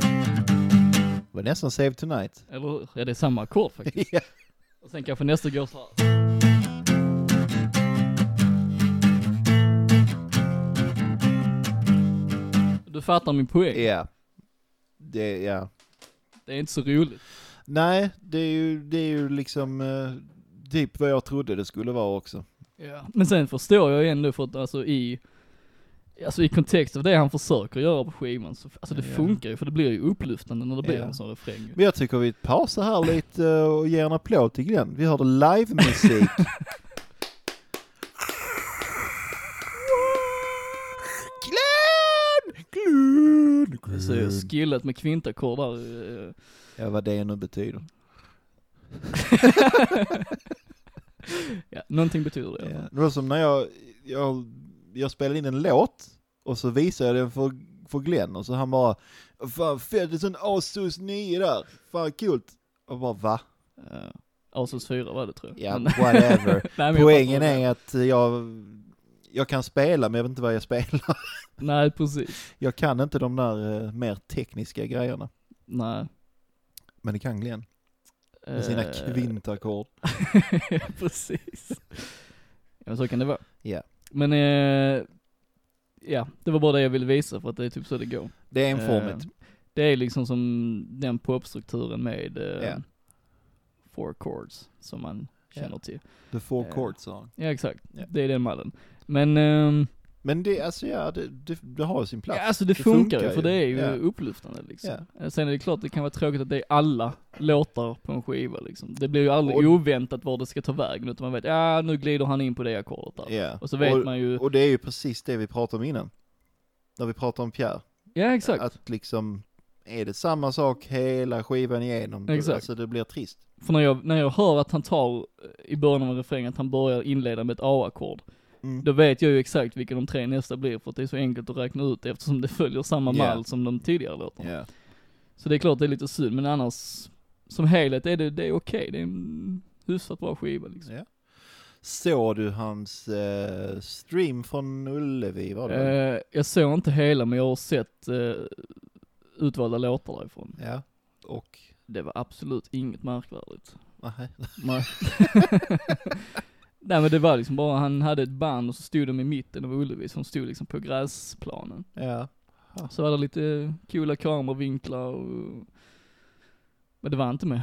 A: Det var nästan Save Tonight.
B: Eller hur? Ja, det är samma ackord faktiskt.
A: Ja.
B: Och sen kanske nästa går så här. Du fattar min poäng.
A: Ja. Det, ja.
B: Det är inte så roligt.
A: Nej, det är ju, det är ju liksom eh, typ vad jag trodde det skulle vara också.
B: Men sen förstår jag ju ändå för att alltså i, alltså i kontext av det han försöker göra på skivan så, alltså det
A: Ja.
B: funkar ju för det blir ju upplyftande när det blir
A: Ja.
B: en sån refräng.
A: Men jag tycker vi pausar här lite eh, och ger en applåd till Glenn. Vi hörde livemusik. Glenn! Glenn!
B: Så jag är skillet med kvintackord där. eh.
A: Ja, vad det nu betyder.
B: Ja, någonting betyder det i alla fall.
A: Ja. Det var som när jag, jag, jag spelade in en låt och så visade jag den för, för Glenn och så han bara Fan fett, det är sån Asus 9 där, fan kul. Och bara va?
B: Eh, Asus 4 var det tror jag.
A: Ja,
B: Men-
A: whatever.
B: Nej, men jag
A: Poängen
B: fattar vad du
A: är att jag, jag kan spela men jag vet inte vad jag spelar.
B: menar. Nej, precis.
A: Jag kan inte de där eh, mer tekniska grejerna.
B: Nej.
A: Men det kan Glenn, med sina
B: Eh,
A: kvintackord.
B: precis. Ja, men så kan det vara.
A: Ja.
B: Men, eh, ja, det var bara det jag ville visa för att det är typ så det går.
A: Det är
B: Eh,
A: enformigt.
B: det är liksom som den popstrukturen med eh,
A: Ja.
B: four chords som man känner
A: Ja.
B: till.
A: The four
B: eh,
A: chords sa han.
B: Ja exakt,
A: Ja.
B: det är den mallen. Men, ehm,
A: Men det, alltså ja, det, det, det har ju sin
B: ja,
A: plats.
B: alltså det,
A: Det
B: funkar ju
A: funkar
B: för det
A: ju.
B: är ju
A: Ja.
B: upplyftande liksom. Eh, Sen är det klart det kan vara tråkigt att det är alla låtar på en skiva liksom. Det blir ju aldrig
A: Och-
B: oväntat var det ska ta vägen utan man vet, ja nu glider han in på det ackordet där.
A: Ja.
B: Och så vet man ju,
A: Och det är ju precis det vi pratade om innan. När vi pratade om Pierre.
B: ja exakt.
A: Att liksom, är det samma sak hela skivan igenom? då-
B: Exakt.
A: Alltså det blir trist.
B: För när jag, när jag hör att han tar eh, i början av en refräng att han börjar inleda med ett A-ackord,
A: Mm.
B: då vet jag ju exakt vilka de tre nästa blir för att det är så enkelt att räkna ut eftersom det följer samma
A: Ja.
B: mall som de tidigare låtarna.
A: Ja.
B: Så det är klart det är lite synd, men annars, som helhet är det, det är okej, det är en hyfsat bra skiva liksom.
A: Ja. Såg du hans eh, stream från Ullevi? Var det? väl?
B: Eh, jag såg inte hela men jag har sett eh, utvalda låtar därifrån.
A: Ja. Och?
B: Det var absolut inget märkvärdigt.
A: Nej.
B: Nej. Nej men det var liksom bara, han hade ett band och så stod de i mitten av Ullevi som stod liksom på gräsplanen.
A: Ja.
B: Så var det lite coola kameravinklar och... Men det var inte med.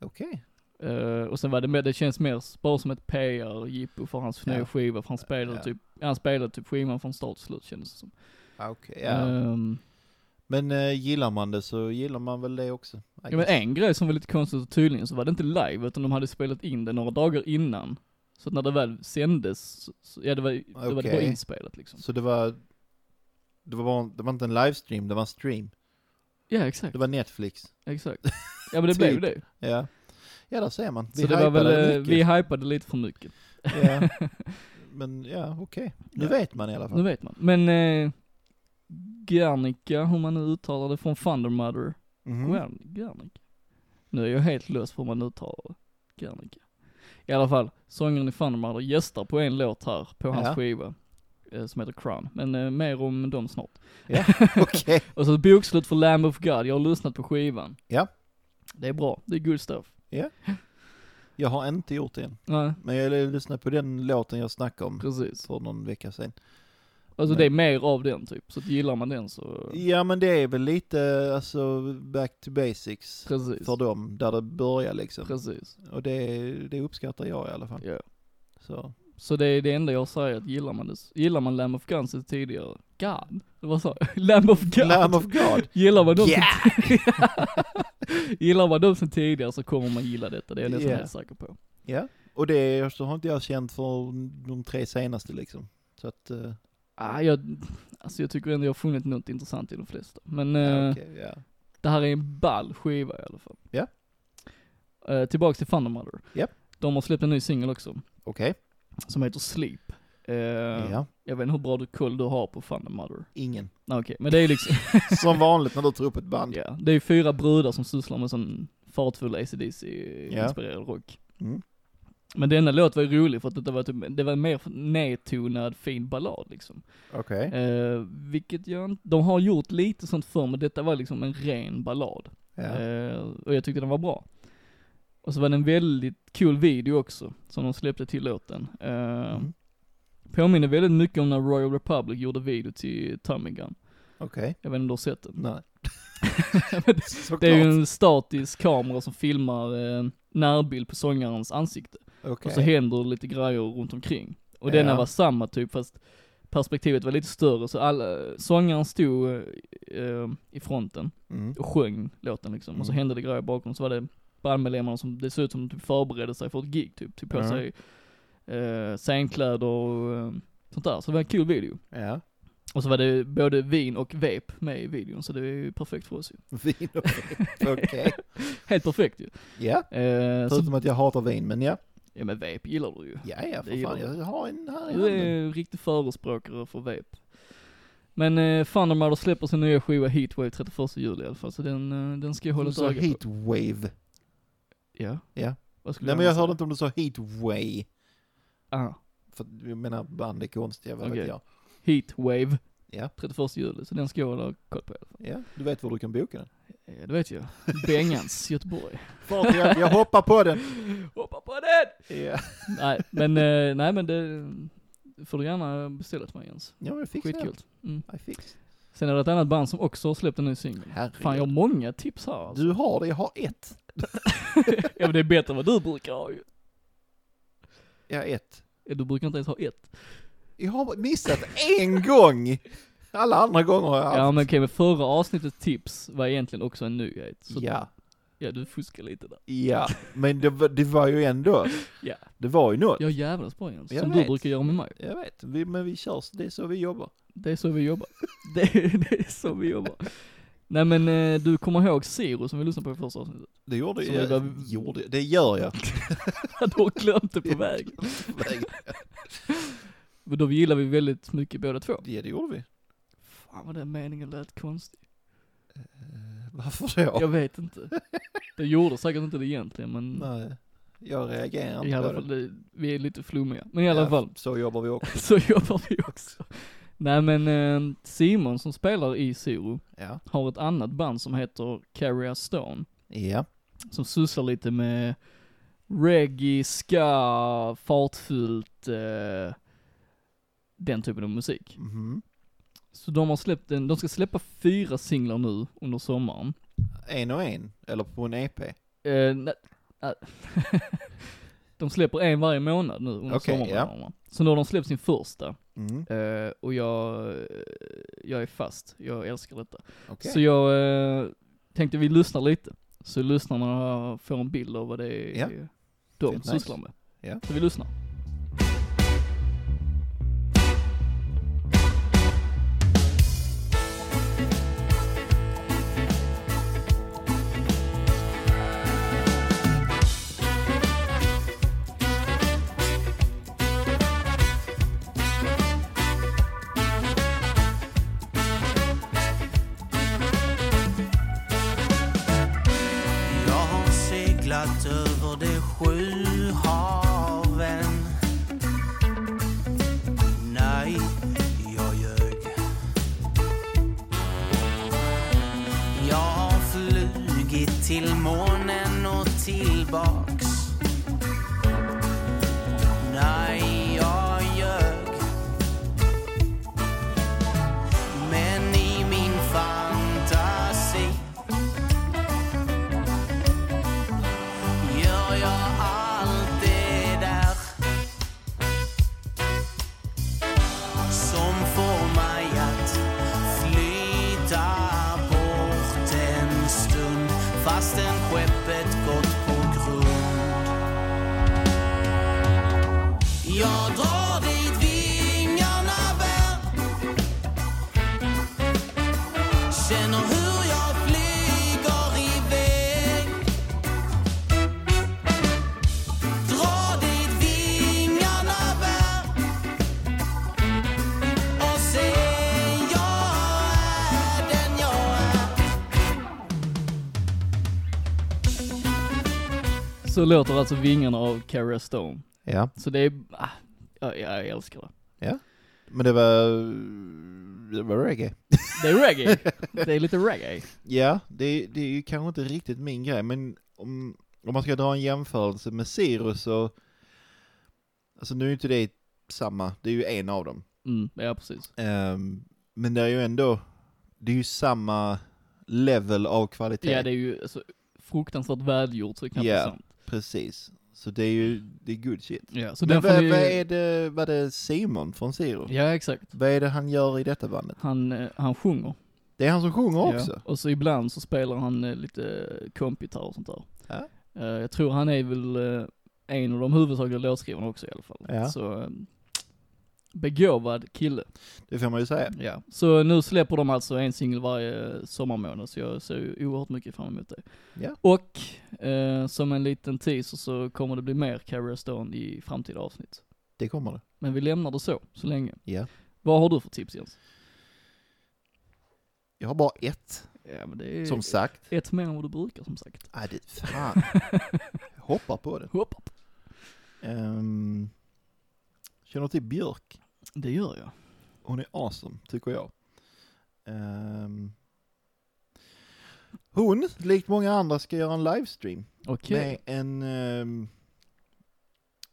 A: Okej.
B: Eh, och sen var det med, det känns mer s- bara som ett PR-jippo för hans
A: Ja.
B: nya skiva, för han spelade
A: Ja.
B: typ, han spelade typ skivan från start till slut kändes det som.
A: Ah, okej, Ja.
B: Ehm,
A: Men eh, gillar man det så gillar man väl det också. I
B: Ja men
A: guess.
B: en grej som var lite konstigt och tydligen så var det inte live utan de hade spelat in det några dagar innan. Så att när det väl sändes, så- så, ja det var, det var det bara
A: Okej.
B: inspelat liksom.
A: Så det var, det var, bara, det var inte en livestream, det var en stream.
B: Ja exakt,
A: Det var Netflix.
B: exakt. Ja men det blev ju det.
A: Ja. Ja, där ser man.
B: Så det var väl,
A: hypade
B: eh,
A: mycket.
B: vi hypade lite för mycket.
A: Ja. Men ja, okej. Nu
B: Ja.
A: vet man i alla
B: Nu
A: fall.
B: vet man. Men, eh, Guernica, hur man nu uttalar det, från Thundermother.
A: Mhm.
B: Guern- Guernica. Nu är jag helt lös på hur man uttalar det. Guernica. I alla fall, sångaren i Thundermother gästar på en låt här, på hans
A: Ja.
B: skiva. eh, Som heter Crown, men eh, mer om dem snart.
A: Ja, Okej.
B: Och så ett bokslut för Lamb of God, jag har lyssnat på skivan.
A: Ja.
B: Det är bra, det är good stuff.
A: Jag har inte gjort det än.
B: Nej,
A: Men jag lyssnade på den låten jag snackade om
B: precis.
A: för någon vecka sedan.
B: Alltså
A: Nej.
B: det är mer av den typ, så att gillar man den så...
A: Ja men det är väl lite alltså back to basics
B: Precis.
A: för dem, där det börjar liksom.
B: Precis.
A: Och det, det uppskattar jag i alla fall.
B: Ja.
A: Så.
B: Så det är det enda jag säger att gillar man det, gillar man Lamb of God sen tidigare, God? Det var så, Lamb of God!
A: Lamb of God!
B: Gillar man dem sen
A: Yeah!
B: gillar man dem sen tidigare så kommer man gilla detta, det är jag nästan
A: Yeah.
B: helt säker på.
A: Ja, och det så har inte jag känt för de tre senaste liksom. Så att, eh,
B: Ah, jag, alltså jag tycker ändå jag har funnit något intressant i de flesta. Men,
A: ja,
B: eh,
A: okej, ja.
B: Det här är en ball skiva i alla fall.
A: Ja.
B: Eh, tillbaks till Thunder Mother.
A: Japp.
B: De har släppt en ny singel också,
A: Okej,
B: som heter Sleep. Eh,
A: ja.
B: Jag vet inte hur bra du koll du har på Thunder Mother.
A: Ingen.
B: Nej, Okej, men det är liksom,
A: Som vanligt när du tar upp ett band.
B: ja, det är fyra brudar som sysslar med sån fartfull ACDC-inspirerad rock.
A: Mm.
B: Men denna låt var ju rolig för att det var, typ, det var en mer nedtonad fin ballad liksom.
A: Okej.
B: Eh, vilket jag inte, de har gjort lite sånt förr men detta var liksom en ren ballad.
A: Ja.
B: Eh, och jag tyckte den var bra. Och så var det en väldigt cool video också, som de släppte till låten. Eh,
A: Mm.
B: Påminner väldigt mycket om när Royal Republic gjorde video till Tommy Gun.
A: Okej.
B: Jag vet inte om du har sett den?
A: Nej. Såklart.
B: Det är ju en statisk kamera som filmar eh, närbild på sångarens ansikte.
A: Okej.
B: Och så händer det lite grejer runt omkring. Och
A: Ja.
B: denna var samma typ fast perspektivet var lite större så alla, sångaren stod eh, i fronten
A: Mm.
B: och sjöng låten liksom. Och så
A: Mm.
B: hände det grejer bakom, så var det bandmedlemmarna som, det såg ut som de typ förberedde sig för ett gig typ, tog på
A: Ja.
B: sig eh, scenkläder och eh, sånt där. Så det var en kul video.
A: Ja.
B: Och så var det både vin och vape med i videon, så det är ju perfekt för oss ju.
A: Vin och vape. Okej.
B: Helt perfekt ju.
A: Ja.
B: Eh, så,
A: Förutom att jag hatar vin, men ja.
B: ja men vape gillar du ju.
A: Ja, ja, för
B: Det gillar
A: fan. Jag har en här i
B: Du är
A: handen.
B: ju riktig förespråkare för vape. Men eh, Thundermother släpper sin nya skiva Heatwave 31 juli i alla fall, så den, eh, den ska jag hålla
A: Du
B: ett
A: sa
B: öga på.
A: heatwave.
B: Ja.
A: Ja.
B: Vad skulle
A: Nej, men jag
B: annars
A: hörde
B: säga?
A: inte om du sa heatway.
B: Ah.
A: För att jag menar band är konstiga, vad vet
B: Okej.
A: jag.
B: Heatwave.
A: Ja.
B: 31 juli, så den ska jag hålla koll på i alla fall.
A: Ja, du vet var du kan boka den.
B: Eh, Det vet jag. Bengans, Göteborg.
A: Fart, jag, jag hoppar på den!
B: Hoppa på den!
A: Ja,
B: Nej, men, eh, nej men det eh, får du gärna beställa till mig Jens.
A: ja men jag fixar det.
B: Skitkul. Mm.
A: I fix.
B: Sen är det ett annat band som också har släppt en ny singel.
A: Herregud.
B: Fan jag har många tips här alltså.
A: Du har det, jag har ett.
B: ja men det är bättre än vad du brukar ha ju.
A: Ja, ett.
B: Eh, Du brukar inte ens ha ett.
A: Jag har missat en gång! Alla andra gånger har jag haft.
B: Ja men okej, men förra avsnittets tips var egentligen också en nyhet. Så
A: ja,
B: ja du fuskar lite där.
A: ja. Men det, var- det var ju ändå,
B: Ja.
A: det var ju något.
B: Jag är jävlas bra Jens,
A: Jag
B: som du
A: vet.
B: brukar göra med mig.
A: Jag vet, vi, men vi kör, så det är så vi jobbar.
B: Det är så vi jobbar. Det är, det är så vi jobbar. Nej men eh, du kommer ihåg Siro som vi lyssnade på i första avsnittet?
A: Det gjorde
B: Så
A: jag.
B: det var-
A: Gjorde, det gör jag.
B: Du har glömt det på väg. Men då gillar vi väldigt mycket båda två.
A: Ja, det gjorde vi.
B: Fan vad den meningen lät konstig.
A: Varför då?
B: Jag vet inte. Det gjorde säkert inte det egentligen men
A: Nej, jag reagerar
B: i
A: inte
B: alla
A: på det.
B: fall, det- vi är lite flummiga. Men i alla fall,
A: Så jobbar vi också.
B: så jobbar vi också. Nej men eh, Simon som spelar i Siro
A: Ja.
B: har ett annat band som heter Carrier Stone.
A: Ja.
B: som sysslar lite med reggae, ska, fartfyllt, eh, den typen av musik.
A: Mhm.
B: Så de har släppt en, de ska släppa fyra singlar nu under sommaren.
A: En och en, eller på en E EP.
B: Eh, nej, nej. de släpper en varje månad nu under
A: Okej,
B: sommarmånaderna. Så nu har de släppt sin första,
A: Mm.
B: eh, och jag, eh, jag är fast, jag älskar detta.
A: Okej.
B: Så jag eh, tänkte vi lyssnar lite, så lyssnarna får en bild av vad det är
A: Ja.
B: de
A: Fint,
B: sysslar med.
A: Ja.
B: Så vi lyssnar.
D: Jag har seglat över de sju haven Nej, jag ljög Jag har flugit till månen och tillbaks Nej, jag ljög Men i min fantasi gör jag allt det där som får mig att flyta bort en stund fastän skeppet gått på grund. Jag drar dit vingarna bär Känner hur jag flyger iväg Dra dit vingarna bär och se jag är den jag är
B: Så låter alltså vingarna av Carrie Stone.
A: Ja.
B: Så det är, ah, jag, jag älskar det.
A: Men det var... Det var reggae.
B: Det är reggae. det är lite reggae.
A: Ja, det, det är ju kanske inte riktigt min grej, men om, om man ska dra en jämförelse med Sirius så... Alltså nu är ju inte det samma, det är ju en av dem.
B: Mm, ja precis.
A: Ehm, men det är ju ändå, det är ju samma level av kvalitet.
B: Ja det är ju alltså, fruktansvärt välgjort så det är knappt
A: Ja.
B: sant.
A: Precis. Så det är ju, det är good shit.
B: Ja, så den
A: men
B: får
A: vad,
B: ni...
A: vad är det, vad är det Simon från Sirius?
B: Ja exakt.
A: Vad är det han gör i detta bandet?
B: Han, eh, han sjunger.
A: Det är han som sjunger också?
B: Ja. Och så ibland så spelar han eh, lite kompgitarr och sånt där.
A: Ja.
B: Eh, jag tror han är väl eh, en av de huvudsakliga låtskrivarna också i alla fall.
A: Ja.
B: Så, eh, begåvad kille.
A: Det får man ju säga.
B: Ja. Så nu släpper de alltså en singel varje eh, sommarmånad, så jag ser ju oerhört mycket fram emot det.
A: Ja.
B: Och, eh, som en liten teaser så kommer det bli mer Carrie Stone i framtida avsnitt.
A: Det kommer det.
B: Men vi lämnar det så, så länge.
A: Ja.
B: Vad har du för tips Jens?
A: Jag har bara ett,
B: Ja, men det är
A: som sagt.
B: ett mer än vad du brukar som sagt.
A: Nej, det fan. Jag hoppar på det.
B: Hoppa.
A: Um, känner du till Björk?
B: Det gör jag.
A: Hon är awesome, tycker jag. Ehm, hon, likt många andra, ska göra en livestream
B: Okej,
A: med en, ehm,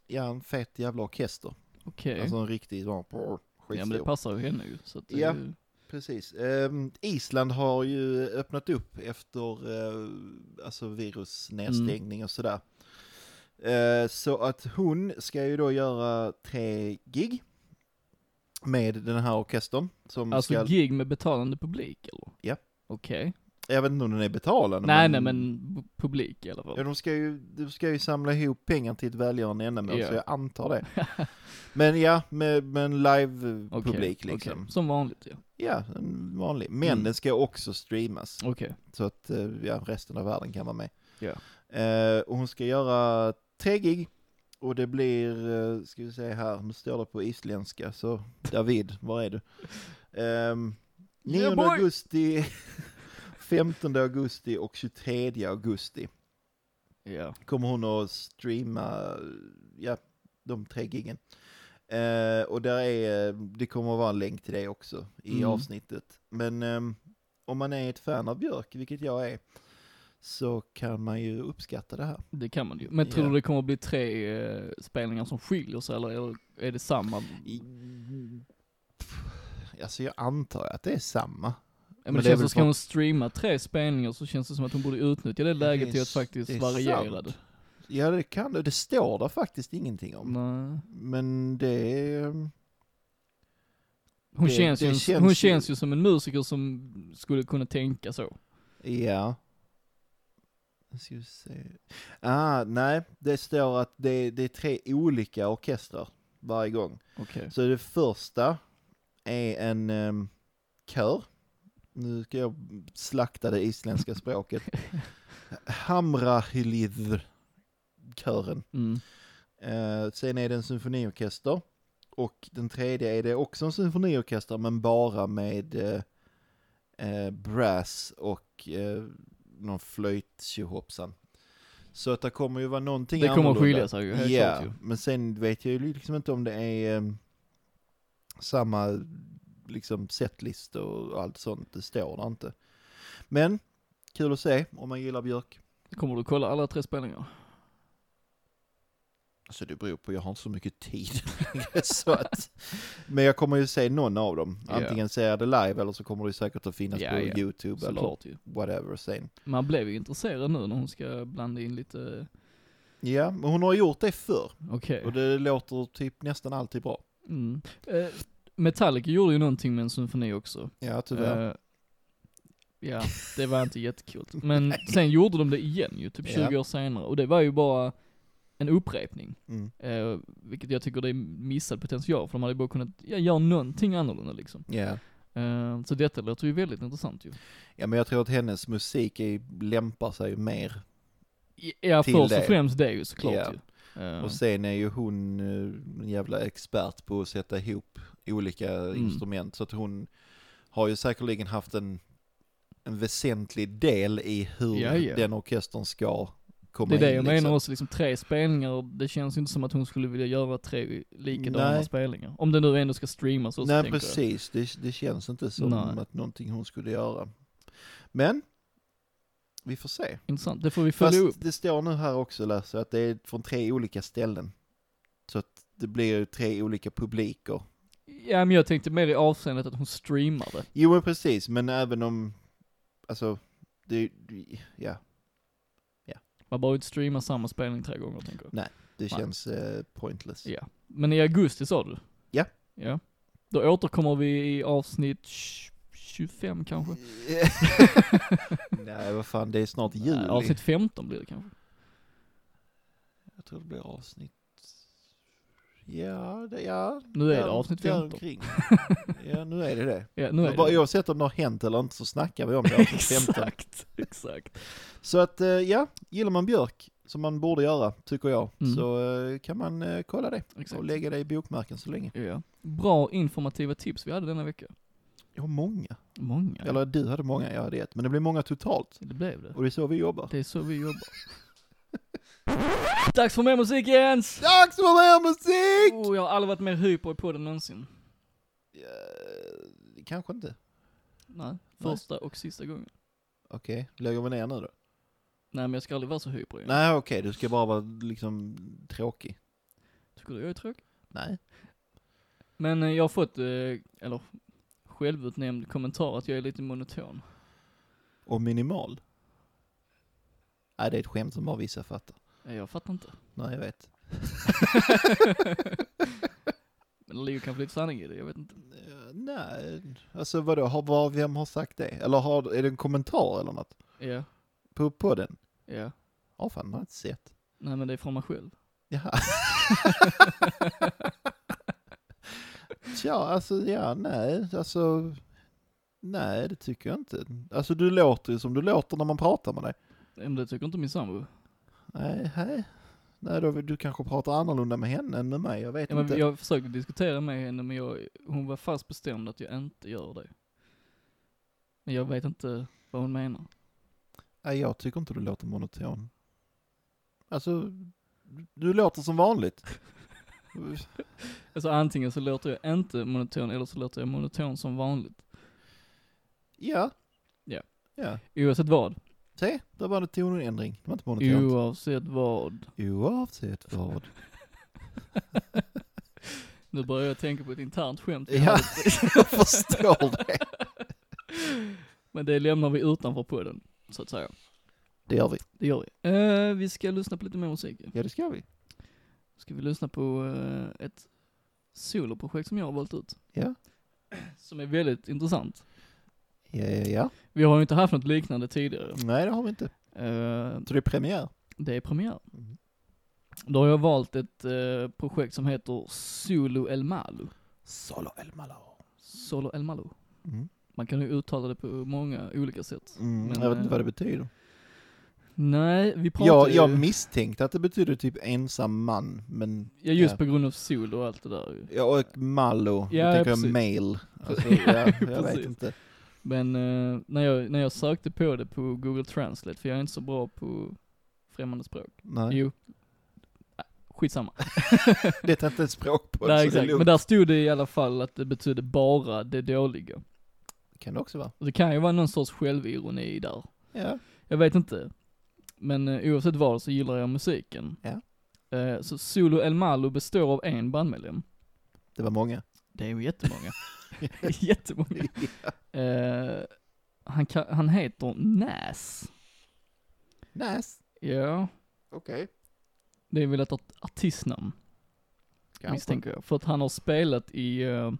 A: ja, en fet jävla orkester.
B: okej.
A: Alltså en riktig sån,
B: ja men det
A: skitstor.
B: passar ju henne ju. Så att det
A: Ja.
B: är ju...
A: Precis. Ehm, Island har ju öppnat upp efter eh, alltså virusnedstängning och sådär. Eh, så att hon ska ju då göra tre gig med den här orkestern. Som
B: Alltså
A: ska,
B: gig med betalande publik eller?
A: Ja.
B: Okej.
A: jag vet inte om den är betalande.
B: Nej nej men b- publik i alla fall.
A: Ja, de, ska ju, de ska ju samla ihop pengar till ett välgörande ändamål,
B: Ja.
A: så jag antar det. Men ja, med, med en
B: Okej,
A: live-publik
B: okej.
A: liksom.
B: Som vanligt ja.
A: Ja, en vanlig. Men
B: Mm.
A: den ska också streamas.
B: Okej.
A: Så att eh, ja, resten av världen kan vara med.
B: Ja.
A: Eh, och hon ska göra tre gig. Och det blir, eh, ska vi se här, nu står det på isländska, så David, var är du? Ehm, 9
B: Yeah, boy!
A: augusti, 15 augusti och 23 augusti
B: Ja.
A: kommer hon att streama, ja, de tre giggen. Eh, och där är, eh, det kommer att vara en länk till det också i
B: Mm.
A: avsnittet. Men ehm, om man är ett fan av Björk, vilket jag är, så kan man ju uppskatta det här.
B: Det kan man ju. Men tror
A: Ja.
B: du det kommer att bli tre eh, spelningar som skiljer sig eller eller är det samma?
A: I, alltså jag antar att det är samma.
B: Men,
A: det är
B: det känns
A: väl
B: som, ska
A: för-
B: hon streama tre spelningar så känns det som att hon borde utnyttja det läget till att faktiskt
A: det är
B: variera
A: sant.
B: det.
A: Ja det kan det, det står där faktiskt ingenting om.
B: Nej.
A: Men det är, ehm,
B: Hon,
A: Det-
B: känns,
A: det
B: ju,
A: känns
B: hon
A: ju-
B: känns ju som en musiker som skulle kunna tänka så.
A: ja. Nu ska vi se. Ah, nej, det står att det, det är tre olika orkestrar varje gång.
B: Okej.
A: Så det första är en um, kör. Nu ska jag slakta det isländska språket. Hamrahilidr-kören.
B: Mm.
A: Eh, sen är det en symfoniorkester. Och den tredje är det också en symfoniorkester men bara med eh, eh, brass och eh, någon flöjt tjohoppsan. Så att det kommer ju vara någonting
B: Det kommer att
A: annorlunda.
B: skilja sig ju, helt
A: Ja,
B: klart ju.
A: men sen vet jag ju liksom inte om det är eh, samma liksom setlist och allt sånt. Det står där inte. Men kul att se om man gillar Björk.
B: Kommer du kolla alla tre spelningar?
A: Så Alltså, det beror på, jag har inte så mycket tid längre, så att, Men jag kommer ju se någon av dem.
B: Ja.
A: Antingen ser jag det live eller så kommer det säkert att finnas
B: Ja,
A: på
B: ja.
A: YouTube eller
B: Såklart ju.
A: whatever sen.
B: Man blev ju intresserad nu när hon ska blanda in lite, eh,
A: Ja, men hon har gjort det förr
B: okej.
A: och det låter typ nästan alltid bra.
B: Mm. Eh, Metallica gjorde ju någonting med en symfoni också.
A: Ja, tyvärr.
B: Eh, ja, det var inte jättekul. Men sen gjorde de det igen ju, typ 20
A: Ja.
B: år senare. Och det var ju bara en upprepning.
A: Mm.
B: Eh, vilket jag tycker det är missad potential, för de hade bara kunnat ja, göra någonting annorlunda liksom.
A: Ja.
B: Eh, så detta låter ju väldigt intressant ju.
A: ja, men jag tror att hennes musik är, lämpar sig ju mer.
B: Ja,
A: Till
B: först
A: det.
B: och främst det ju såklart
A: Ja.
B: ju. Eh,
A: Och sen är ju hon eh, en jävla expert på att sätta ihop olika
B: Mm.
A: instrument. Så att hon har ju säkerligen haft en, en väsentlig del i hur
B: Ja, ja.
A: den orkestern ska komma
B: Det är det
A: in,
B: jag menar
A: liksom.
B: också, liksom tre spelningar, och det känns ju inte som att hon skulle vilja göra tre likadana
A: Nej.
B: spelningar. Om det nu ändå ska streamas också
A: Nej
B: tänker jag.
A: precis, det, det känns inte som
B: Nej.
A: att någonting hon skulle göra. Men, vi får se.
B: Intressant, det får vi följa
A: Fast
B: upp.
A: det står nu här också läser jag, att det är från tre olika ställen. Så att det blir ju tre olika publiker.
B: Ja men jag tänkte mer i avseendet att hon streamar det.
A: Jo men precis, men även om, alltså, det, ja,
B: Man behöver inte streama samma spelning tre gånger tänker jag.
A: det känns eh, pointless.
B: Ja. Men i augusti sa du?
A: Ja.
B: Ja. Då återkommer vi i avsnitt tj- 25 kanske?
A: Nej vad fan, det är snart juli.
B: Nej, avsnitt 15 blir det kanske.
A: Jag tror det blir avsnitt... Ja, det, ja.
B: Nu är det
A: där-
B: avsnitt
A: där
B: 15.
A: omkring. Ja, nu är det det.
B: Ja, nu
A: Men bara
B: är det.
A: Oavsett om det har hänt eller inte så snackar vi om det i avsnitt 15.
B: Exakt, exakt.
A: Så att, eh, ja, gillar man Björk, som man borde göra, tycker jag,
B: Mm.
A: så eh, kan man eh, kolla det
B: exakt.
A: och lägga det i bokmärken så länge.
B: Ja. Bra informativa tips vi hade denna vecka.
A: Jag har många.
B: Många.
A: Eller du hade många, jag hade ett. Men det blir många totalt.
B: Det blev det.
A: Och det är så vi jobbar.
B: Det är så vi jobbar. Dags för mer musik Jens!
A: Dags för mer musik!
B: Oh, jag har aldrig varit mer hyper i podden någonsin.
A: Eh, kanske inte.
B: Nej, första och sista gången.
A: Okej, lägger vi ner nu då?
B: Nej men jag ska aldrig vara så hyper igen.
A: Nej, okej, du ska bara vara liksom tråkig.
B: Tycker du jag är tråkig?
A: Nej.
B: Men eh, jag har fått, eh, eller självutnämnd kommentar att jag är lite monoton.
A: Och minimal? Nej, det är ett skämt som bara vissa fattar.
B: Eh, Jag fattar inte.
A: Nej, jag vet.
B: Men det ligger kanske lite sanning i det, jag vet inte.
A: Eh, nej, alltså vadå, har, var, vem har sagt det? Eller har, är det en kommentar eller något?
B: Ja,
A: På, på den?
B: ja.
A: Ja, fan, man har inte sett.
B: Nej men det är från mig själv.
A: Jaha. Tja, alltså ja, nej, alltså. Nej, det tycker jag inte. Alltså du låter ju som du låter när man pratar med dig.
B: Eh, Men det tycker inte min sambo.
A: Nej, hej. Nej, då, du kanske pratar annorlunda med henne än med mig, jag vet
B: Ja, men
A: inte.
B: jag försökte diskutera med henne men jag, hon var fast bestämd att jag inte gör det. Men jag vet inte vad hon menar.
A: Nej, jag tycker inte du låter monoton. Alltså, du låter som vanligt.
B: Alltså antingen så låter jag inte monoton eller så låter jag monoton som vanligt.
A: Ja.
B: Ja.
A: Ja.
B: Oavsett vad.
A: Se, där var det tonändring. Det var inte monotont.
B: Oavsett vad.
A: Oavsett vad.
B: Nu börjar jag tänka på ett internt skämt. vi
A: Ja,
B: hade.
A: jag förstår det.
B: Men det lämnar vi utanför podden, så att säga.
A: Det gör vi.
B: Det gör vi. Eh, vi ska lyssna på lite mer musik.
A: Ja, det ska vi.
B: Ska vi lyssna på eh, ett soloprojekt som jag har valt ut.
A: Ja.
B: Som är väldigt intressant.
A: Ja, ja, ja.
B: Vi har ju inte haft något liknande tidigare.
A: Nej, det har vi inte.
B: Eh,
A: Så det är premiär.
B: det är premiär.
A: Mm.
B: Då har jag valt ett eh, projekt som heter Solo El Malo.
A: Solo El Malo.
B: Solo El Malo.
A: Mm.
B: Man kan ju uttala det på många olika sätt.
A: Mm,
B: Men,
A: jag vet inte
B: eh,
A: vad det betyder.
B: Nej, vi pratar
A: Jag, jag
B: ju...
A: misstänkte att det betyder typ ensam man, men...
B: Ja, just
A: ja.
B: på grund av sol och allt det där ju.
A: Ja, och Malo.
B: Ja,
A: då tänker
B: precis.
A: jag mail. Alltså, ja, jag vet
B: Precis.
A: inte.
B: Men eh, när, jag, när jag sökte på det på Google Translate, för jag är inte så bra på främmande språk.
A: Nej.
B: Jo. Äh, Skitsamma.
A: Det är inte ett språk på så
B: Nej,
A: det är
B: exakt.
A: lugnt.
B: Men där stod det i alla fall att det betydde bara det dåliga.
A: kan det också vara.
B: Och det kan ju vara någon sorts självironi där.
A: Ja.
B: Jag vet inte. Men eh, oavsett vad så gillar jag musiken.
A: Ja.
B: Eh, så Solo El Malo består av en bandmedlem.
A: Det var många.
B: Det är ju jättemånga. jättemånga. Eh, han, kan, han heter Nas.
A: Nice.
B: Ja,
A: Okej.
B: det är väl ett art- artistnamn misstänker jag. För att han har spelat i, eh,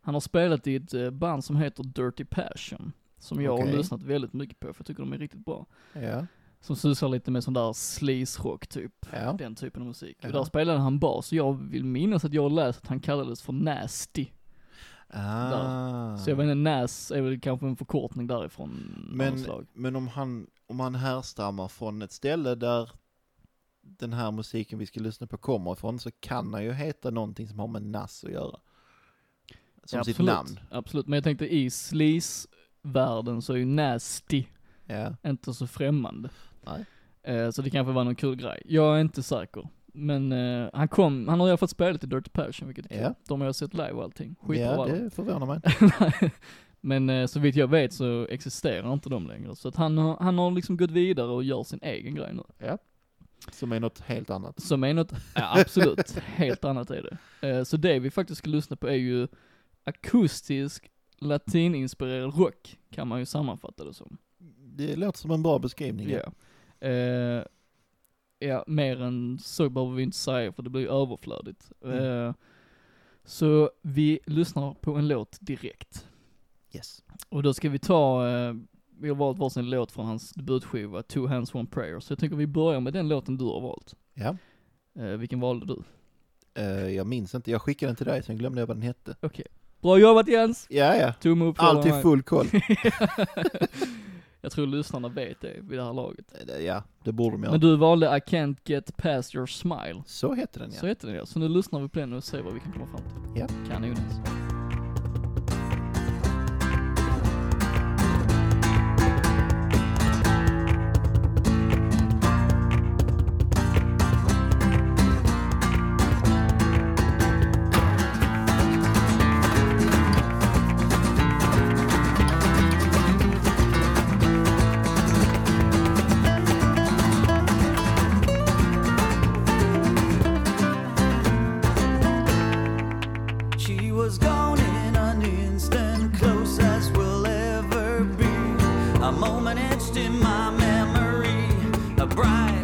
B: han har spelat i ett eh, band som heter Dirty Passion. Som jag har
A: Okej.
B: lyssnat väldigt mycket på för jag tycker de är riktigt bra.
A: Ja.
B: Som sysslar lite med sån där sleaze-rock typ.
A: Ja.
B: Den typen av musik.
A: Ja.
B: Och där spelade han bas och jag vill minnas att jag läste att han kallades för Nasty.
A: Ah.
B: Så jag vet inte, Nas är väl kanske en förkortning därifrån. av något
A: men,
B: slag.
A: men om han, om han härstammar från ett ställe där den här musiken vi ska lyssna på kommer ifrån så kan han ju heta någonting som har med Nass att göra. Som
B: Ja,
A: sitt
B: absolut.
A: namn.
B: Absolut, men jag tänkte i sleaze-världen så är ju Nasty
A: Ja.
B: inte så främmande.
A: Nej.
B: Eh, så det kanske var någon kul grej. Jag är inte säker. Men eh, han kom, han har i alla fall spelat i Dirty Passion, vilket är kul.
A: Ja.
B: De har jag sett live och allting. Skitbra
A: Ja,
B: alla.
A: det förvånar mig.
B: Men eh, så vitt jag vet så existerar inte de längre. Så att han, har- han har liksom gått vidare och gör sin egen grej nu.
A: Ja. Som är något helt annat.
B: Som är något, ja, absolut, helt annat är det. Eh, Så det vi faktiskt ska lyssna på är ju akustisk latininspirerad rock, kan man ju sammanfatta det som.
A: Det låter som en bra beskrivning. ja.
B: Ja. Eh, ja, mer än så behöver vi inte säga för det blir ju överflödigt.
A: Mm.
B: Eh, så vi lyssnar på en låt direkt.
A: Yes.
B: Och då ska vi ta, eh, vi har valt varsin låt från hans debutskiva, Two Hands One Prayer. Så jag tänker vi börjar med den låten du har valt.
A: Ja.
B: Eh, vilken valde du?
A: Eh, jag minns inte, jag skickade den till dig sen glömde jag vad den hette.
B: Bra jobbat Jens!
A: Ja, ja.
B: Tumme upp för
A: Alltid
B: mig.
A: full koll.
B: Jag tror lyssnarna vet det vid det här laget.
A: Eh, ja, det borde de göra.
B: Men du valde I Can't Get Past Your Smile.
A: Så heter den ja.
B: Så heter den ja. Så nu lyssnar vi på den och ser vad vi kan komma fram till.
A: Ja.
B: Kanon alltså.
D: She was gone in an instant, close as we'll ever be. A moment etched in my memory, a bright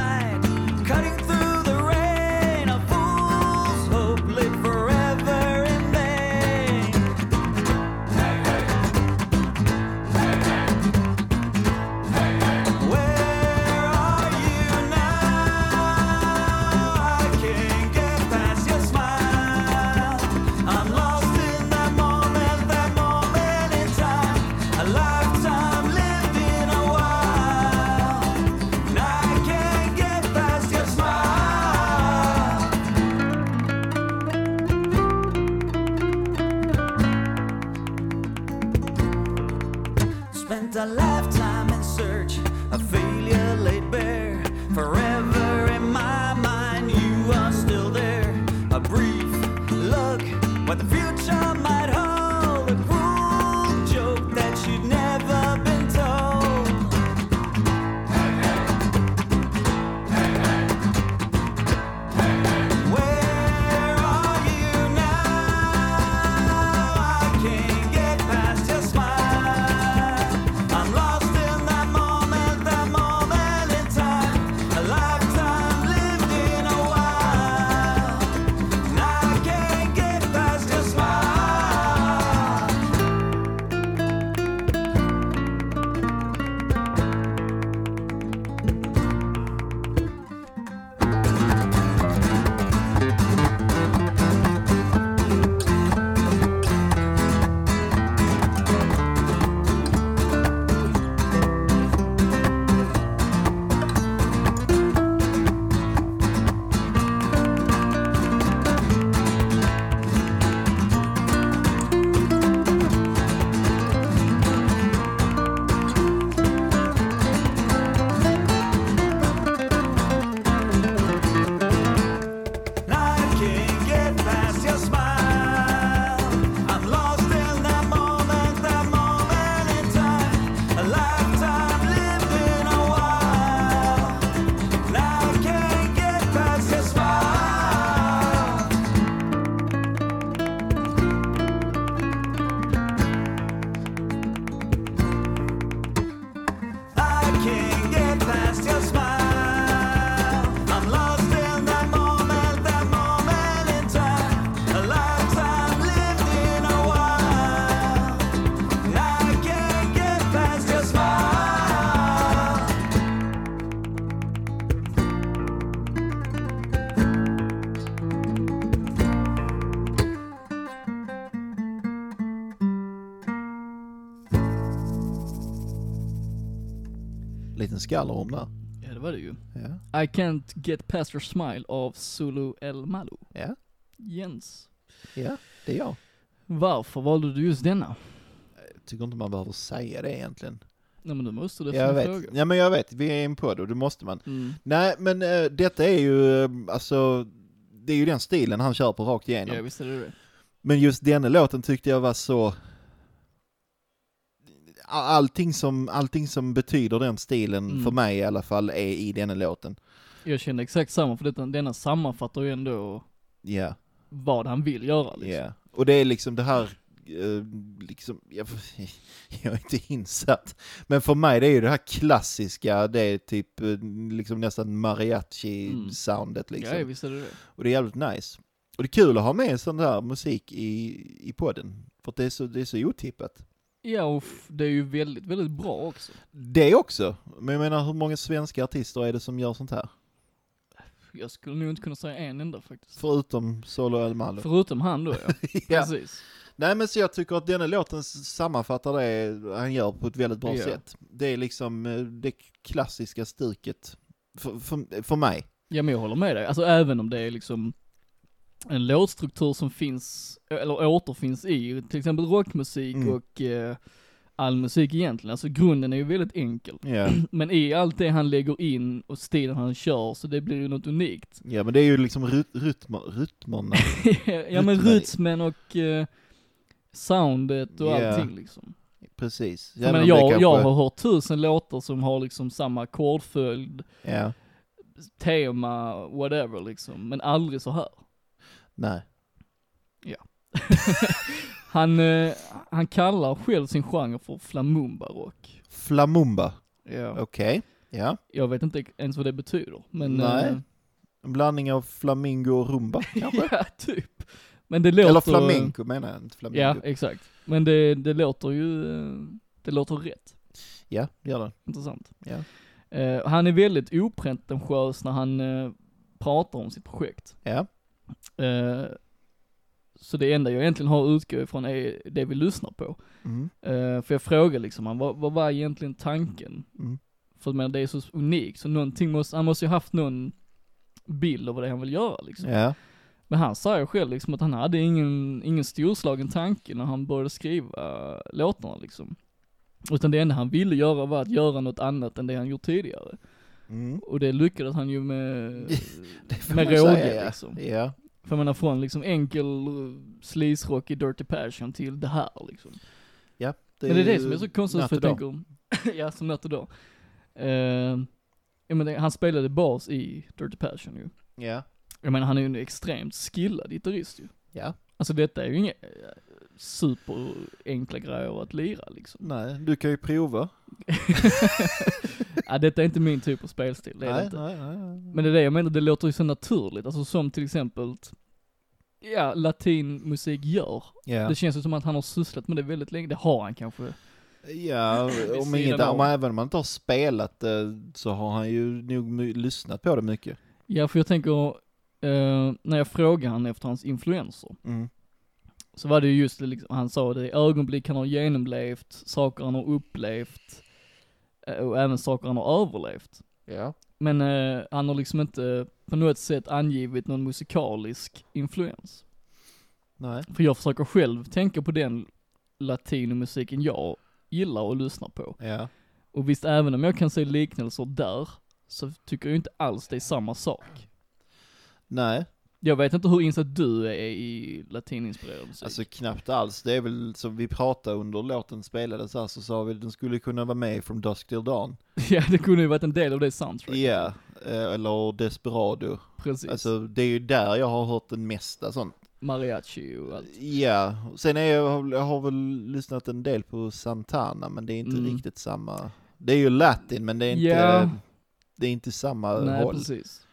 D: light cutting through the rain. A fool's hope lit forever in vain. Where are you now? I can't get past your smile. I'm lost in that moment, that moment in time. A lifetime lived in a while. And I can't get past your smile. Spent a lifetime in search, a failure laid bare. Forever in my mind, you are still there. A brief look, what the future might hold. A cruel joke that you'd never been told. Where are you now? I can't get past your smile. I'm lost in that moment, that moment in time. A lifetime lived in a while. And I can't get past your smile. I can't get past your smile. I'm lost in that moment, that moment in time. A lifetime lived in a while. And I can't get past your smile. I can't get past your smile. I'm lost in that moment, that moment in time. A lifetime lived in a while. And I can't get past your smile.
A: Liten skallerorm där.
B: Ja det var det ju.
A: Ja.
B: I Can't Get Past Your Smile av Zulu El Malo.
A: Ja.
B: Jens.
A: ja, det är jag.
B: Varför valde du just denna?
A: Jag tycker inte man behöver säga det egentligen.
B: Nej men du måste det
A: Jag
B: som
A: vet.
B: fråga.
A: Ja, men jag vet, vi är en podd och det måste man.
B: Mm.
A: Nej, men eh, detta är ju, eh, alltså, det är ju den stilen han kör på rakt igenom.
B: Ja visst är det det.
A: Men just denna låten tyckte jag var så... A- Allting som, allting som betyder den stilen,
B: Mm.
A: för mig i alla fall, är i denna låten.
B: Jag kände exakt samma för detta, denna sammanfattar ju ändå
A: Ja,
B: vad han vill göra liksom.
A: ja. Och det är liksom det här, eh, liksom, jag, jag är inte insatt. Men för mig det är ju det här klassiska, det är typ eh, liksom nästan mariachi-soundet liksom.
B: Ja visst är det det.
A: Och det är jävligt nice. Och det är kul att ha med sån där musik i, i podden, för att det är så, det är så otippat.
B: Ja och f- det är ju väldigt, väldigt bra också.
A: Det också. Men jag menar, hur många svenska artister är det som gör sånt här?
B: Jag skulle nog inte kunna säga en enda faktiskt.
A: Förutom Solo El Malo.
B: Förutom han då ja.
A: Ja.
B: Precis.
A: Nej men så jag tycker att denna låten s- sammanfattar det han gör på ett väldigt bra
B: Ja.
A: sätt. Det är liksom eh, det klassiska stuket. För, för, för mig.
B: Ja men jag håller med dig, alltså även om det är liksom en låtstruktur som finns, eller återfinns i till exempel rockmusik
A: Mm.
B: och eh, all musik egentligen, alltså grunden är ju väldigt enkel.
A: Ja.
B: Men i allt det han lägger in och stilen han kör, så det blir ju något unikt.
A: ja men det är ju liksom ryt, rytmer, rytmerna.
B: ja
A: Rytmen.
B: men rytmen och eh, soundet och
A: Ja.
B: allting liksom.
A: Precis.
B: Jag, men
A: om det
B: jag, jag
A: kanske-
B: har hört tusen låtar som har liksom samma ackordföljd,
A: Ja.
B: tema, whatever liksom, men aldrig så här.
A: Nej.
B: Han, eh, han kallar själv sin genre för flamumba-rock.
A: Flamumba.
B: Ja.
A: Okej. Ja.
B: Jag vet inte ens vad det betyder, men...
A: Nej,
B: eh,
A: En blandning av flamingo och rumba kanske?
B: ja, typ. Men det låter...
A: Eller flamenco menar jag, inte flamingo.
B: Ja, exakt. Men det, det låter ju, eh, det låter rätt.
A: ja det gör det.
B: Intressant.
A: Ja.
B: Eh, han är väldigt opretentiös när han eh, pratar om sitt projekt.
A: Ja.
B: Eh, så det enda jag egentligen har att utgå ifrån är det vi lyssnar på.
A: Mm.
B: Eh, för jag frågar liksom han, vad, vad var egentligen tanken?
A: Mm.
B: För jag menar, det är så unikt, så någonting måste, han måste ju haft någon bild av vad det är han vill göra liksom.
A: Ja.
B: Men han säger själv liksom att han hade ingen, ingen storslagen tanke när han började skriva låtarna liksom. Utan det enda han ville göra var att göra något annat än det han gjort tidigare.
A: Mm.
B: Och det lyckades han ju med,
A: Det får
B: Eh, med
A: man säga,
B: råge
A: ja.
B: liksom.
A: Ja,
B: För jag menar från liksom enkel sleaze i Dirty Passion till det här liksom.
A: det
B: Men det är
A: ju
B: det som är så konstigt
A: natt
B: för
A: och
B: jag
A: dag.
B: tänker, om- ja som natt och dag. Eh, jag menar, han spelade bas i Dirty Passion ju.
A: Ja,
B: Jag menar han är ju en extremt skillad gitarrist ju.
A: ja.
B: Alltså detta är ju inga eh, superenkla grejer att lira liksom.
A: Nej, du kan ju prova.
B: ja, detta är inte min typ av spelstil, det är det
A: nej,
B: inte.
A: nej, nej, nej.
B: Men det är det jag menar, det låter ju så naturligt, alltså som till exempel Ja, latinmusik gör.
A: Ja,
B: Det känns ju som att han har sysslat med det väldigt länge, det har han kanske.
A: ja om
B: sidan
A: inget,
B: av.
A: om, även om man inte har spelat det så har han ju nog my- lyssnat på det mycket.
B: Ja, för jag tänker, eh, när jag frågar han efter hans influenser,
A: Mm.
B: så var det ju just det liksom, han sa det, ögonblick han har genomlevt, saker han har upplevt, eh, och även saker han har överlevt.
A: Ja.
B: Men eh, han har liksom inte på något sätt angivit någon musikalisk influens.
A: Nej.
B: För jag försöker själv tänka på den latinomusiken jag gillar och lyssnar på.
A: Ja.
B: Och visst, även om jag kan se liknelser där, så tycker jag inte alls det är samma sak.
A: Nej,
B: Jag vet inte hur insatt du är i latininspirerad musik.
A: alltså knappt alls. Det är väl som vi pratade under låten spelades här så sa vi att den skulle kunna vara med från Dusk Till Dawn.
B: ja, det kunde ju varit en del av det
A: Ja,
B: soundtrack.
A: eh, eller Desperado.
B: Precis.
A: Alltså det är ju där jag har hört den mesta sånt.
B: Mariachi och allt.
A: Ja, sen är jag, jag har väl lyssnat en del på Santana, men det är inte
B: Mm.
A: riktigt samma. Det är ju latin, men det är inte,
B: Ja.
A: det är inte samma
B: Nej,
A: håll.
B: precis.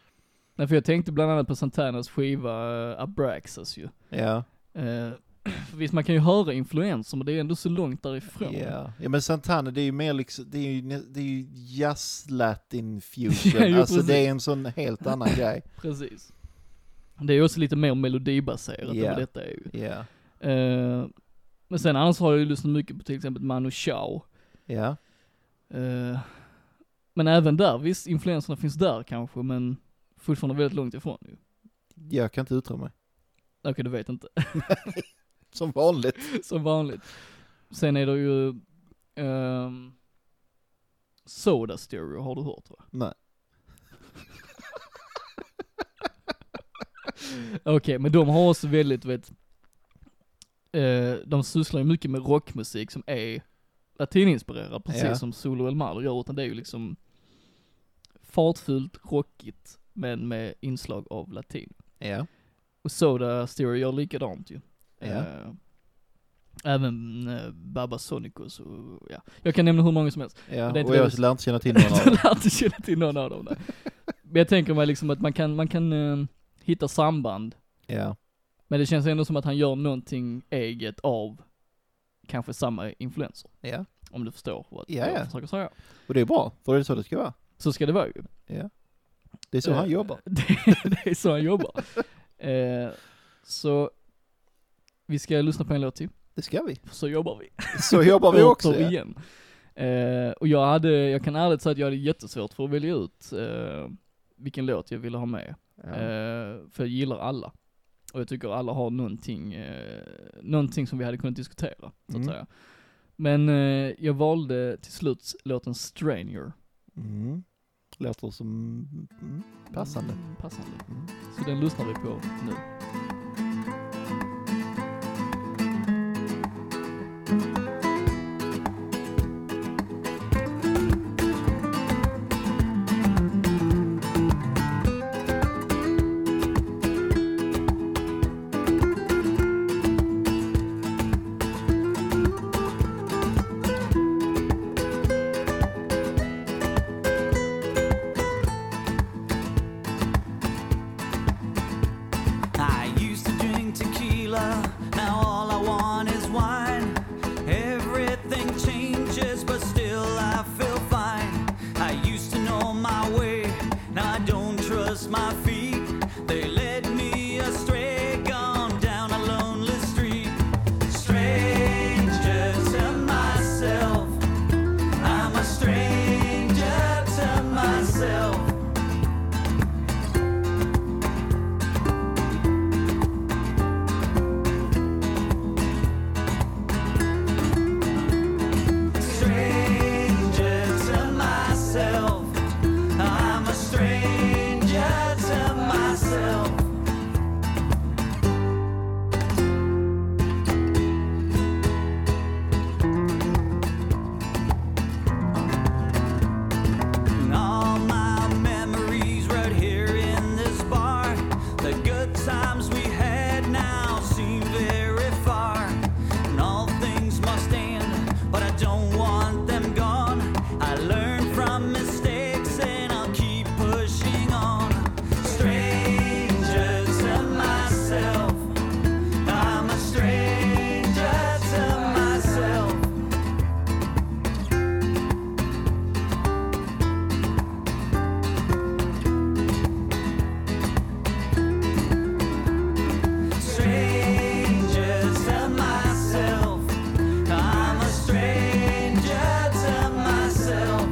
B: Nej, för jag tänkte bland annat på Santanas skiva eh, Abraxas ju.
A: Ja,
B: Eh, visst, man kan ju höra influenser, men det är ändå så långt därifrån.
A: ja. ja, men Santana det är ju mer liksom, det är ju, nä- det är ju jazz latin
B: Ja,
A: fusion.
B: jo,
A: alltså det
B: precis.
A: är en sån helt annan grej.
B: Precis. Det är också lite mer melodibaserat
A: Ja.
B: än vad detta är ju.
A: Ja,
B: Eh, men sen annars har jag ju lyssnat mycket på till exempel Manu Chao.
A: ja,
B: Eh, men även där, visst influenserna finns där kanske, men fortfarande väldigt långt ifrån ju.
A: jag kan inte yttra mig.
B: Okej, du vet inte.
A: Som vanligt.
B: Som vanligt. Sen är det ju, ehm, Soda Stereo har du hört va?
A: Nej.
B: Okej, men de har också väldigt, vet, eh, de sysslar ju mycket med rockmusik som är latininspirerad, precis
A: Ja.
B: som Solo El Malo gör, utan det är ju liksom fartfyllt, rockigt, men med inslag av latin.
A: Ja.
B: Och Soda Stereo gör likadant ju.
A: Ja.
B: Eh, även eh, Babasonicus och ja, jag kan nämna hur många som helst.
A: ja.
B: det är inte
A: Och jag
B: det-
A: lär inte känna till någon av
B: Jag
A: dem.
B: lär inte känna till någon av dem där. Men jag tänker mig liksom att man kan, man kan eh, hitta samband,
A: Ja.
B: men det känns ändå som att han gör någonting eget av kanske samma influenser.
A: ja.
B: Om du förstår vad
A: Ja, ja.
B: jag försöker säga.
A: Och det är bra, för det är så det ska vara.
B: Så ska det vara ju.
A: Det är så
B: Eh,
A: han jobbar.
B: Det, det är så han jobbar. eh, så vi ska lyssna på en låt till,
A: Det ska vi.
B: för så jobbar vi.
A: Så jobbar vi också. ja.
B: igen. Eh, och jag hade, jag kan ärligt säga att jag hade jättesvårt för att välja ut eh, vilken låt jag ville ha med.
A: Ja.
B: Eh, för jag gillar alla. Och jag tycker alla har någonting, eh, någonting som vi hade kunnat diskutera, så att
A: Mm.
B: säga. Men eh, jag valde till slut låten Stranger.
A: Mm. Låter som mm, passande.
B: Mm, Passande.
A: Mm.
B: Så den lyssnar vi på nu.
E: I used to drink tequila, now all I want is wine. Everything changes, but still I feel fine. I used to know my way, now I don't trust my feet. They led me astray, gone down a lonely street. Stranger to myself, I'm a stranger to myself. stranger to myself. I'm a stranger to myself. And all my memories right here in this bar. The good times we had now seem very far. And all things must end, but I don't want them gone. I learned from mistakes and I'll keep pushing on. Stranger to myself. I'm a stranger to myself. Stranger to myself. I'm a stranger to myself.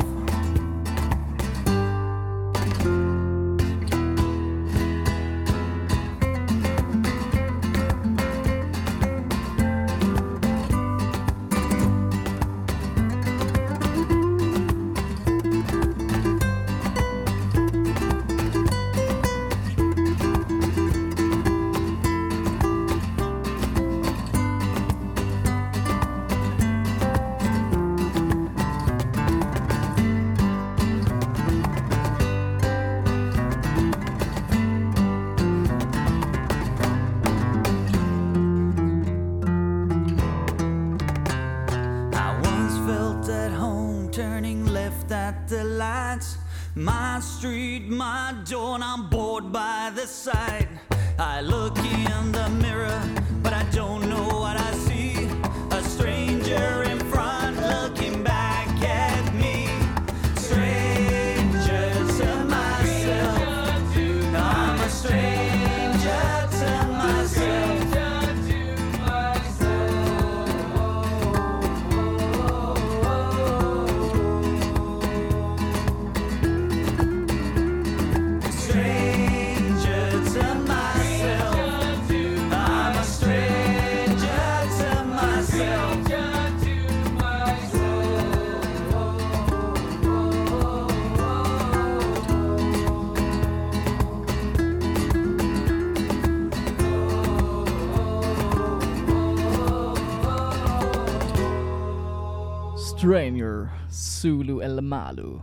E: I once felt at home, turning left at the lights. My street, my door, and I'm bored by the sight. I look in the mirror, but I don't know what I see. A stranger in front looking back at me. Stranger to myself. I'm a stranger to myself. Stranger to myself. I'm a stranger to
B: Trainer, Zulu El Malu.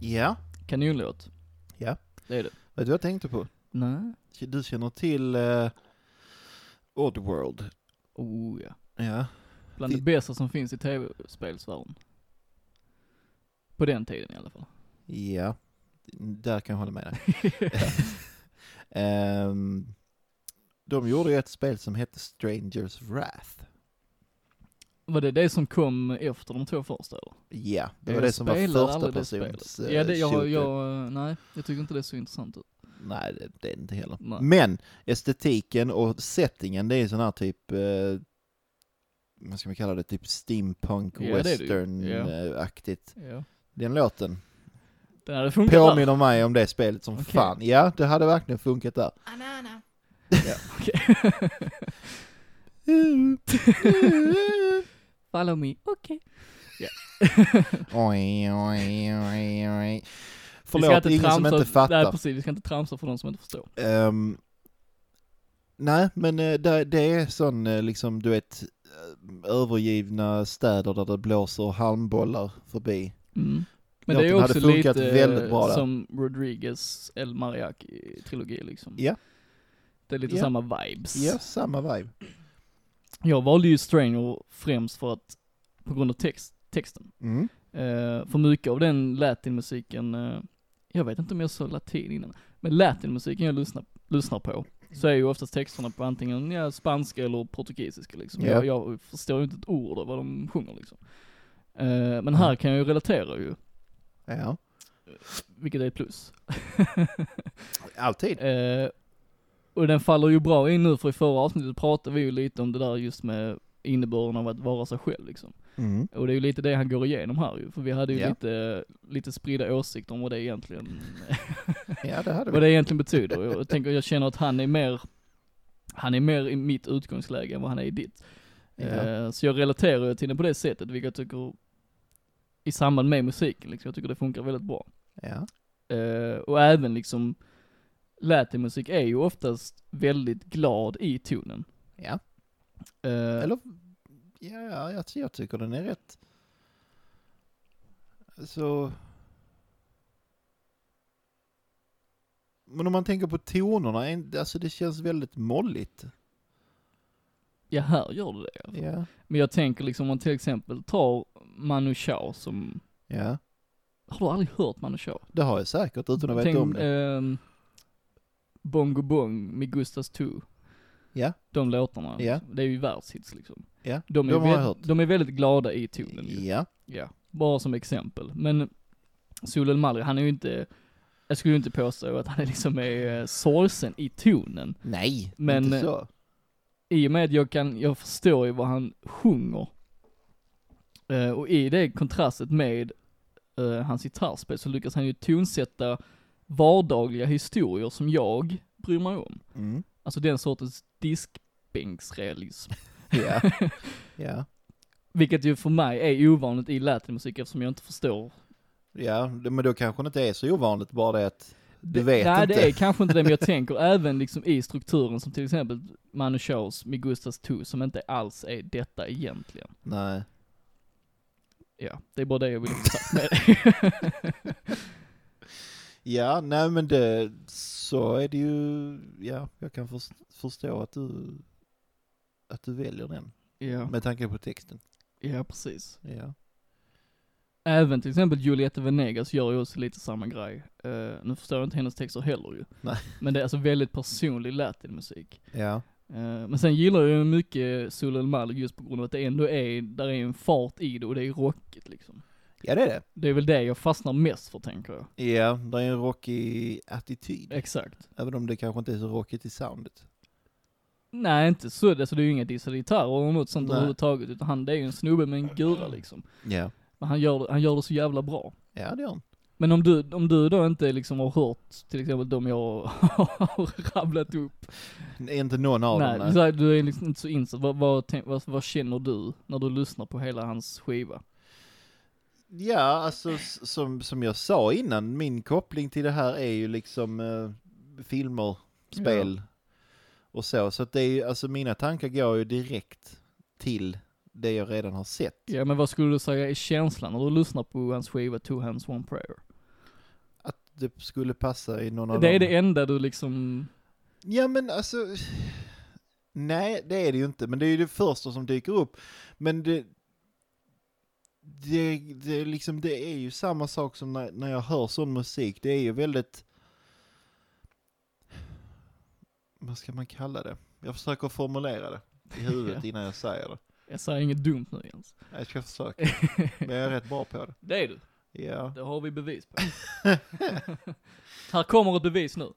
A: Ja,
B: Kanonlåt.
A: Ja.
B: Det är det.
A: vet du vad jag tänkte på?
B: Nej.
A: Du känner till eh, Oddworld?
B: Oh ja.
A: Ja.
B: Bland det bästa som finns i tv-spelsvärlden. På den tiden i alla fall.
A: Ja, där kan jag hålla med dig. Ehm, de gjorde ju ett spel som hette Strangers Wrath.
B: Var det det som kom efter de två första eller?
A: Ja, det var
B: Jag
A: det som var
B: spelade
A: första
B: Eh, aldrig det
A: persons
B: spelet.
A: eh,
B: Ja, det, jag,
A: shooter.
B: jag, nej, jag tycker inte det är så intressant ut.
A: Nej, det, det är inte heller.
B: Nej.
A: Men estetiken och settingen, det är sån här typ, eh, vad ska man kalla det, typ steampunk
B: Ja, det är det ju. Ja.
A: western-aktigt.
B: Ja.
A: Den låten
B: Den hade funkat där.
A: påminner mig om det spelet som
B: Okej.
A: fan. Ja, det hade verkligen funkat där.
C: Anana.
B: Follow me, okej.
A: Oj, oj, oj, oj.
B: Vi ska
A: Förlåt, ingen som inte fattar.
B: Nej precis, vi ska inte tramsa för de som inte förstår.
A: Ehm, nej, men eh, det, det är sån eh, liksom, du vet, eh, övergivna städer där det blåser halmbollar förbi.
B: Mm. Men
A: Låten
B: det är också
A: hade funkat
B: lite eh,
A: väldigt bra där.
B: som Rodriguez El Mariachi-trilogi liksom.
A: Ja.
B: Det är lite
A: Ja.
B: samma vibes.
A: Ja, samma vibe.
B: Jag valde ju Stranger främst för att, på grund av text, texten.
A: Mm.
B: Eh, för mycket av den latinmusiken, eh, jag vet inte om jag sa latin innan, men latinmusiken jag lyssnar, lyssnar på, så är ju oftast texterna på antingen ja, spanska eller portugisiska liksom.
A: Ja.
B: Jag, jag förstår ju inte ett ord av vad de sjunger liksom. Eh, men här kan jag ju relatera ju,
A: Ja,
B: vilket är ett plus.
A: alltid.
B: Eh, och den faller ju bra in nu, för i förra avsnittet pratade vi ju lite om det där just med innebörden av att vara sig själv liksom.
A: Mm.
B: Och det är ju lite det han går igenom här ju, för vi hade ju
A: Ja.
B: lite, lite spridda åsikter om vad det egentligen,
A: Ja, det hade
B: vad
A: vi.
B: det egentligen betyder. Jag tänker, jag känner att han är mer, han är mer i mitt utgångsläge än vad han är i ditt.
A: Ja.
B: Eh, Så jag relaterar ju till det på det sättet, vilket jag tycker, i samband med musiken liksom, jag tycker det funkar väldigt bra.
A: Ja.
B: Eh, Och även liksom, latinmusik är ju oftast väldigt glad i tonen.
A: ja.
B: Eh,
A: Eller, ja, jag, jag tycker den är rätt. Så... Men om man tänker på tonerna, en- alltså det känns väldigt molligt.
B: Ja, här gör du det.
A: Ja.
B: Men jag tänker liksom, om man till exempel tar Manu Chao som
A: Ja,
B: Har du aldrig hört Manu Chao?
A: det har jag säkert utan att
B: Tänk,
A: veta om det.
B: ehm, Bongo Bong med Gustas Two.
A: Ja.
B: De låtarna. alltså.
A: Ja.
B: Det är ju världshits liksom.
A: Ja,
B: De är,
A: de har jag
B: väl-
A: hört.
B: de är väldigt glada i tonen ju.
A: Ja,
B: Ja. Bara som exempel. Men Solel Malri, han är ju inte, jag skulle ju inte påstå att han är liksom är eh, sorgsen i tonen.
A: nej,
B: Men- eh,
A: inte så.
B: I och med att jag kan, jag förstår ju vad han sjunger. Eh, och i det kontrastet med eh, hans gitarrspel så lyckas han ju tonsätta vardagliga historier som jag bryr mig om.
A: Mm.
B: Alltså den sortens diskbänksrealism.
A: Ja, ja,
B: Vilket ju för mig är ovanligt i latinmusik eftersom jag inte förstår.
A: ja, det- men då kanske det inte är så ovanligt bara det att du vet
B: Nej
A: inte.
B: det är kanske inte det men jag tänker även liksom i strukturen som till exempel Manu Chaos med Gustavs Tu som inte alls är detta egentligen.
A: Nej,
B: Ja, det är bara det jag vill ha sagt med det.
A: ja, nej men det, så är det ju, ja, jag kan förs- förstå att du, att du väljer den
B: ja,
A: med tanke på texten.
B: ja, precis.
A: Ja,
B: Även till exempel Juliette Venegas gör ju också lite samma grej. Eh, nu förstår jag inte hennes texter heller ju.
A: Nej.
B: Men det är alltså väldigt personlig latinmusik.
A: ja,
B: Eh, men sen gillar jag ju mycket Sol El Mal just på grund av att det ändå är, där är en fart i det och det är rockigt liksom.
A: ja det är det.
B: Det är väl det jag fastnar mest för tänker jag.
A: Ja, det är en rockig attityd,
B: Exakt.
A: även om det kanske inte är så rockigt i soundet.
B: Nej inte så, alltså det är ju inga dissade gitarrer eller något sånt
A: Nej.
B: överhuvudtaget utan han, det är ju en snubbe med en gura liksom.
A: Ja,
B: Men han gör, det- han gör det så jävla bra.
A: ja det är han.
B: Men om du, om du då inte liksom har hört till exempel de jag har rabblat upp.
A: Det är Inte någon av
B: nej,
A: dem. nej.
B: så här, du är liksom inte så insatt. Vad, vad, tänk- vad, vad känner du när du lyssnar på hela hans skiva?
A: Ja, alltså s- som, som jag sa innan, min koppling till det här är ju liksom eh, filmer, spel och så. Så att det är ju, alltså mina tankar går ju direkt till det jag redan har sett.
B: Ja men vad skulle du säga är känslan när du lyssnar på hans skiva Two Hands One Prayer?
A: Att det skulle passa i någon av
B: det är
A: dem.
B: det enda du liksom,
A: Ja men alltså, nej det är det ju inte, men det är ju det första som dyker upp. Men det, det, det, är liksom, det är ju samma sak som när, när jag hör sån musik, det är ju väldigt, vad ska man kalla det? Jag försöker formulera det i huvudet innan jag säger det.
B: jag säger inget dumt nu Jens.
A: Jag ska försöka, men jag är rätt bra på det.
B: Det är du,
A: Ja.
B: det har vi bevis på. Här kommer ett bevis nu.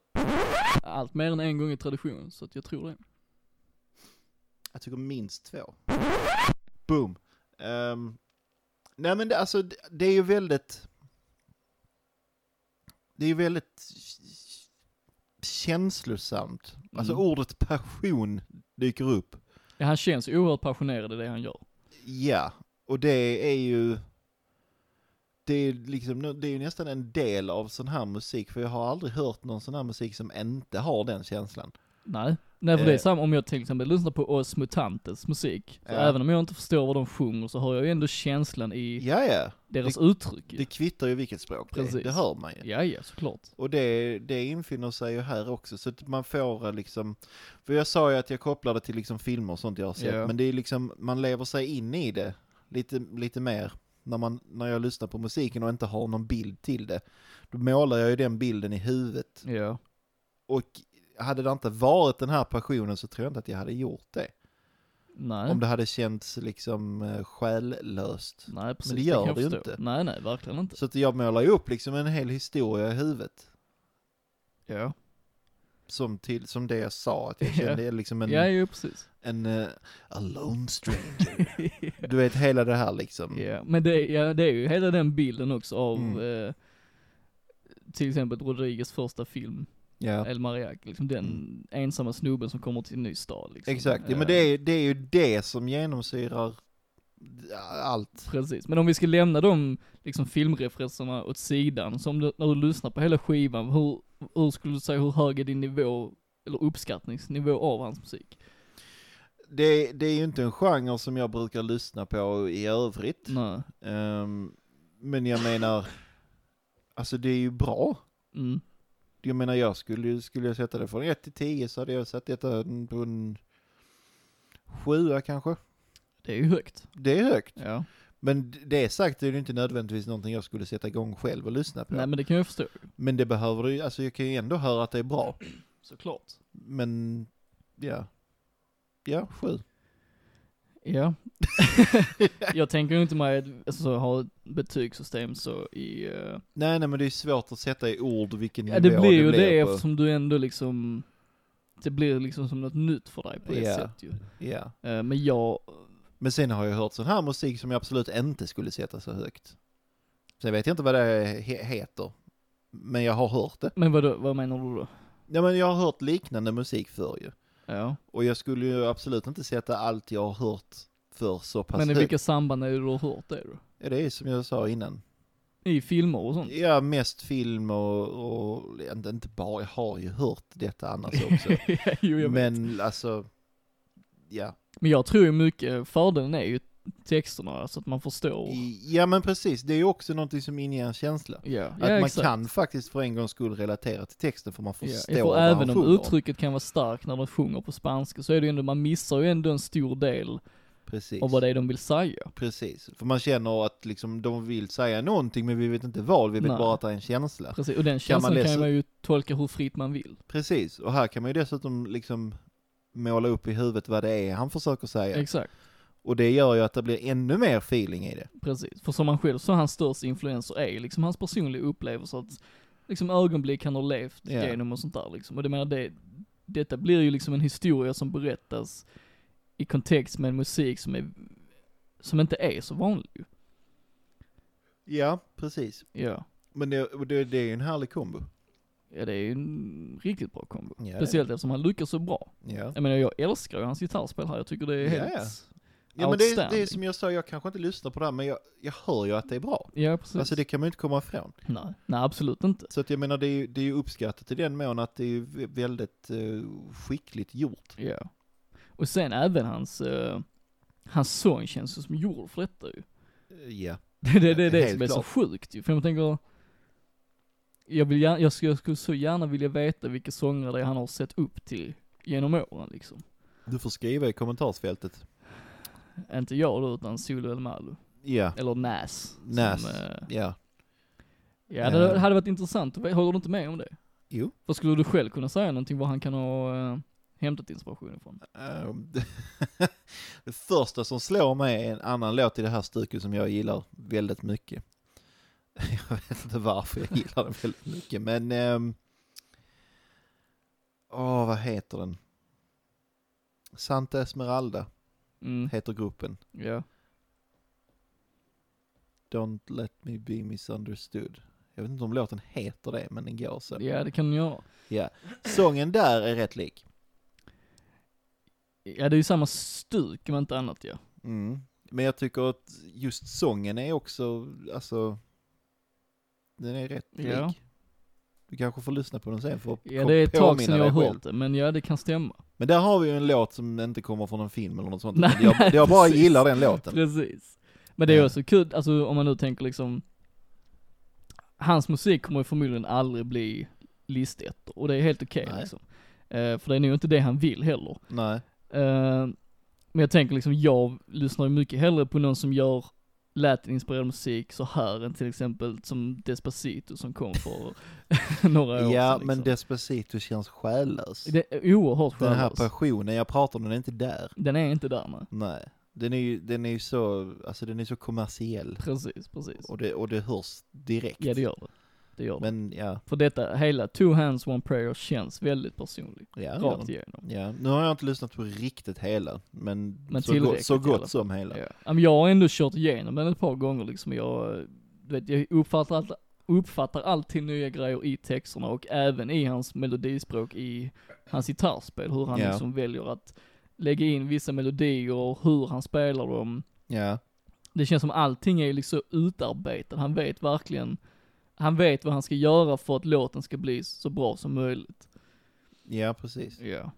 B: Allt mer än en gång i tradition, så att jag tror det.
A: Jag tycker minst två. Boom. Ehm, nej men det, alltså, det, det är ju väldigt... Det är ju väldigt känslosamt. Alltså
B: Mm.
A: ordet passion dyker upp.
B: Ja, han känns ju oerhört passionerad i det han gör.
A: Ja, och det är ju... Det är, liksom, det är ju nästan en del av sån här musik, för jag har aldrig hört någon sån här musik som inte har den känslan.
B: Nej. Nej för det är
A: Eh.
B: samma om jag till exempel lyssnar på Oss Mutantes musik. Så
A: Ja.
B: även om jag inte förstår vad de sjunger så har jag ju ändå känslan i
A: Ja, ja.
B: deras uttryck. ju.
A: Det kvittar ju vilket språk det är.
B: Precis.
A: Det hör man ju.
B: Ja, ja, såklart.
A: Och det, det infinner sig ju här också, så att man får eh, liksom, för jag sa ju att jag kopplade till liksom filmer och sånt jag har sett,
B: Ja.
A: men det är liksom, man lever sig in i det lite, lite mer när, man, när jag lyssnar på musiken och inte har någon bild till det. Då målar jag ju den bilden i huvudet.
B: Ja.
A: Och hade det inte varit den här passionen så tror jag inte att jag hade gjort det.
B: Nej.
A: Om det hade känts liksom eh, själlöst.
B: Nej, precis.
A: Men det gör
B: kan jag
A: det ju
B: förstå.
A: inte.
B: Nej, nej, verkligen inte.
A: Så att jag målar ju upp liksom en hel historia i huvudet.
B: Ja.
A: Som, till, som det jag sa, att jag
B: Ja.
A: kände liksom en...
B: ja, ju precis.
A: en eh, alone stranger. Du vet hela det här liksom.
B: Ja, men det, ja, det är ju hela den bilden också av
A: Mm.
B: eh, till exempel Rodriguez första film,
A: Ja. Mm.
B: El Mariac, liksom den ensamma snubben som kommer till en ny stad. Liksom.
A: Exakt, ja, men
B: Eh,
A: det är, det är ju det som genomsyrar allt.
B: Precis, men om vi ska lämna de liksom filmreferenserna åt sidan, som du, när du lyssnar på hela skivan, hur, hur skulle du säga, hur hög är din nivå, eller uppskattningsnivå av hans musik?
A: Det, det är ju inte en genre som jag brukar lyssna på i övrigt.
B: Nej.
A: Ehm, men jag menar, alltså det är ju bra.
B: Mm.
A: Jag menar jag skulle, ju- skulle jag sätta det från 1 till 10 så hade jag satt detta på en 7 kanske.
B: Det är ju högt.
A: Det är högt.
B: Ja.
A: Men det sagt är det inte nödvändigtvis någonting jag skulle sätta igång själv och lyssna på.
B: Nej men det kan jag förstå,
A: Men det behöver du ju- alltså jag kan ju ändå höra att det är bra.
B: såklart.
A: Men, ja. Ja, sju.
B: Ja. jag tänker ju inte mig att alltså, ha ett betygssystem så i... eh,
A: Nej, nej, men det är svårt att sätta i ord vilken
B: ja det
A: nivå
B: blir ju det,
A: på.
B: eftersom du ändå liksom... Det blir liksom som något nytt för dig på det
A: Ja.
B: sättet ju.
A: Ja.
B: Eh, men jag...
A: Men sen har jag hört sån här musik som jag absolut inte skulle sätta så högt. Sen vet jag inte vad det he- heter. Men jag har hört det.
B: Men vadå, vad menar du då?
A: Ja, men jag har hört liknande musik förr ju.
B: Ja.
A: Och jag skulle ju absolut inte sätta allt jag har hört för så pass
B: Men i
A: högt.
B: vilka samband är det du har hört det då?
A: Ja, det är som jag sa innan.
B: I filmer och sånt?
A: Ja, mest film och, och inte inte bara, jag har ju hört detta annars också.
B: jo, jag men...
A: Men alltså, ja.
B: men jag tror ju mycket, fördelen är ju texterna, alltså att man förstår.
A: I- Ja men precis, det är ju också någonting som inger en känsla.
B: Ja,
A: Att
B: ja
A: man
B: exakt.
A: kan faktiskt för en gångs skull relatera till texten för man förstår
B: Ja, för
A: vad
B: även
A: han
B: om
A: sjunger.
B: uttrycket kan vara starkt när de sjunger på spanska så är det ju ändå, man missar ju ändå en stor del
A: Precis.
B: av vad det är de vill säga.
A: Precis, för man känner att liksom de vill säga någonting men vi vet inte vad, vi vet
B: Nej.
A: bara att det är en känsla.
B: Precis, och den
A: man
B: känslan kan,
A: läsa-
B: man ju tolka hur fritt man vill.
A: Precis, och här kan man ju dessutom liksom måla upp i huvudet vad det är han försöker säga.
B: Exakt,
A: och det gör ju att det blir ännu mer feeling i det.
B: precis. För som han själv sa, hans största influenser är liksom hans personliga upplevelse, att liksom ögonblick han har levt
A: Ja.
B: genom och sånt där liksom. Och det menar det, detta blir ju liksom en historia som berättas i kontext med en musik som är, som inte är så vanlig ju.
A: Ja, precis.
B: Ja.
A: Men det, och det, det är ju en härlig kombo.
B: Ja det är ju en riktigt bra kombo.
A: Ja,
B: Speciellt eftersom han lyckas så bra.
A: Ja.
B: Jag menar jag älskar ju hans gitarrspel här, jag tycker det är
A: Ja,
B: helt...
A: ja. ja men det, det är
B: outstanding.
A: som jag sa, jag kanske inte lyssnar på det här, men jag, jag hör ju att det är bra.
B: Ja, precis.
A: Alltså det kan man ju inte komma ifrån.
B: Nej, nej absolut inte.
A: Så att jag menar, det är ju, det är ju uppskattat i den mån att det är ju vä- väldigt eh, skickligt gjort.
B: Ja. Och sen även hans, eh, Hans sång känns ju som gjord för detta ju.
A: Ja.
B: Det, det, det är det
A: Helt
B: som är så
A: klart.
B: sjukt ju, för jag tänker, jag, vill gärna, jag, skulle, jag skulle så gärna vilja veta vilka sångare det är han har sett upp till genom åren liksom.
A: Du får skriva i kommentarsfältet.
B: Inte jag då, utan Solo El Malo.
A: Ja.
B: Eller Nas. som,
A: Nas.
B: eh,
A: Ja.
B: ja, det
A: Eh.
B: hade varit intressant, att veta. håller du inte med om det?
A: Jo.
B: Vad skulle du själv kunna säga någonting var han kan ha eh, hämtat inspiration ifrån?
A: Ehm, det första som slår mig är en annan låt i det här stycket som jag gillar väldigt mycket. Jag vet inte varför jag gillar den väldigt mycket, men... ehm, Åh, vad heter den? Santa Esmeralda
B: Mm,
A: heter gruppen.
B: ja.
A: Don't let me be misunderstood. Jag vet inte om låten heter det, men den går så.
B: ja, det kan han göra.
A: Sången där är rätt lik.
B: Ja, det är ju samma stuk om inte annat ja.
A: Mm. Men jag tycker att just sången är också, alltså, den är rätt
B: Ja.
A: lik. Du kanske får lyssna på den sen för att
B: Ja,
A: kom-
B: det är ett tag
A: påminna
B: sedan jag
A: dig
B: har
A: själv.
B: hört det, men ja, det kan stämma.
A: Men där har vi ju en låt som inte kommer från en film eller något sånt.
B: Nej,
A: utan jag, jag bara
B: precis.
A: gillar den låten.
B: Precis. Men det är
A: Ja.
B: också kul, alltså om man nu tänker liksom, hans musik kommer ju förmodligen aldrig bli listettor, och det är helt okej
A: Nej.
B: liksom. Eh, för det är nog inte det han vill heller.
A: Nej,
B: Eh, men jag tänker liksom, jag lyssnar ju mycket hellre på någon som gör Latin-inspirerad musik så här än till exempel som Despacito som kom för några år sedan.
A: ja men
B: liksom.
A: Despacito känns själlös.
B: det är oerhört
A: Den här
B: skönlös.
A: passionen jag pratar om, den är inte där.
B: Den är inte där nej.
A: Nej, den är ju, den är ju så, alltså den är så kommersiell.
B: Precis, precis.
A: Och det, och det hörs direkt.
B: Ja det gör det. Det gör det.
A: Men ja,
B: För detta, hela Two Hands One Prayer känns väldigt personlig.
A: ja. det gör den.
B: Rakt igenom.
A: Ja, nu har jag inte lyssnat på riktigt hela, men,
B: Men
A: så, gott,
B: tillräckligt
A: så
B: i alla fall.
A: gott som
B: Ja.
A: hela.
B: Ja, men Jag har ändå kört igenom den ett par gånger liksom. Jag, eh, du vet, jag uppfattar, allt, uppfattar alltid nya grejer i texterna och även i hans melodispråk i hans gitarrspel. Hur han
A: Ja.
B: liksom väljer att lägga in vissa melodier och hur han spelar dem.
A: Ja,
B: Det känns som allting är liksom utarbetat. Han vet verkligen, han vet vad han ska göra för att låten ska bli så bra som möjligt.
A: ja precis.
B: Ja.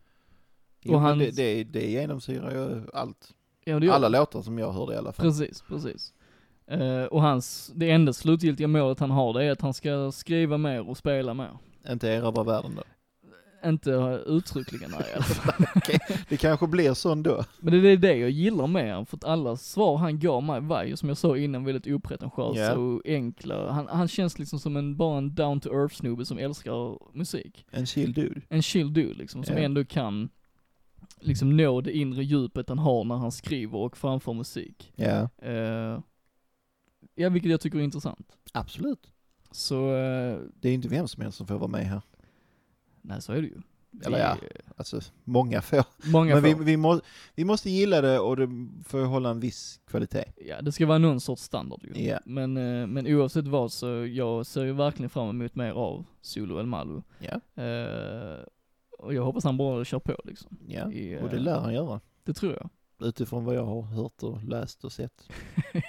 A: Jo, men
B: han-
A: Det, det, det genomsyrar ju allt.
B: ja det gör
A: Alla
B: det.
A: låtar som jag hörde i alla fall.
B: Precis, precis. Eh, och hans, det enda slutgiltiga målet han har det är att han ska skriva mer och spela mer.
A: Inte erövra världen då.
B: Inte uttryckligen nej i alla fall.
A: Det kanske blir sån då.
B: Men det är det jag gillar med honom, för att alla svar han gav mig var ju som jag sa innan väldigt opretentiösa
A: Ja.
B: och enkla. Han, han känns liksom som en, bara en down to earth snubbe som älskar musik.
A: En chill dude.
B: En chill dude liksom, som
A: Ja.
B: ändå kan liksom nå det inre djupet han har när han skriver och framför musik.
A: Ja,
B: Eh, ja, vilket jag tycker är intressant.
A: absolut.
B: Så, eh,
A: Det är inte vem som helst som får vara med här.
B: Nej så är det ju. Vi-
A: Eller ja. Alltså, många får.
B: Många
A: Men vi,
B: får.
A: vi, må, vi måste gilla det och det får hålla en viss kvalitet.
B: Ja det ska vara någon sorts standard ju.
A: Ja.
B: Men, eh, men oavsett vad så jag ser ju verkligen fram emot mer av Solo El Malo.
A: Ja,
B: Eh, och jag hoppas han bara kör på liksom.
A: ja.
B: I, eh,
A: Och det lär han göra.
B: det tror jag.
A: Utifrån vad jag har hört och läst och sett.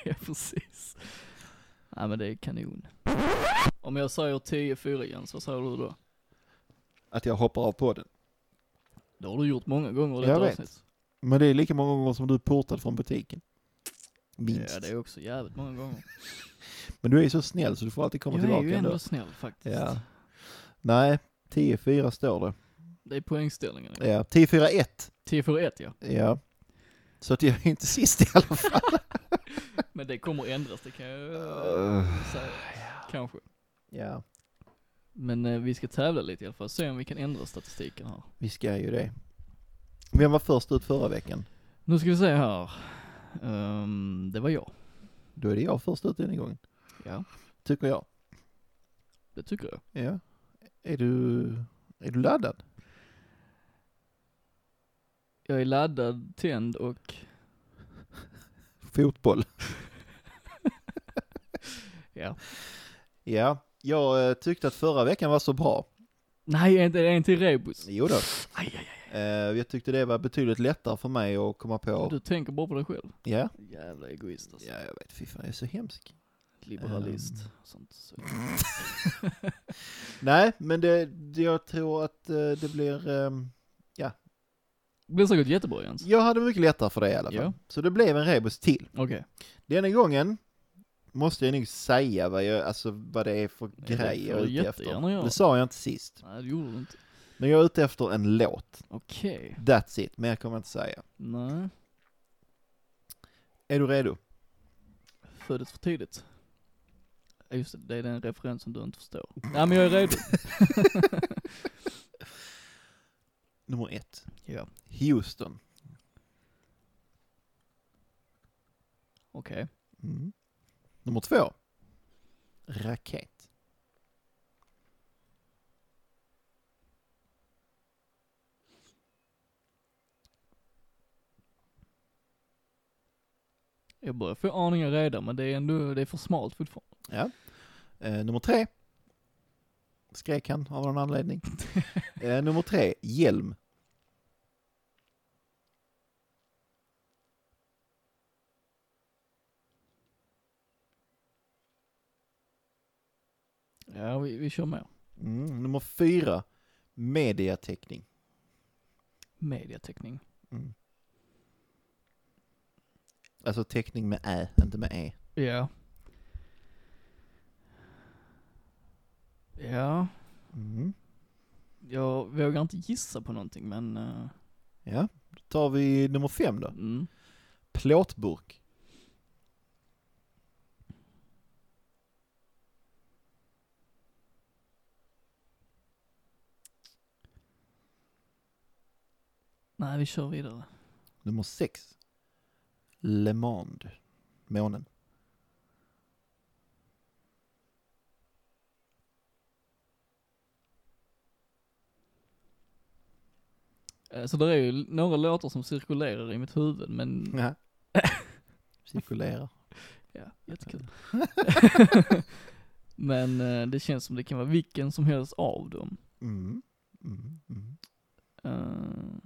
B: ja precis. Nej men det är kanon. Om jag säger 10-4 igen, så säger du då?
A: Att jag hoppar av podden.
B: Det har du gjort många gånger i
A: Jag
B: detta
A: vet.
B: avsnitt.
A: Men det är lika många gånger som du är portad från butiken. Minst.
B: Ja det är också jävligt många gånger.
A: Men du är ju så snäll så du får alltid komma
B: jag är
A: tillbaka
B: ju ändå
A: ändå.
B: snäll faktiskt.
A: Ja. Nej, 10-4 står det.
B: Det är poängställningen.
A: Ja, 10-4-1.
B: 10-4-1 ja.
A: Ja. Så att jag är inte sist i alla fall.
B: Men det kommer ändras, det kan jag
A: Eh,
B: säga. Kanske.
A: ja,
B: Men eh, vi ska tävla lite i alla fall, se om vi kan ändra statistiken här.
A: vi ska ju det. Vem var först ut förra veckan?
B: Nu ska vi se här. Ehm, det var jag.
A: Då är det jag först ut denna gången,
B: Ja,
A: tycker jag.
B: det tycker jag.
A: Ja. Är du, är du laddad?
B: Jag är laddad, tänd och
A: Fotboll.
B: ja.
A: Ja, jag eh, tyckte att förra veckan var så bra.
B: Nej, en, en till rebus.
A: Jo då.
B: Aj, aj, aj.
A: Eh, jag tyckte det var betydligt lättare för mig att komma på.
B: Du tänker bara på dig själv.
A: Ja.
B: Jävla egoist alltså.
A: Ja, jag vet. Fy fan, jag är så hemsk.
B: Liberalist.
A: Ehm.
B: Sånt. Så.
A: Nej, men det, det- jag tror att eh, det blir, ehm, ja,
B: blir säkert jättebra Jens.
A: Jag hade mycket lättare för det i alla fall.
B: Ja.
A: Så det blev en rebus till.
B: Okej.
A: Denna gången måste jag nog säga vad, jag, alltså, vad det är för
B: det
A: grej jag är
B: får du
A: ute
B: jättegärna
A: efter.
B: göra.
A: Det sa jag inte sist.
B: Nej, det gjorde du inte.
A: Men jag är ute efter en låt.
B: Okej.
A: That's it. Mer kommer jag inte säga.
B: Nej.
A: Är du redo?
B: Föddes för tidigt. Ja, Just det, det är den referensen du inte förstår. Nej, men jag är redo.
A: Nummer ett.
B: ja.
A: Houston.
B: Okej.
A: Mm. Nummer två. Raket.
B: Jag börjar få aningar redan, men det är ändå, det är för smalt fortfarande.
A: Ja. Eh, nummer tre. Skrek han av någon anledning. eh, nummer tre. Hjälm.
B: Ja, vi, vi kör med.
A: Mm. Nummer fyra. Mediateckning.
B: Mediateckning.
A: Mm. Alltså teckning med ä, inte med e.
B: Ja. Ja,
A: Mm.
B: jag vågar inte gissa på någonting, men... eh,
A: Ja, då tar vi nummer fem då.
B: mm.
A: Plåtburk.
B: Nej, vi kör vidare.
A: Nummer sex. Le Monde. Månen.
B: Eh, Så det är ju några låtar som cirkulerar i mitt huvud, men
A: Ja. Cirkulerar.
B: ja, jättekul. men eh, det känns som det kan vara vilken som helst av dem.
A: Mm. Mm. Mm.
B: Eh.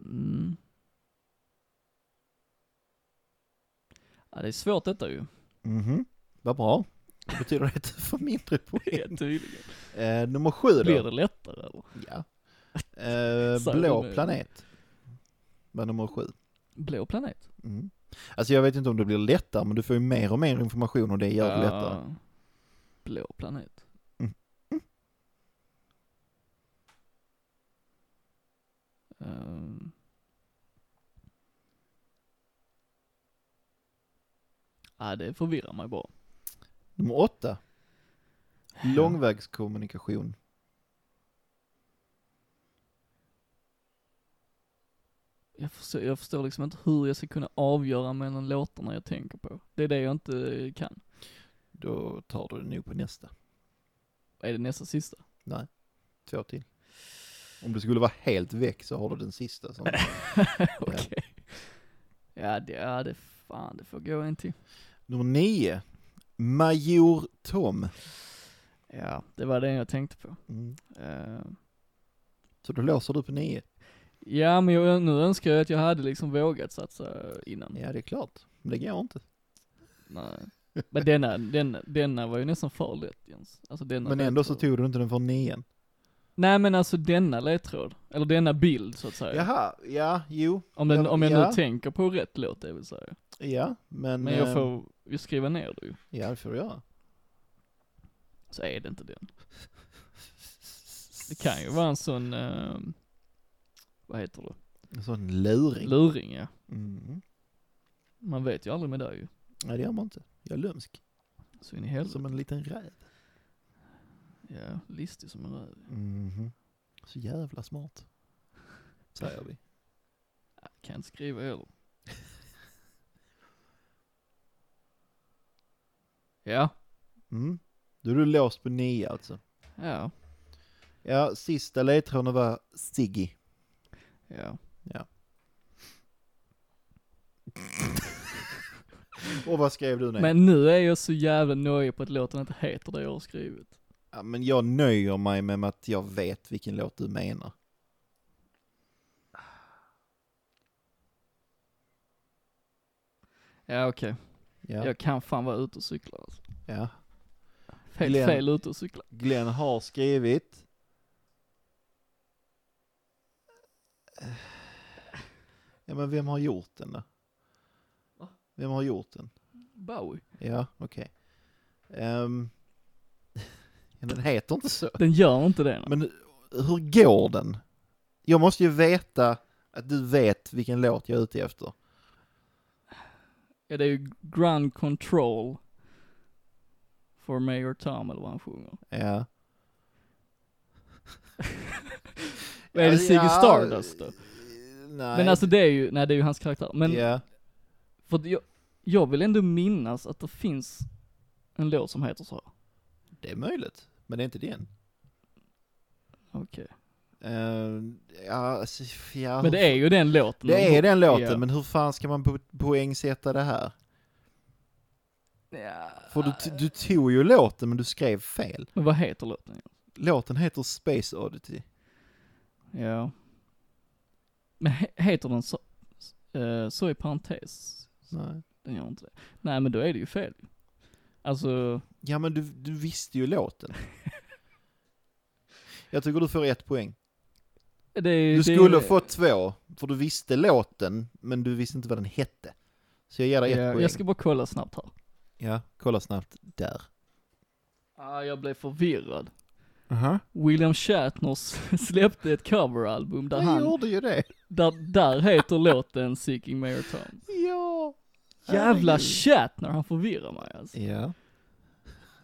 B: Mm. Ja, det är svårt detta ju.
A: Mhm. Vad bra. Det betyder att du får mindre poäng.
B: Tydligen.
A: Eh, nummer sju
B: Blir
A: då.
B: det lättare eller?
A: Ja. Eh,
B: Så
A: blå
B: onödigt.
A: planet. Var nummer sju.
B: Blå planet.
A: Mm. Alltså jag vet inte om det blir lättare, men du får ju mer och mer information och det gör det lättare.
B: Ja. Eh, Blå planet.
A: Mm.
B: Ehm. Ja, det förvirrar mig bara.
A: Nummer åtta. Långvägskommunikation.
B: Jag förstår, jag förstår liksom inte hur jag ska kunna avgöra mellan låtarna jag tänker på. Det är det jag inte kan.
A: Då tar du det nog på nästa.
B: Är det nästa sista?
A: Två till. Om du skulle vara helt väck så har du den sista. Som...
B: Okej. Ja, det, ja, det, fan, det får gå en till.
A: Nummer nio. Major Tom.
B: Ja, det var det jag tänkte på.
A: Mm.
B: Ehm.
A: Så då låser du på nio.
B: Ja men jag, nu önskar jag att jag hade liksom vågat satsa innan.
A: Ja, det är klart. Men det går inte.
B: Nej. Men denna, denna, denna var ju nästan för lätt Jens. Alltså denna
A: Men ändå så
B: ledtråd.
A: tog du inte den för nian.
B: Nej men alltså denna ledtråd, eller denna bild så att säga.
A: Jaha, ja, jo,
B: Om, den,
A: Ja,
B: om jag
A: ja.
B: nu tänker på rätt låt det vill säga.
A: ja, men...
B: Men jag
A: eh,
B: får ju skriva ner det ju.
A: Ja, det får du göra.
B: Så är det inte den. Det kan ju vara en sån, eh, vad heter det?
A: En sån luring.
B: Luring ja.
A: Mm.
B: Man vet ju aldrig med det ju.
A: Nej, det gör man inte. Jag är lömsk.
B: Så in i helvete.
A: Som en liten räv.
B: Ja, listig som en röv.
A: Mhm. Så jävla smart. Säger vi.
B: Ja, Kan inte skriva heller. ja,
A: Mm. Då är du låst på nio alltså.
B: ja,
A: Ja, sista ledtråden var Siggy.
B: ja.
A: Och vad skrev du nu?
B: Men nu är jag så jävla nöjd på att låten inte heter det jag har skrivit.
A: Ja, men jag nöjer mig med att jag vet vilken låt du menar.
B: Ja okej,
A: Ja.
B: jag kan fan vara ute och cykla alltså.
A: ja.
B: Helt
A: Glenn.
B: fel ute och cykla.
A: Glenn har skrivit Ja men vem har gjort den då?
B: Va?
A: Vem har gjort den?
B: Bowie.
A: Ja, okej. Ehm, ja, den heter inte så.
B: Den gör inte det. nej.
A: Men hur går den? Jag måste ju veta att du vet vilken låt jag är ute efter.
B: Ja, det är ju ground control. For Mayor Tom eller vad han sjunger.
A: Ja.
B: Vad är det, Ziggy
A: Ja,
B: Stardust då?
A: Nej.
B: Men alltså det är ju, nej det är ju hans karaktär. Men
A: Ja.
B: för att jag, jag vill ändå minnas att det finns en låt som heter så. här.
A: Det är möjligt, men det är inte den.
B: Okej.
A: Ehm, ja, alltså, ja.
B: Men det är ju den låten.
A: Det är den låten,
B: Ja.
A: men hur fan ska man po- poängsätta det här?
B: Ja.
A: För du, t- du tog ju låten, men du skrev fel.
B: Men vad heter låten?
A: Låten heter Space Oddity.
B: Ja. Men he, heter den så, eh, så i parentes?
A: Nej.
B: Den gör inte det. Nej men då är det ju fel. Alltså,
A: Ja, men du, du visste ju låten. Jag tycker du får ett poäng.
B: det är
A: Du
B: det
A: skulle
B: är,
A: få två, för du visste låten, men du visste inte vad den hette. Så jag ger dig ett
B: ja,
A: poäng.
B: Jag ska bara kolla snabbt här.
A: Ja, kolla snabbt där.
B: Ah, jag blev förvirrad.
A: Aha.
B: William Shatner s- släppte ett coveralbum där
A: Jag
B: han,
A: gjorde ju det.
B: där, där heter låten Seeking Mayor Tom.
A: Ja.
B: Jävla
A: Herregud.
B: Shatner, han förvirrar mig alltså.
A: Ja.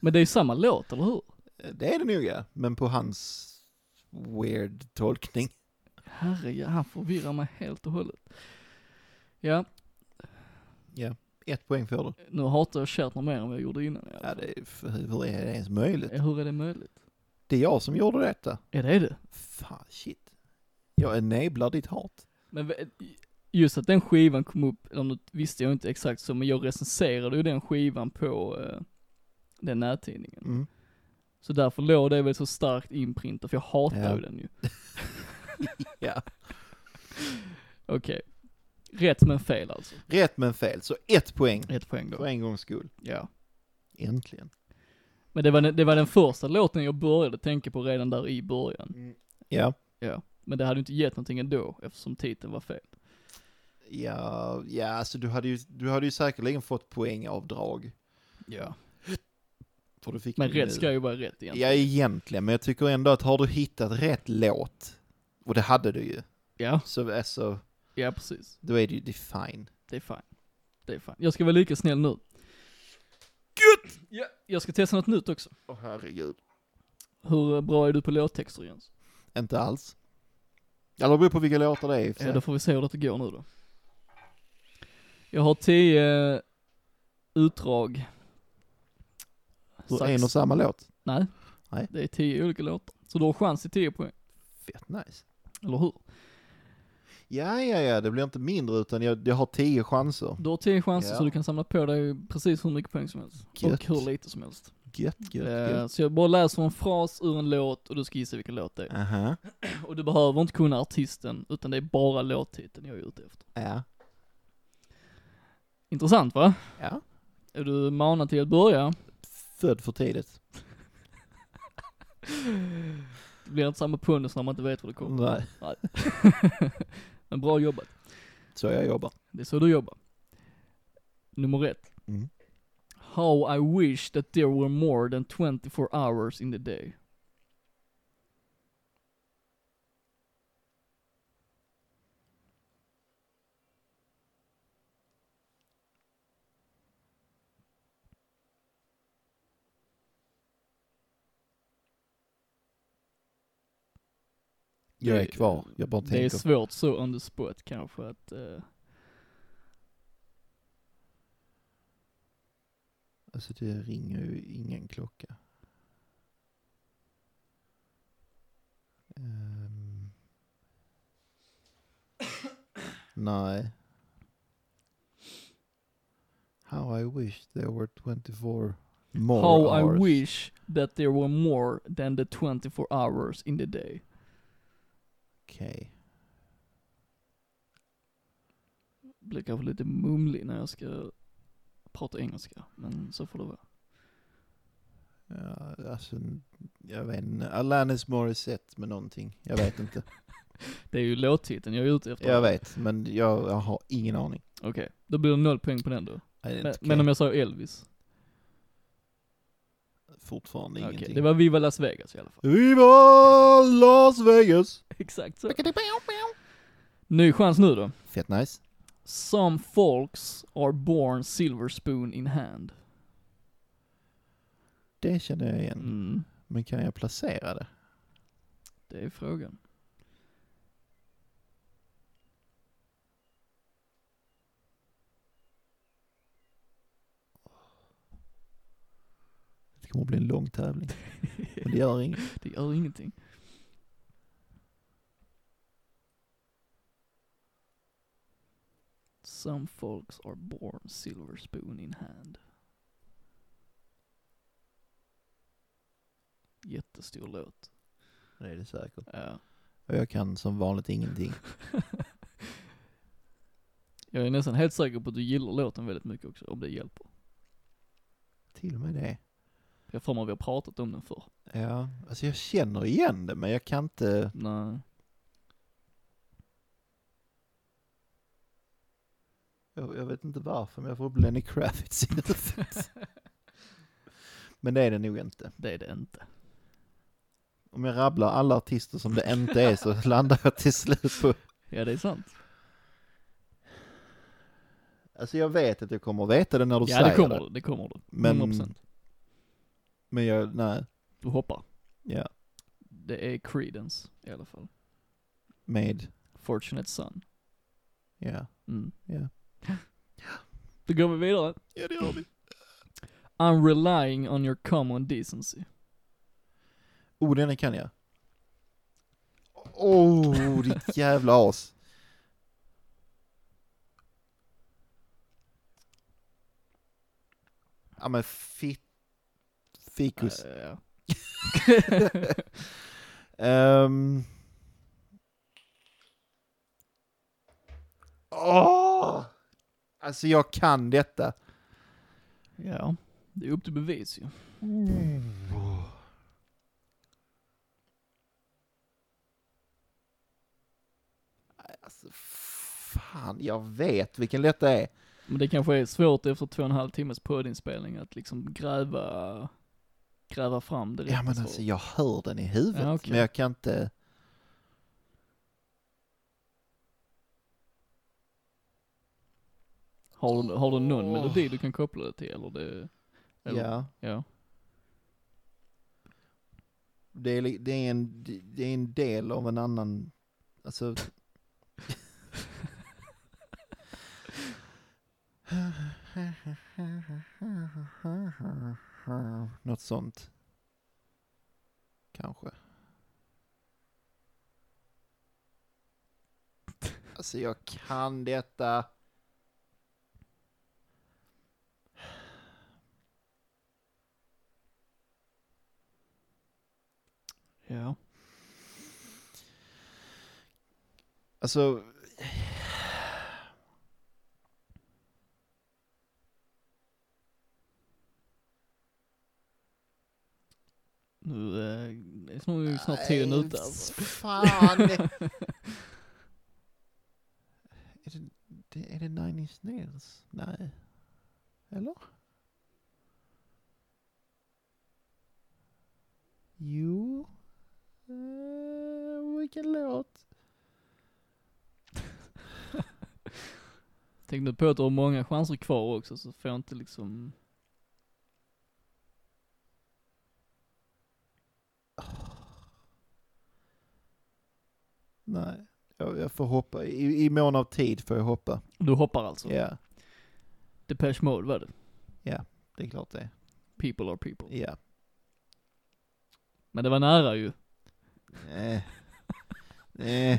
B: Men det är ju samma låt, eller hur?
A: Det är det nog ja, men på hans weird tolkning.
B: Herregud, han förvirrar mig helt och hållet. Ja,
A: Ett poäng får du.
B: nu hatar jag Shatner mer än vad jag gjorde innan. i alla
A: Ja,
B: fall.
A: det är, för hur är det ens möjligt?
B: Ja, Hur är det möjligt?
A: Det är jag som gjorde detta.
B: Ja, det är det.
A: Fan, shit. Jag enablar ditt hat.
B: Men v- just att den skivan kom upp, eller nu visste jag inte exakt så, men jag recenserade ju den skivan på eh, den nättidningen.
A: Mm.
B: Så därför låg det väl så starkt inprintat, för jag hatar
A: Ja.
B: ju den ju.
A: Ja.
B: Okej. Rätt men fel alltså.
A: Rätt men fel, så ett poäng.
B: Ett poäng då.
A: För en gångs skull.
B: Ja.
A: Äntligen.
B: Men det var, den, det var den första låten jag började tänka på redan där i början.
A: Ja.
B: Ja. Men det hade ju inte gett någonting ändå, eftersom titeln var fel.
A: Ja, ja, alltså du hade ju, du hade ju säkerligen fått poängavdrag.
B: Ja.
A: För du fick
B: Men
A: ju
B: rätt
A: nu.
B: ska ju vara rätt egentligen.
A: Ja, egentligen, men jag tycker ändå att har du hittat rätt låt, och det hade du ju,
B: Ja,
A: så alltså,
B: ja precis.
A: då är det ju det är fine.
B: Det är fine. Det är fine. Jag ska vara lika snäll nu. Gött! Ja, jag ska testa något nytt också.
A: Åh herregud.
B: Hur bra är du på låttexter Jens?
A: Inte alls. Eller det beror på vilka låtar det är i och för
B: Ja,
A: sig.
B: då får vi se hur det går nu då. Jag har tio eh, utdrag.
A: Ur
B: Sax-
A: en och samma låt.
B: Nej.
A: Nej.
B: Det är tio olika låtar. Så du har chans till tio poäng,
A: Fett nice.
B: eller hur?
A: Ja, ja, ja, det blir inte mindre utan jag, jag har tio chanser.
B: Du har tio chanser
A: Ja.
B: så du kan samla på dig precis hur mycket poäng som helst.
A: Gött.
B: Och hur lite som helst.
A: Gött, gött,
B: Eh,
A: gött.
B: Så jag bara läser en fras ur en låt och du ska gissa vilken låt det är.
A: Aha.
B: Och du behöver inte kunna artisten, utan det är bara låttiteln jag är ute efter.
A: Ja.
B: Intressant va?
A: Ja.
B: Är du manad till att börja?
A: Född för tidigt.
B: Det blir inte samma pundus när man inte vet var det kommer.
A: Nej,
B: Men bra jobbat.
A: så jag jobbar.
B: Det är så du jobbar. Nummer ett.
A: Mm.
B: How I wish that there were more than 24 hours in the day.
A: Jag är kvar, jag bara
B: Det är
A: tänker.
B: svårt så on the spot kanske att... eh,
A: Alltså det ringer ju ingen klocka. Ehm. Nej. How I wish there were 24 more
B: how
A: hours.
B: I wish that there were more than the 24 hours in the day.
A: Okej.
B: blir kanske lite mumlig när jag ska prata engelska, men så får det vara.
A: Ja, alltså, jag vet inte. Alanis Morissette med någonting. Jag vet inte.
B: Det är ju låttiteln jag är ute efter.
A: Jag vet, men jag, jag har ingen aning.
B: Okej, då blir det noll poäng på den då.
A: Nej, det är
B: Men,
A: inte
B: men
A: okej.
B: om jag sa Elvis?
A: Fortfarande
B: Okej,
A: ingenting.
B: det var Viva Las Vegas i alla fall.
A: Viva Las Vegas!
B: Exakt så. Ny chans nu då.
A: Fett nice.
B: Some folks are born silver spoon in hand.
A: Det känner jag igen.
B: Mm,
A: Men kan jag placera det?
B: det är frågan.
A: Det kommer att bli en lång tävling. Men det gör inget.
B: Det gör ingenting. Some folks are born silver spoon in hand. Jättestor låt.
A: Det är det säkert.
B: Ja.
A: Och jag kan som vanligt ingenting.
B: Jag är nästan helt säker på att du gillar låten väldigt mycket också, om det hjälper.
A: Till och med det.
B: Jag har för mig att vi har pratat om den förr.
A: Ja, alltså jag känner igen det men jag kan inte...
B: Nej.
A: Jag, jag vet inte varför men jag får upp Lenny Kravitz i huvudet. Men det är det nog inte.
B: Det är det inte.
A: Om jag rabblar alla artister som det inte är så landar jag till slut på...
B: Ja, det är sant.
A: Alltså jag vet att jag kommer veta det när du
B: Ja,
A: säger
B: det kommer du. Det kommer du.
A: Men-
B: 100%.
A: Men jag, nej.
B: Du hoppar.
A: Ja,
B: Det är Creedence i alla fall.
A: med.
B: Fortunate Son.
A: Ja.
B: Mm.
A: Ja.
B: Då går vi vidare.
A: Ja det gör vi.
B: I'm relying on your common decency.
A: Oh den kan jag. Oh ditt jävla as. Ja men fit... Fikus.
B: Äh, ja.
A: Ehm. Åh! Alltså jag kan detta.
B: ja, det är upp till bevis ju.
A: Alltså, fan, jag vet vilken lätt det är.
B: Men det kanske är svårt efter två och en halv timmes poddinspelning att liksom gräva, gräva fram det
A: Ja
B: rätta
A: men alltså
B: svaret.
A: jag hör den i huvudet
B: Ja, okej.
A: men jag kan inte...
B: har, du, har du någon melodi du kan koppla det till eller det, eller,
A: Ja.
B: ja.
A: Det är, li- det, är en, det är en del av en annan... Alltså... Något sånt. Kanske. Alltså jag kan detta.
B: Ja.
A: Alltså...
B: Nu, eh, det är snart, ju snart tiden
A: Nej,
B: ute alltså.
A: Fan! är, det, det, är det Nine Inch Nails? Nej. Eller? Jo. Uh, vilken låt?
B: Tänk nu på att du har många chanser kvar också så får jag inte liksom,
A: Nej. Jag, jag får hoppa. I, I mån av tid får jag hoppa.
B: du hoppar alltså.
A: Ja,
B: Depeche Mode var det.
A: det är klart det.
B: People are people.
A: Ja.
B: Men det var nära ju.
A: Eh. Eh.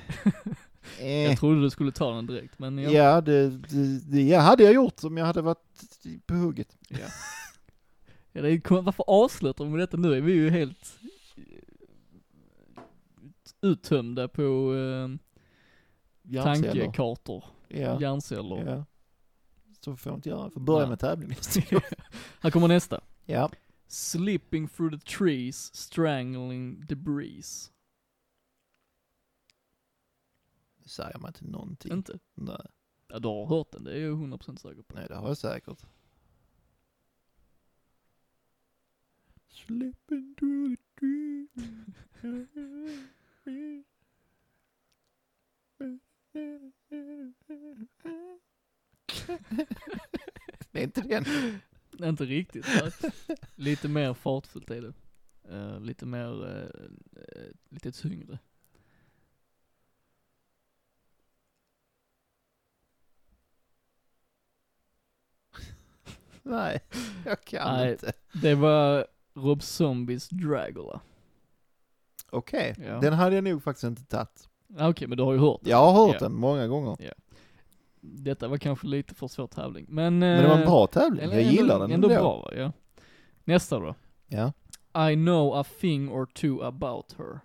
A: Eh.
B: Jag trodde du skulle ta den direkt, men jag...
A: Ja, det, det, det ja, hade jag gjort om jag hade varit på hugget.
B: Ja. ja det är, kom- varför avslutar vi med detta nu? Är vi ju helt eh, uttömda på eh,
A: Hjärnceller.
B: tankekartor,
A: Ja.
B: hjärnceller.
A: ja. Så får jag inte göra. Jag får börja
B: Nej.
A: med tävling nästa gång.
B: Här kommer nästa.
A: Ja.
B: Slipping through the trees, strangling the breeze.
A: säger man inte någonting.
B: Inte?
A: Nej,
B: Ja, du har hört den, det är jag 100% säker på.
A: nej, det har jag säkert. Släpp into the dream. Det är inte den.
B: Inte riktigt. va? lite mer fartfullt är det. Eh, lite mer, eh, eh, lite tyngre.
A: Nej, jag kan
B: Nej.
A: inte.
B: Det var Rob Zombies Dragula.
A: Okej,
B: Ja.
A: den hade jag nog faktiskt inte tagit.
B: Ah, Okej, men du har ju hört det.
A: Jag har hört
B: Ja.
A: den många gånger.
B: Detta var kanske lite för svår tävling, men...
A: Men det var en
B: eh,
A: bra tävling,
B: eller
A: jag
B: ändå-
A: gillar den
B: Ändå bra va, ja. Nästa då.
A: Ja.
B: I know a thing or two about her.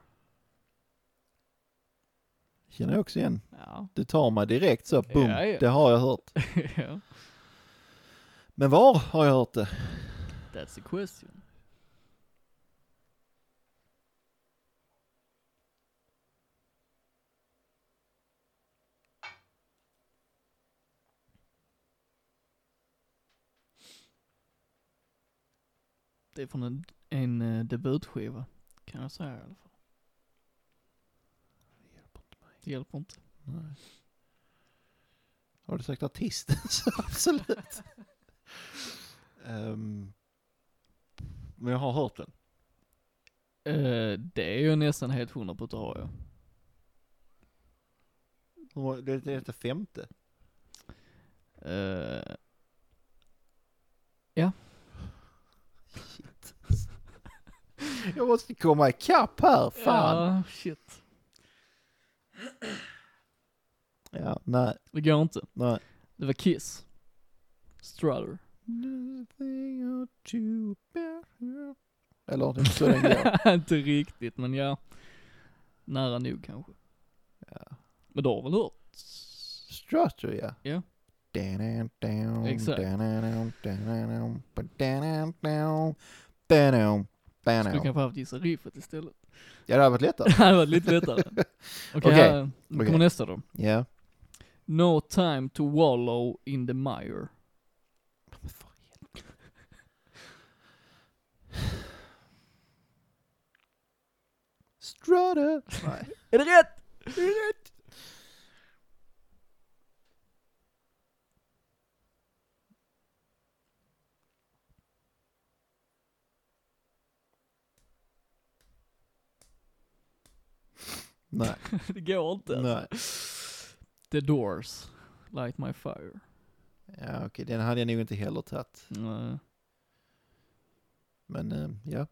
A: Känner jag också igen.
B: Ja.
A: Du tar mig direkt så, boom,
B: Ja, ja.
A: det har jag hört.
B: ja.
A: Men var har jag hört det?
B: That's the question. Det är från en, en eh, debutskiva, kan jag säga i alla fall. Det hjälper inte.
A: Nej. Har du sagt artisten så absolut. Ehm, men jag har hört den.
B: Eh, det är ju nästan helt hundra på att det har jag.
A: Hur många- Det det är det femte.
B: Eh,
A: Shit. Jag måste komma ikapp här, fan.
B: Ja, shit.
A: Ja, nej,
B: Det går inte.
A: nej.
B: Det var Kiss. Strutter.
A: Nothing or two bear- Eller inte så den går.
B: inte riktigt, men ja. Nära nog kanske.
A: Ja.
B: Men du har väl hört?
A: Strutter ja.
B: Ja. Exakt. Skulle
A: Exakt.
B: kanske haft gissa riffet istället.
A: Ja, det hade varit lättare.
B: det hade varit lite lättare. Okej,
A: Okej,
B: här- nu
A: okej.
B: kommer nästa då.
A: Ja.
B: No time to wallow in the mire.
A: Strutter! Nej.
B: Är det rätt?
A: Nej.
B: det går inte. alltså.
A: Nej.
B: The Doors. Light My Fire.
A: Ja, okej, den hade jag nog inte heller tagit.
B: Nej.
A: Men eh, ja,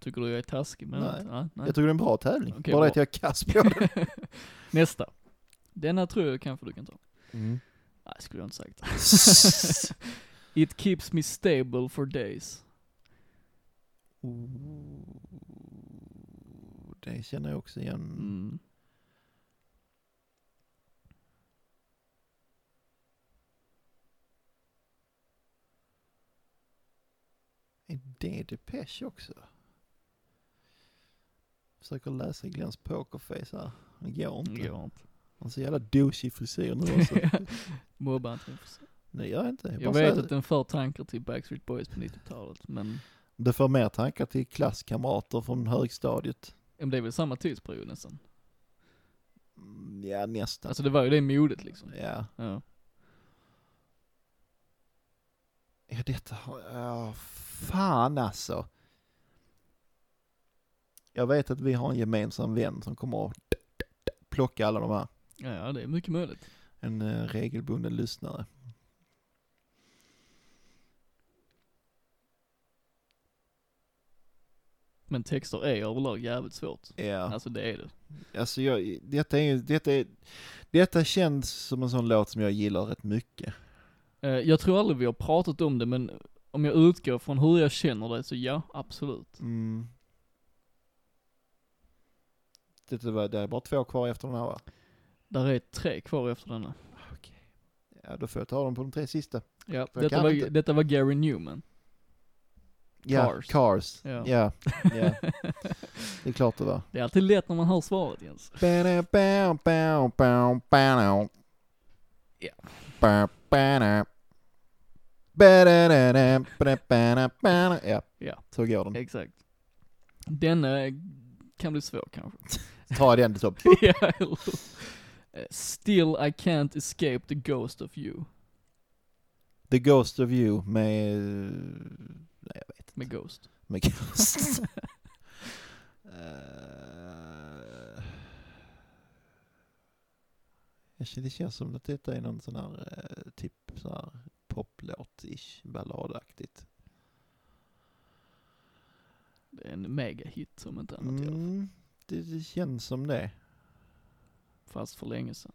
B: Tycker du jag är taskig med
A: Nej.
B: det? Nej, nej.
A: jag tycker det är en bra tävling.
B: Okej,
A: Bara
B: bra.
A: att jag är Mm. kass på den.
B: Nästa. Denna tror jag kanske du kan ta.
A: Mm.
B: Nej, skulle jag inte sagt. It keeps me stable for days.
A: Ooh, Det känner jag också igen.
B: Mm.
A: Är det Depeche också? Försöker läsa Glens pokerface här. Det går
B: Det
A: inte.
B: går inte.
A: Han har så jävla douchig frisyr nu också.
B: Mobba inte. för sig.
A: Nej, gör jag inte. Jag,
B: Jag
A: bara
B: vet
A: säger
B: att den för tankar till Backstreet Boys på 90-talet, men
A: Det för mer tankar till klasskamrater från högstadiet.
B: men det är väl samma tidsperiod nästan.
A: Mm, Ja, nästan.
B: Alltså det var ju det modet liksom.
A: ja.
B: Ja.
A: ja, detta har... Ja, fan alltså. Jag vet att vi har en gemensam vän som kommer att plocka alla de här.
B: Ja, ja, det är mycket möjligt.
A: En eh, regelbunden lyssnare.
B: Men texter är överlag jävligt svårt.
A: Ja.
B: Alltså det är det.
A: Alltså jag, detta är ju, detta är, detta känns som en sån låt som jag gillar rätt mycket.
B: Eh, Jag tror aldrig vi har pratat om det, men om jag utgår från hur jag känner det så ja, absolut.
A: Mm. Detta var, det är bara två kvar efter den här va?
B: Där är tre kvar efter denna.
A: Ja, då får jag ta dem på de tre sista.
B: Ja,
A: Jag kan
B: detta var,
A: inte.
B: detta var Gary Newman.
A: Ja,
B: Cars.
A: Cars.
B: Ja.
A: Ja. ja, det är klart det var.
B: Det är alltid lätt när man hör svaret Jens. Ja.
A: Ja,
B: Ja.
A: så går den.
B: Exakt. Den eh, kan bli svår kanske.
A: Ta den så.
B: ja, eller hur? Eh, Still I can't escape the ghost of you.
A: The Ghost of You med... Nej, jag vet
B: Med Ghost.
A: Med Ghost. Eh, jag känner- Det känns som att detta är någon sån här eh, typ så här poplåt-ish, balladaktigt.
B: Det är en megahit om inte annat i alla fall.
A: Mm, det, det känns som det.
B: Fast för länge sedan.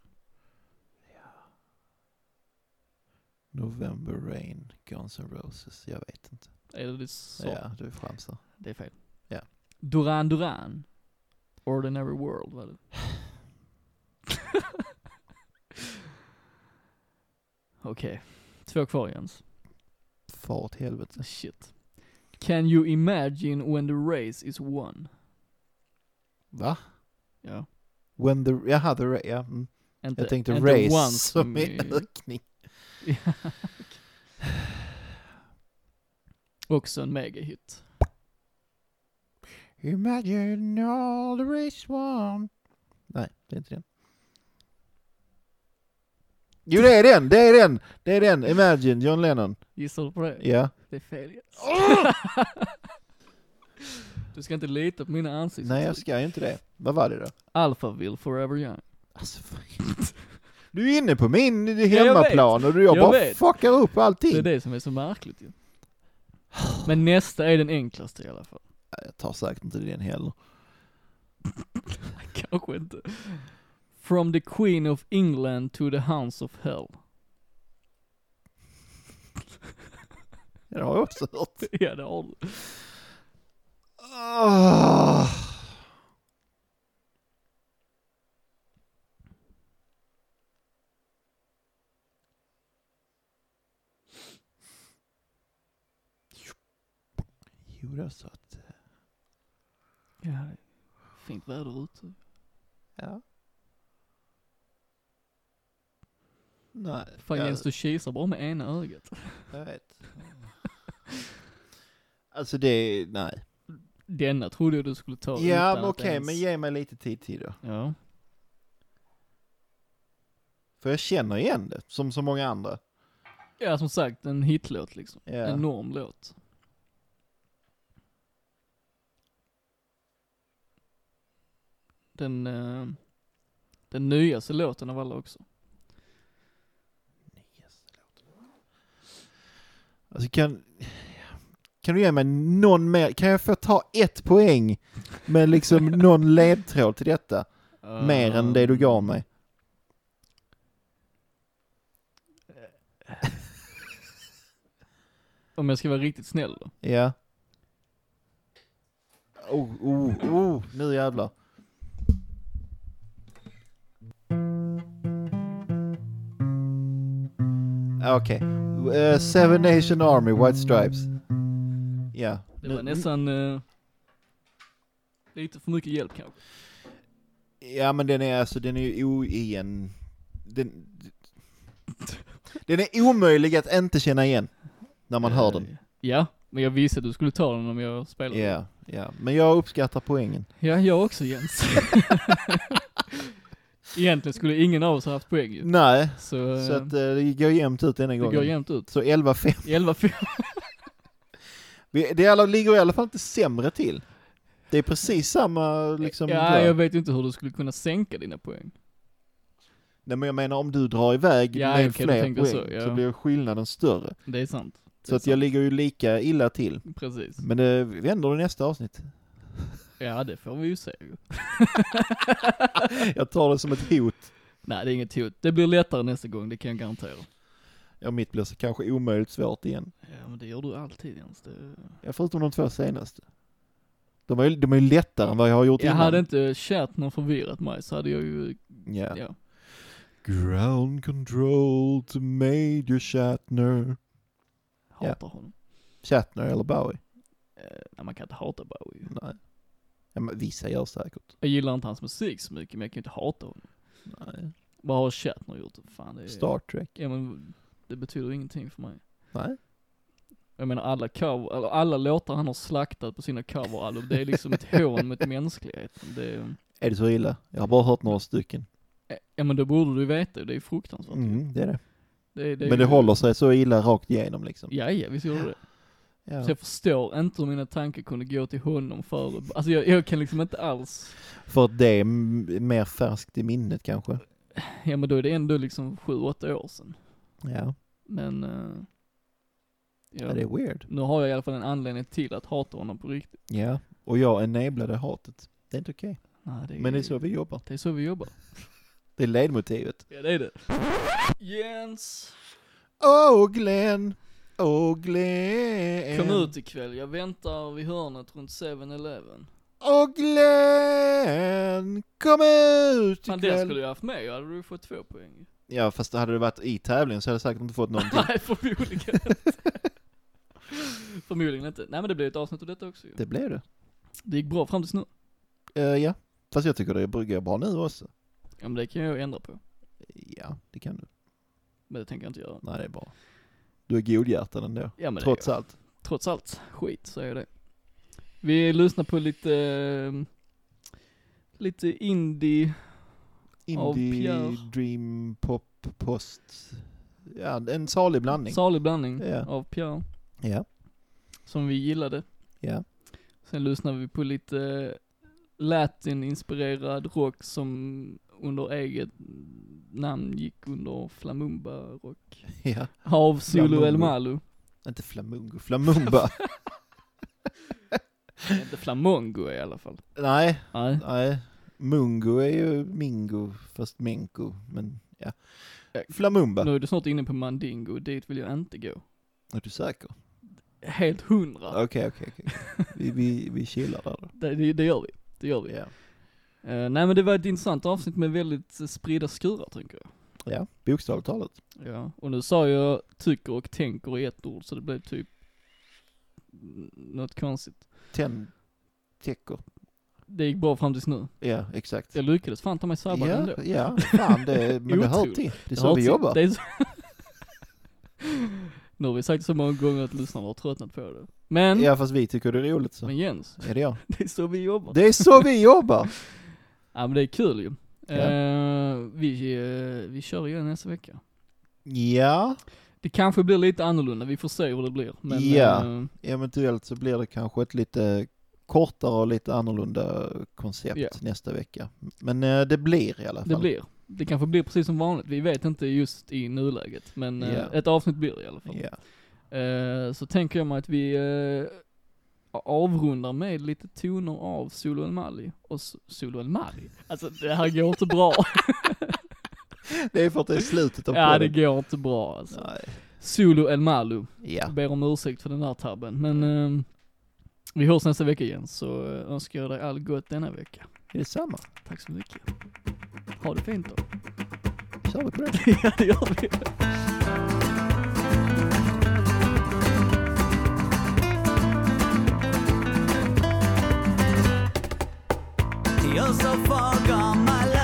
A: November Rain, Guns N' Roses, jag vet inte.
B: Eller det så.
A: Ja, du chansar.
B: Det är fel.
A: Ja.
B: Duran Duran. Ordinary World var det. Okej, två kvar Jens. Ah,
A: Far åt helvete.
B: Shit. Can you imagine when the race is won?
A: Va?
B: Ja.
A: When the, jaha, the, ra- ja. Mm.
B: Inte,
A: Jag tänkte
B: inte
A: race
B: once
A: som
B: i-
A: är ökning.
B: Ja, okej. Också en megahit.
A: Imagine all the race one. Nej, det är inte den. Jo, det är den, det är den, det är den. Imagine, John Lennon.
B: Gissar du på det?
A: Ja. Ah!
B: Det är fel Jens. du ska inte lita på mina ansikten.
A: Nej, jag ska ju inte det. Vad var det då?
B: Alphaville Forever Young.
A: Alltså, fuck. du är inne på min
B: jag
A: hemmaplan och du- jag
B: Jag
A: bara
B: vet.
A: fuckar upp allting.
B: Det är det som är så märkligt ju. Men nästa är den enklaste i alla fall.
A: Jag tar säkert inte den heller.
B: Kanske inte. From the Queen of England to the Hounds of Hell.
A: Det har jag också hört.
B: ja det har du.
A: Ah. Jo, det så att...
B: Ja, det är fint väder ute.
A: Ja. Nej,
B: Fan
A: jag,
B: Jens du kisar bara med ena ögat.
A: jag vet. Alltså det är, nej.
B: Denna trodde jag du skulle ta
A: Ja,
B: utan
A: men
B: att
A: okej,
B: ens-
A: men ge mig lite tid till då.
B: Ja.
A: För jag känner igen det, som så många andra.
B: ja som sagt en hitlåt liksom.
A: Ja.
B: Enorm låt. Den, eh, den nyaste låten av alla också.
A: Alltså kan, kan du ge mig någon mer, kan jag få ta ett poäng med liksom någon ledtråd till detta? Mer än det du
B: Ehm,
A: gav mig.
B: Om jag ska vara riktigt snäll då.
A: Ja. Oh, oh, oh, nu jävlar. Okej. Eh, Seven Nation Army, White Stripes. Ja.
B: Det var nästan eh, lite för mycket hjälp kanske.
A: Ja men den är alltså, den är ju oigen... Den, den är omöjlig att inte känna igen. När man hör den.
B: Ja, men jag visste att du skulle ta den om jag
A: Ja,
B: spelade.
A: ja. Men jag uppskattar poängen.
B: Ja, jag också Jens. Egentligen skulle ingen av oss ha haft poäng ju.
A: Nej,
B: Så, eh,
A: Mm. så att eh, det går jämnt ut denna
B: det
A: gången.
B: går jämnt ut.
A: Så 11-5.
B: 11
A: Vi- Det är alla, ligger i alla fall inte sämre till. Det är precis samma liksom...
B: Ja,
A: glöd.
B: jag vet ju inte hur du skulle kunna sänka dina poäng.
A: Nej men jag menar om du drar iväg
B: Ja,
A: med
B: okej, du
A: fler
B: tänker
A: poäng
B: så,
A: så,
B: ja.
A: blir skillnaden större.
B: Det är sant. Det
A: Så
B: är
A: att jag ligger ju lika illa till.
B: sant. Precis.
A: Men det vänder i nästa avsnitt.
B: Ja, det får vi ju se ju.
A: Jag tar det som ett hot.
B: Nej, det är inget hot. Det blir lättare nästa gång, det kan jag garantera.
A: Ja, mitt blir så kanske omöjligt svårt igen.
B: Ja, men det gör du alltid Jens. Det...
A: Ja, förutom de två senaste. De är ju de är ju lättare än vad jag har gjort
B: Jag
A: innan.
B: hade inte Shatner förvirrat mig så hade jag ju,
A: Ja.
B: ja.
A: Ground control to Major Shatner.
B: hatar honom.
A: Shatner eller Bowie?
B: nej, man kan inte hata Bowie.
A: Nej. Ja, men vissa gör säkert.
B: Jag gillar inte hans musik så mycket, men jag kan ju inte hata honom.
A: Nej.
B: Vad har Shatner gjort? Fan, det är...
A: Star Trek.
B: Ja men, det betyder ingenting för mig.
A: Nej.
B: Jag menar alla cover, eller alla låtar han har slaktat på sina coveralbum, det är liksom ett hån mot mänskligheten. Det är,
A: Är det så illa? Jag har bara hört några stycken.
B: ja men det borde du ju veta, det är fruktansvärt.
A: Mm, det är det.
B: Det, det är
A: Men det
B: ju-
A: håller sig så illa rakt igenom liksom.
B: Ja, ja visst gjorde det.
A: Ja.
B: Så jag förstår inte hur mina tankar kunde gå till honom före. Alltså jag, jag kan liksom inte alls.
A: För att det är m- mer färskt i minnet kanske.
B: Ja men då är det ändå liksom sju, åtta år sedan.
A: Ja.
B: Men, eh,
A: ja,
B: ja.
A: det är weird.
B: nu har jag i alla fall en anledning till att hata honom på riktigt.
A: Ja, och jag enablade hatet. Det är inte okej.
B: Nej, det är,
A: Men det är så vi jobbar.
B: det är så vi jobbar.
A: Det är ledmotivet.
B: Ja det är det. Jens!
A: Åh oh, Glenn! Åh oh, Glenn!
B: Kom ut ikväll, jag väntar vid hörnet runt 7-Eleven.
A: Åh oh, Glenn! Kom ut
B: Fan det skulle jag haft med, jag hade du fått två poäng.
A: Ja, fast hade det varit i tävlingen så hade jag säkert inte fått någonting.
B: Nej förmodligen inte. Förmodligen inte. Nej men det blir ett avsnitt av detta också ju.
A: det blev det.
B: Det gick bra fram tills nu.
A: Eh, ja, fast jag tycker det går bra nu också.
B: Ja men det kan jag ändra på.
A: Ja, det kan du.
B: Men det tänker jag inte göra.
A: Nej, det är bra. Du är godhjärtad ändå.
B: Ja, men det
A: Trots
B: är
A: allt.
B: Trots allt, skit säger jag det. Vi lyssnar på lite, eh, lite indie, Av
A: Indie,
B: Pierre.
A: dream, pop, post. Ja, en salig blandning.
B: salig blandning
A: Ja.
B: av Pierre,
A: ja,
B: som vi gillade.
A: ja.
B: Sen lyssnar vi på lite eh, latin-inspirerad rock som under eget namn gick under flamumba-rock.
A: ja.
B: Av Zulu
A: Flamumba.
B: El Malo.
A: Inte flamungo, flamumba.
B: Inte flamongo i alla fall.
A: nej,
B: Nej,
A: nej. Mungo är ju mingo, fast minko, men ja.
B: Ja.
A: Flamumba.
B: nu är du snart inne på mandingo, dit vill jag inte gå.
A: Är du säker?
B: Helt hundra.
A: Okej, okej, okej. Vi, vi, vi chillar där då.
B: Det, det, det gör vi. Det gör vi.
A: Ja.
B: Eh, nej men det var ett intressant avsnitt med väldigt eh, spridda skurar tänker jag.
A: ja, bokstavligt talat.
B: Ja. Och nu sa jag tycker och tänker i ett ord så det blev typ mm, något konstigt.
A: Ten, tecker.
B: Det gick bra fram tills nu.
A: Ja, exakt.
B: Jag lyckades fan ta mig sabba den ändå.
A: Ja, ja, fan det, men det hör
B: Otroligt.
A: till. Det är
B: Jag har
A: så vi
B: inte-
A: jobbar.
B: Det är så... nu har vi sagt så många gånger att lyssnarna har tröttnat på det. Men,
A: Ja, fast vi tycker det är roligt så.
B: men Jens,
A: Är det jag?
B: det är så vi jobbar.
A: Det är så vi jobbar!
B: Ja men det är kul ju.
A: Ja.
B: Eh, vi, eh, vi kör igen nästa vecka.
A: Ja,
B: Det kanske blir lite annorlunda, vi får se hur det blir. Men,
A: Ja.
B: eh,
A: eventuellt så blir det kanske ett lite kortare och lite annorlunda koncept
B: Ja.
A: nästa vecka. Men eh, det blir i alla fall.
B: det blir. Det kanske blir precis som vanligt, vi vet inte just i nuläget. Men eh,
A: Ja.
B: ett avsnitt blir det i alla fall.
A: Ja,
B: Eh, så tänker jag mig att vi eh, avrundar med lite toner av Solo El Mali. Och S- Solo El Mali? Alltså det här går inte bra.
A: det är för att det är slutet av
B: ja det
A: podden.
B: går inte bra alltså.
A: Nej.
B: Solo El Malu.
A: Ja,
B: Jag ber om ursäkt för den där tabben. Men eh, vi hörs nästa vecka igen så eh, önskar jag dig all gott denna vecka.
A: det är samma.
B: Tack så mycket. Ha det fint då.
A: Kör vi på det.
B: ja, det gör vi.
D: You're so far gone, my love.